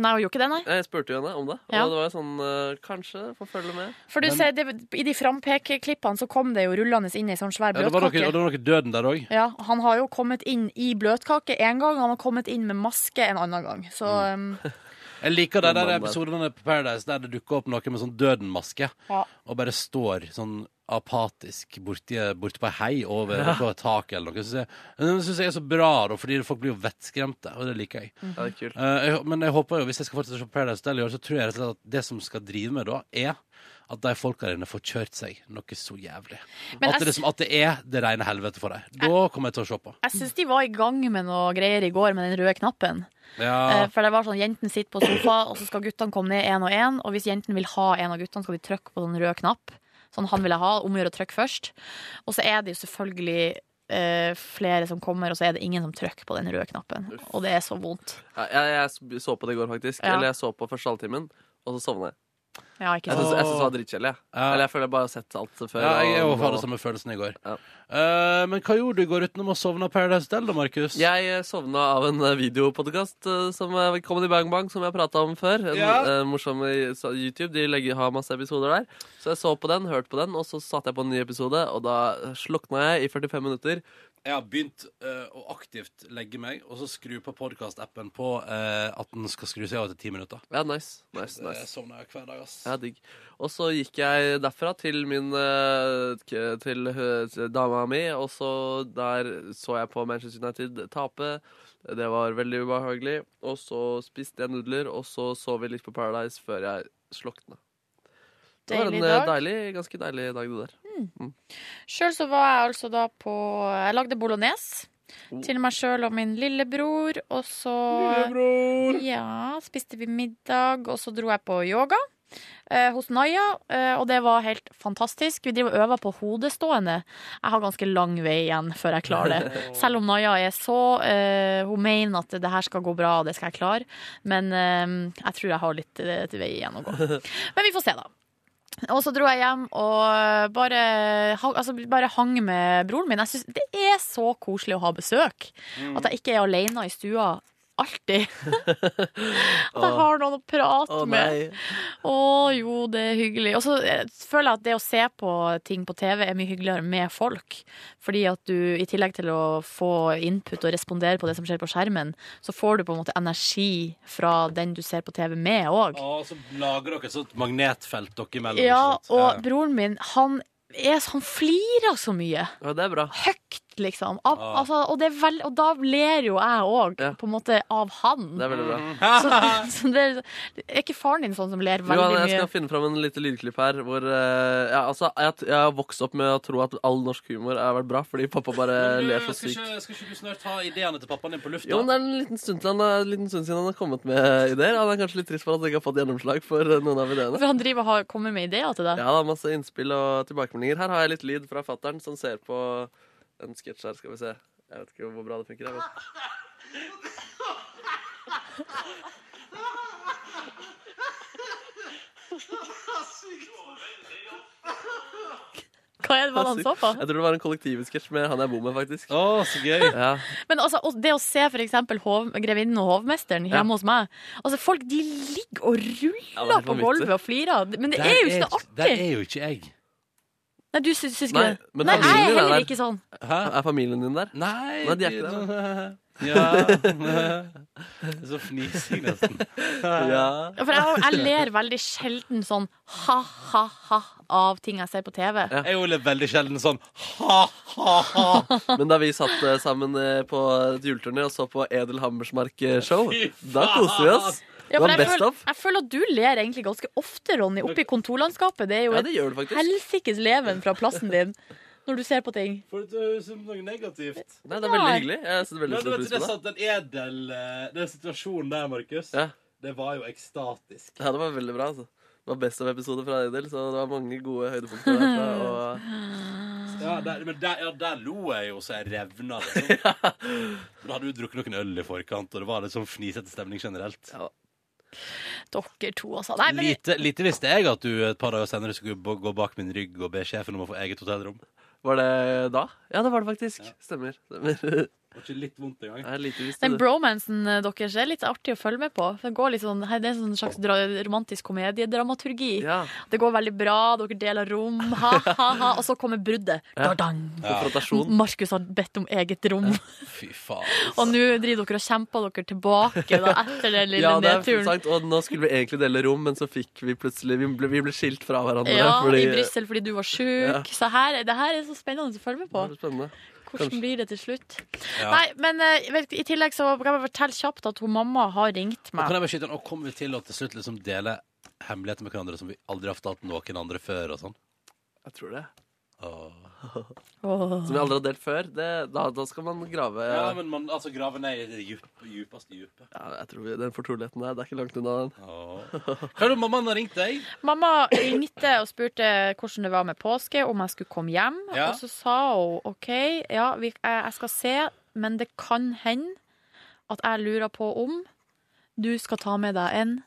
Speaker 2: Nei, hun gjorde ikke det, nei.
Speaker 4: Jeg spurte jo henne om det, og
Speaker 2: Ja.
Speaker 4: det var jo sånn eh, Kanskje få følge med.
Speaker 2: For du
Speaker 3: Men-
Speaker 2: ser, det, I de frampekeklippene så kom det jo rullende inn i sånn svær
Speaker 3: Ja, det, var noe,
Speaker 2: bløtkake.
Speaker 3: det var noe døden der òg.
Speaker 2: Ja, Han har jo kommet inn i bløtkake én gang, og han har kommet inn med maske en annen gang. Så
Speaker 3: Mm.
Speaker 2: um,
Speaker 3: Jeg liker de
Speaker 4: Den
Speaker 3: der
Speaker 4: mannen der.
Speaker 3: episodene på Paradise der det dukker opp noe med sånn døden-maske,
Speaker 2: Ja.
Speaker 3: og bare står sånn apatisk borti, borti på ei hei over på et tak eller noe. Synes jeg, men det syns jeg er så bra, da, fordi folk blir jo vettskremte, og det liker jeg.
Speaker 2: Mm.
Speaker 4: Ja, det er kult.
Speaker 3: Eh, jeg, men jeg håper jo, hvis jeg skal fortsette å se på Paradise Hotel i år, så tror jeg rett og slett at det som skal drive med da, er at de folka der inne får kjørt seg noe så jævlig.
Speaker 2: Men
Speaker 3: at, det
Speaker 2: jeg-
Speaker 3: liksom, at det er det rene helvete for dem. Da kommer jeg til å se på.
Speaker 2: Jeg syns de var i gang med noe greier i går med den røde knappen. Eh,
Speaker 3: Ja,
Speaker 2: For det var sånn, Jentene sitter på sofa, og så skal guttene komme ned én og én. Og hvis jentene vil ha en av guttene, skal de trykke på den røde knapp. Sånn han vil jeg ha, omgjør å trykke først. Og så er det jo selvfølgelig eh, flere som kommer, og så er det ingen som trykker på den røde knappen. Og det er så vondt.
Speaker 4: Ja, jeg, jeg så på det i går, faktisk.
Speaker 2: Ja.
Speaker 4: Eller jeg så på første halvtimen, og så sovna jeg.
Speaker 2: Ja, ikke
Speaker 4: Jeg
Speaker 2: sant.
Speaker 4: syns jeg syns det var drittkjedelig. jeg.
Speaker 3: Ja.
Speaker 4: Eller jeg føler jeg bare har sett alt før.
Speaker 3: Ja, jeg
Speaker 4: og
Speaker 3: og hadde
Speaker 4: nå-
Speaker 3: samme følelsen i går.
Speaker 4: Ja.
Speaker 3: Eh, men hva gjorde du i går utenom å sovne av Paradise Del, da, Markus?
Speaker 4: Jeg eh, sovna av en videopodkast som eh, Comedy Bang Bang, som jeg prata om før. En
Speaker 3: Ja.
Speaker 4: eh, morsom i- sa- YouTube. De legger, har masse episoder der. Så jeg så på den, hørte på den, og så satte jeg på en ny episode, og da eh, slukna jeg i 45 minutter.
Speaker 3: Jeg har begynt eh, å aktivt legge meg og så skru på podkastappen på eh, at den skal skru seg av til ti minutter.
Speaker 4: Ja, nice. nice,
Speaker 3: Jeg
Speaker 4: nice.
Speaker 3: sovner hver dag, ass.
Speaker 4: Ja, digg. Og så gikk jeg derfra til min eh, k- til eh, til dama mi, og så der så jeg på Manchester United tape. Det var veldig ubehagelig. Og så spiste jeg nudler, og så så vi litt på Paradise før jeg slokna. Det var
Speaker 2: Deilig
Speaker 4: en eh,
Speaker 2: dag.
Speaker 4: deilig, ganske deilig dag, det der.
Speaker 2: Sjøl så var jeg altså da på Jeg lagde bolognese
Speaker 4: Oh.
Speaker 2: til meg sjøl og min lillebror. Og så Ja, spiste vi middag, og så dro jeg på yoga. eh, hos Naya, eh, og det var helt fantastisk. Vi driver og øver på hodestående. Jeg har ganske lang vei igjen før jeg klarer det. Selv om Naya er så eh, Hun mener at det her skal gå bra, og det skal jeg klare. Men eh, jeg tror jeg har litt eh, til vei igjen å gå. Men vi får se, da. Og så dro jeg hjem og eh, bare, hang- altså bare hang med broren min. Jeg synes Det er så koselig å ha besøk. At jeg ikke er alene i stua alltid. At jeg har noen å prate med. Å jo, det er hyggelig. Og så eh, føler jeg at det å se på ting på TV er mye hyggeligere med folk. Fordi at du i tillegg til å få input og respondere på det som skjer på skjermen, så får du på en måte energi fra den du ser på TV med òg.
Speaker 3: Og så lager dere et sånt magnetfelt dere imellom.
Speaker 2: Ja,
Speaker 3: ikke sant?
Speaker 2: og broren min, han, er, han flirer så mye.
Speaker 4: Ja, det er bra.
Speaker 2: Høyt, liksom. Av,
Speaker 3: Ah.
Speaker 2: altså, og, det er vel, og da ler jo jeg òg,
Speaker 4: Ja.
Speaker 2: på en måte, av han.
Speaker 4: Det er veldig bra.
Speaker 2: Så, så det er, er ikke faren din sånn som ler veldig
Speaker 4: Johan, jeg
Speaker 2: mye?
Speaker 4: skal finne fram en liten lydklipp her. Hvor, eh, ja, altså, jeg, jeg har vokst opp med å tro at all norsk humor har vært bra, fordi pappa bare
Speaker 3: Men du,
Speaker 4: ler så
Speaker 3: skal,
Speaker 4: sykt.
Speaker 3: ikke, skal ikke du snart ha ideene til pappaen din på lufta?
Speaker 4: Jo, men Det er en liten stund, til han, har- en liten stund siden han har kommet med ideer. Han er kanskje litt trist for at han ikke har fått gjennomslag for eh, noen av ideene.
Speaker 2: For han driver og har- kommer med ideer til deg?
Speaker 4: Ja, da, Masse innspill og tilbakemeldinger. Her har jeg litt lyd fra fattern som ser på en sketsj her. Skal vi se. Jeg vet ikke hvor bra det funker. Jeg vet.
Speaker 2: Hva er det hva er det han så på?
Speaker 4: Jeg tror det var en kollektivsketsj med han jeg bor med, faktisk.
Speaker 3: Å, så gøy.
Speaker 4: Ja,
Speaker 2: Men altså, og det å se for eksempel hov, Grevinnen og hovmesteren
Speaker 4: Ja.
Speaker 2: hjemme hos meg altså Folk de ligger og
Speaker 4: Ja,
Speaker 2: ruller
Speaker 4: det er
Speaker 2: på
Speaker 4: vanvittig.
Speaker 2: gulvet og flirer. Men det er jo ikke noe
Speaker 3: Der
Speaker 2: artig!
Speaker 3: er jo ikke jeg.
Speaker 2: Nei, du syns syns ikke
Speaker 4: Nei,
Speaker 2: det?
Speaker 4: men
Speaker 2: Nei, jeg
Speaker 4: familien
Speaker 2: er
Speaker 4: er
Speaker 2: heller
Speaker 4: der.
Speaker 2: ikke sånn.
Speaker 3: Hæ?
Speaker 4: Er familien din der?
Speaker 3: Nei,
Speaker 4: Nei, de er ikke
Speaker 3: Ja. Så fnising, nesten.
Speaker 4: Ja.
Speaker 2: For jeg, jeg ler veldig sjelden sånn ha-ha-ha av ting jeg ser på TV.
Speaker 4: Ja.
Speaker 3: Jeg er jo veldig sjelden sånn ha-ha-ha.
Speaker 4: Men da vi satt eh, sammen eh, på et juleturné og så på Edel Hammersmark-show, da koste vi oss.
Speaker 2: Ja,
Speaker 4: Det var
Speaker 2: for jeg,
Speaker 4: best
Speaker 2: føler,
Speaker 4: of.
Speaker 2: jeg føler at du ler egentlig ganske ofte, Ronny, oppe i kontorlandskapet. Det er jo
Speaker 4: Ja, det
Speaker 2: et
Speaker 4: gjør du faktisk.
Speaker 2: helsikes leven fra plassen din når du ser på ting.
Speaker 3: For det høres ut som noe negativt.
Speaker 4: Nei, det er veldig
Speaker 2: Nei.
Speaker 4: hyggelig. Jeg setter veldig
Speaker 3: Men du
Speaker 4: stor
Speaker 3: vet, det er
Speaker 4: pris på det.
Speaker 3: sant, den edel eh, Den situasjonen der, Markus,
Speaker 4: Ja.
Speaker 3: det var jo ekstatisk.
Speaker 4: Ja, det var veldig bra, altså. Det var best of-episode fra Edel, så det var mange gode høydepunkter derfra. Og
Speaker 2: Ah.
Speaker 3: Ja, der, men der, ja, der lo jeg jo så jeg revna. Liksom. Men da hadde du drukket noen øl i forkant, og det var litt sånn fnisete stemning generelt.
Speaker 2: Dere to, altså. Nei, men
Speaker 3: Lite, lite visste jeg at du et par dager senere skulle gå gå bak min rygg og be sjefen om å få eget hotellrom.
Speaker 4: var det da? Ja, det var det faktisk. Stemmer. Stemmer.
Speaker 3: Det var ikke litt vondt engang.
Speaker 4: Jeg er lite visst
Speaker 2: Den
Speaker 4: det.
Speaker 2: bromansen eh, deres er litt artig å følge med på. Det, går litt sånn, hei, det er en slags dra romantisk komediedramaturgi.
Speaker 4: Ja,
Speaker 2: Det går veldig bra, dere deler rom, ha, ha, ha. Og så kommer bruddet.
Speaker 4: Ja.
Speaker 2: Dardang.
Speaker 4: konfrontasjon.
Speaker 2: Markus har bedt om eget rom,
Speaker 3: Fy faen.
Speaker 2: og nå driver dere og kjemper dere tilbake da, etter den lille
Speaker 4: Ja, det er
Speaker 2: nedturen.
Speaker 4: sant. Og nå skulle vi egentlig dele rom, men så fikk vi plutselig Vi ble, vi ble skilt fra hverandre.
Speaker 2: Ja,
Speaker 4: fordi-
Speaker 2: i Brussel fordi du var sjuk. Så her, det her er så spennende å følge med
Speaker 4: Det
Speaker 2: på.
Speaker 4: var spennende.
Speaker 2: Hvordan
Speaker 4: Kanskje.
Speaker 2: blir det til slutt?
Speaker 3: Ja.
Speaker 2: Nei, men eh, vet, i tillegg så kan jeg fortelle kjapt at hun mamma har ringt
Speaker 3: Og
Speaker 2: meg.
Speaker 3: kan jeg bare skyte inn, og kommer vi til å til slutt liksom dele hemmeligheter med hverandre som vi aldri har fortalt noen andre før og sånn?
Speaker 4: Jeg tror det.
Speaker 3: Åh.
Speaker 2: Åh.
Speaker 4: Som vi aldri har delt før. Det, da, da skal man grave
Speaker 3: Ja, men man altså grave ned i det djup, djupeste djupet.
Speaker 4: Ja, jeg tror vi, Den fortroligheten der, det er ikke langt unna den.
Speaker 3: Åh. Hva er det mammaen har ringt deg?
Speaker 2: Mamma ringte og spurte hvordan det var med påske, om jeg skulle komme hjem.
Speaker 3: Ja.
Speaker 2: Og så sa hun OK, ja, vi, jeg jeg skal se, men det kan hende at jeg lurer på om du skal ta med deg en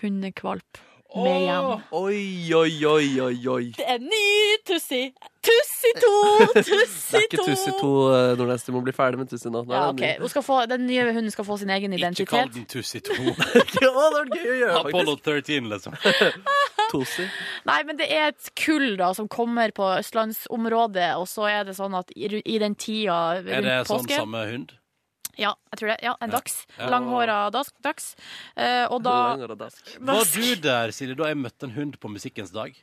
Speaker 2: hundekvalp.
Speaker 3: Åh,
Speaker 2: med hjem.
Speaker 4: Oi, oi, oi, oi, oi.
Speaker 2: Det er ny Tussi. Tussi 2!
Speaker 4: Det
Speaker 2: Tussi
Speaker 4: er ikke
Speaker 2: 2!
Speaker 4: Tussi 2, eh, Nordnes. Du må bli ferdig med Tussi nå. Nå
Speaker 2: Ja,
Speaker 4: er
Speaker 2: ok.
Speaker 4: det en ny.
Speaker 2: Hun skal få, den nye hunden skal få sin egen
Speaker 3: Ikke kall
Speaker 2: identitet.
Speaker 3: den Tussi 2.
Speaker 4: Ja, det hadde vært gøy å gjøre,
Speaker 3: Apollo 13, liksom.
Speaker 4: faktisk. Tussi.
Speaker 2: Nei, men det er et kull da som kommer på østlandsområdet, og så er det sånn at i ru- i den tida rundt
Speaker 3: Er det sånn
Speaker 2: påske
Speaker 3: samme hund?
Speaker 2: Ja, jeg tror det. Ja, en
Speaker 3: Ja.
Speaker 2: dags.
Speaker 3: Ja.
Speaker 2: Langhåra dags. dags. Eh, og da
Speaker 4: Lang og radask.
Speaker 3: Var du der, Silje, da jeg møtte en hund på Musikkens dag?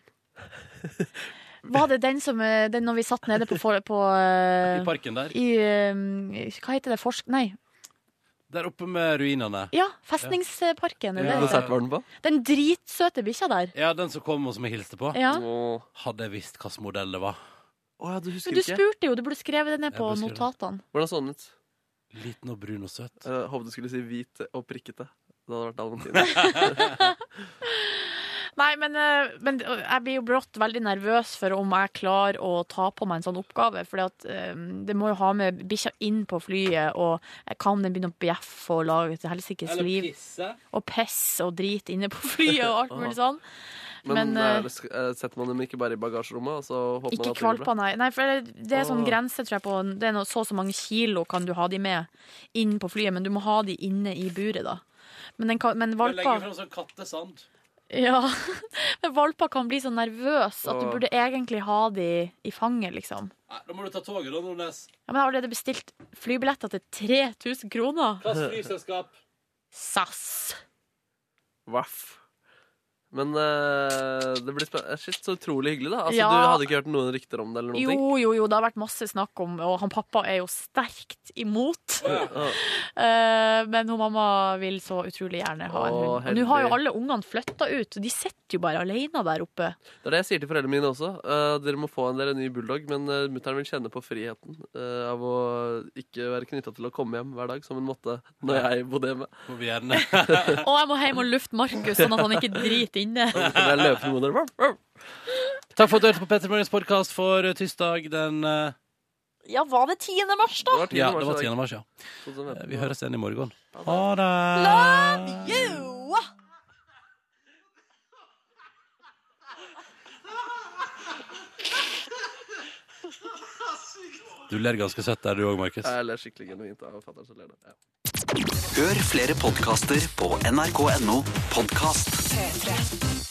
Speaker 2: Var det den som eh, den når vi satt nede på, for- på eh,
Speaker 3: I parken der?
Speaker 2: i, eh, Hva heter det? Forsk... Nei.
Speaker 3: Der oppe med ruinene.
Speaker 2: Ja, Festningsparken. er det
Speaker 3: Ja.
Speaker 2: det heter?
Speaker 4: Konsert var den på?
Speaker 2: Den dritsøte bikkja der.
Speaker 3: Ja, den som kom og som jeg hilste på.
Speaker 2: Ja.
Speaker 4: Åh.
Speaker 3: Hadde jeg visst hvilken modell det var.
Speaker 4: Å ja, du
Speaker 2: Men
Speaker 4: husker
Speaker 2: du
Speaker 4: ikke?
Speaker 2: spurte jo, du burde skrevet det ned
Speaker 3: Jeg
Speaker 2: på
Speaker 3: burde skrevet det.
Speaker 2: notatene.
Speaker 4: Hvordan så den ut?
Speaker 3: Liten og brun og søt.
Speaker 2: Eh,
Speaker 4: Jeg håpet du skulle si hvit og prikkete. Det hadde vært dalmatiner.
Speaker 2: Nei, men, eh, men jeg blir jo brått veldig nervøs for om jeg klarer å ta på meg en sånn oppgave. For det må jo ha med bikkja inn på flyet, og kan den begynne å bjeffe og lage et helsikes liv?
Speaker 3: pisse.
Speaker 2: Og piss og drit inne på flyet og alt mulig sånn.
Speaker 4: Men,
Speaker 2: Men,
Speaker 4: eh,
Speaker 2: eh,
Speaker 4: sk- eh, setter man dem ikke bare i bagasjerommet? Og så håper man
Speaker 2: Ikke
Speaker 4: at det går bra?
Speaker 2: kvalper, nei. nei. For det det er sånn
Speaker 4: Åh.
Speaker 2: grense, tror jeg, på Det er noe, så og så mange kilo kan du ha de med inn på flyet, men du må ha de inne i buret, da. Men, den kan, men valper
Speaker 3: fram sånn kattesand.
Speaker 2: Ja. Men valper kan bli så nervøse at du
Speaker 4: Åh.
Speaker 2: burde egentlig ha de i fanget, liksom.
Speaker 3: Nei, da må du ta toget, da, Nordnes.
Speaker 2: Ja, men jeg har allerede bestilt flybilletter til 3000 kroner.
Speaker 3: Hvilket flyselskap?
Speaker 2: SAS!
Speaker 4: Vaff. Men eh, det blir spen- eh, Shit, så utrolig hyggelig, da. Altså,
Speaker 2: Ja.
Speaker 4: Du hadde ikke hørt noen rykter om det? eller noen ting
Speaker 2: Jo, jo, jo, det har vært masse snakk om Og han pappa er jo sterkt imot.
Speaker 4: Ah,
Speaker 2: Eh, men hun mamma vil så utrolig gjerne ha en
Speaker 4: Å,
Speaker 2: hund. Og nå har jo
Speaker 4: heldig.
Speaker 2: alle ungene flytta ut, så de sitter jo bare alene der oppe.
Speaker 4: Det er det jeg sier til foreldrene mine også. Eh, dere må få en dere en ny bulldog, men uh, mutter'n vil kjenne på friheten eh, av å ikke være knytta til å komme hjem hver dag, som hun måtte når jeg bodde hjemme.
Speaker 3: Må vi gjerne.
Speaker 2: Og jeg må hjem og lufte Markus, sånn at han ikke driter inne.
Speaker 4: Så kunne jeg løpe til moder. Vroom, vroom.
Speaker 3: Takk for at du hørte på Petter Morgens podkast for eh, tirsdag den eh,
Speaker 2: Ja, var det 10. mars, da?
Speaker 4: Det var
Speaker 3: Ja,
Speaker 4: tiende
Speaker 3: det var
Speaker 4: mars i
Speaker 3: 10.
Speaker 4: dag, Sånn
Speaker 3: mars, ja. Eh,
Speaker 4: 2015.
Speaker 3: Vi høres igjen i morgen. Ha det!
Speaker 2: Jo!
Speaker 3: Du ler ganske søtt der, du òg, Markus.
Speaker 4: Jeg ler skikkelig genuint av fatter'n som ler. Ja.
Speaker 1: Hør flere podkaster på nrk.no podkast.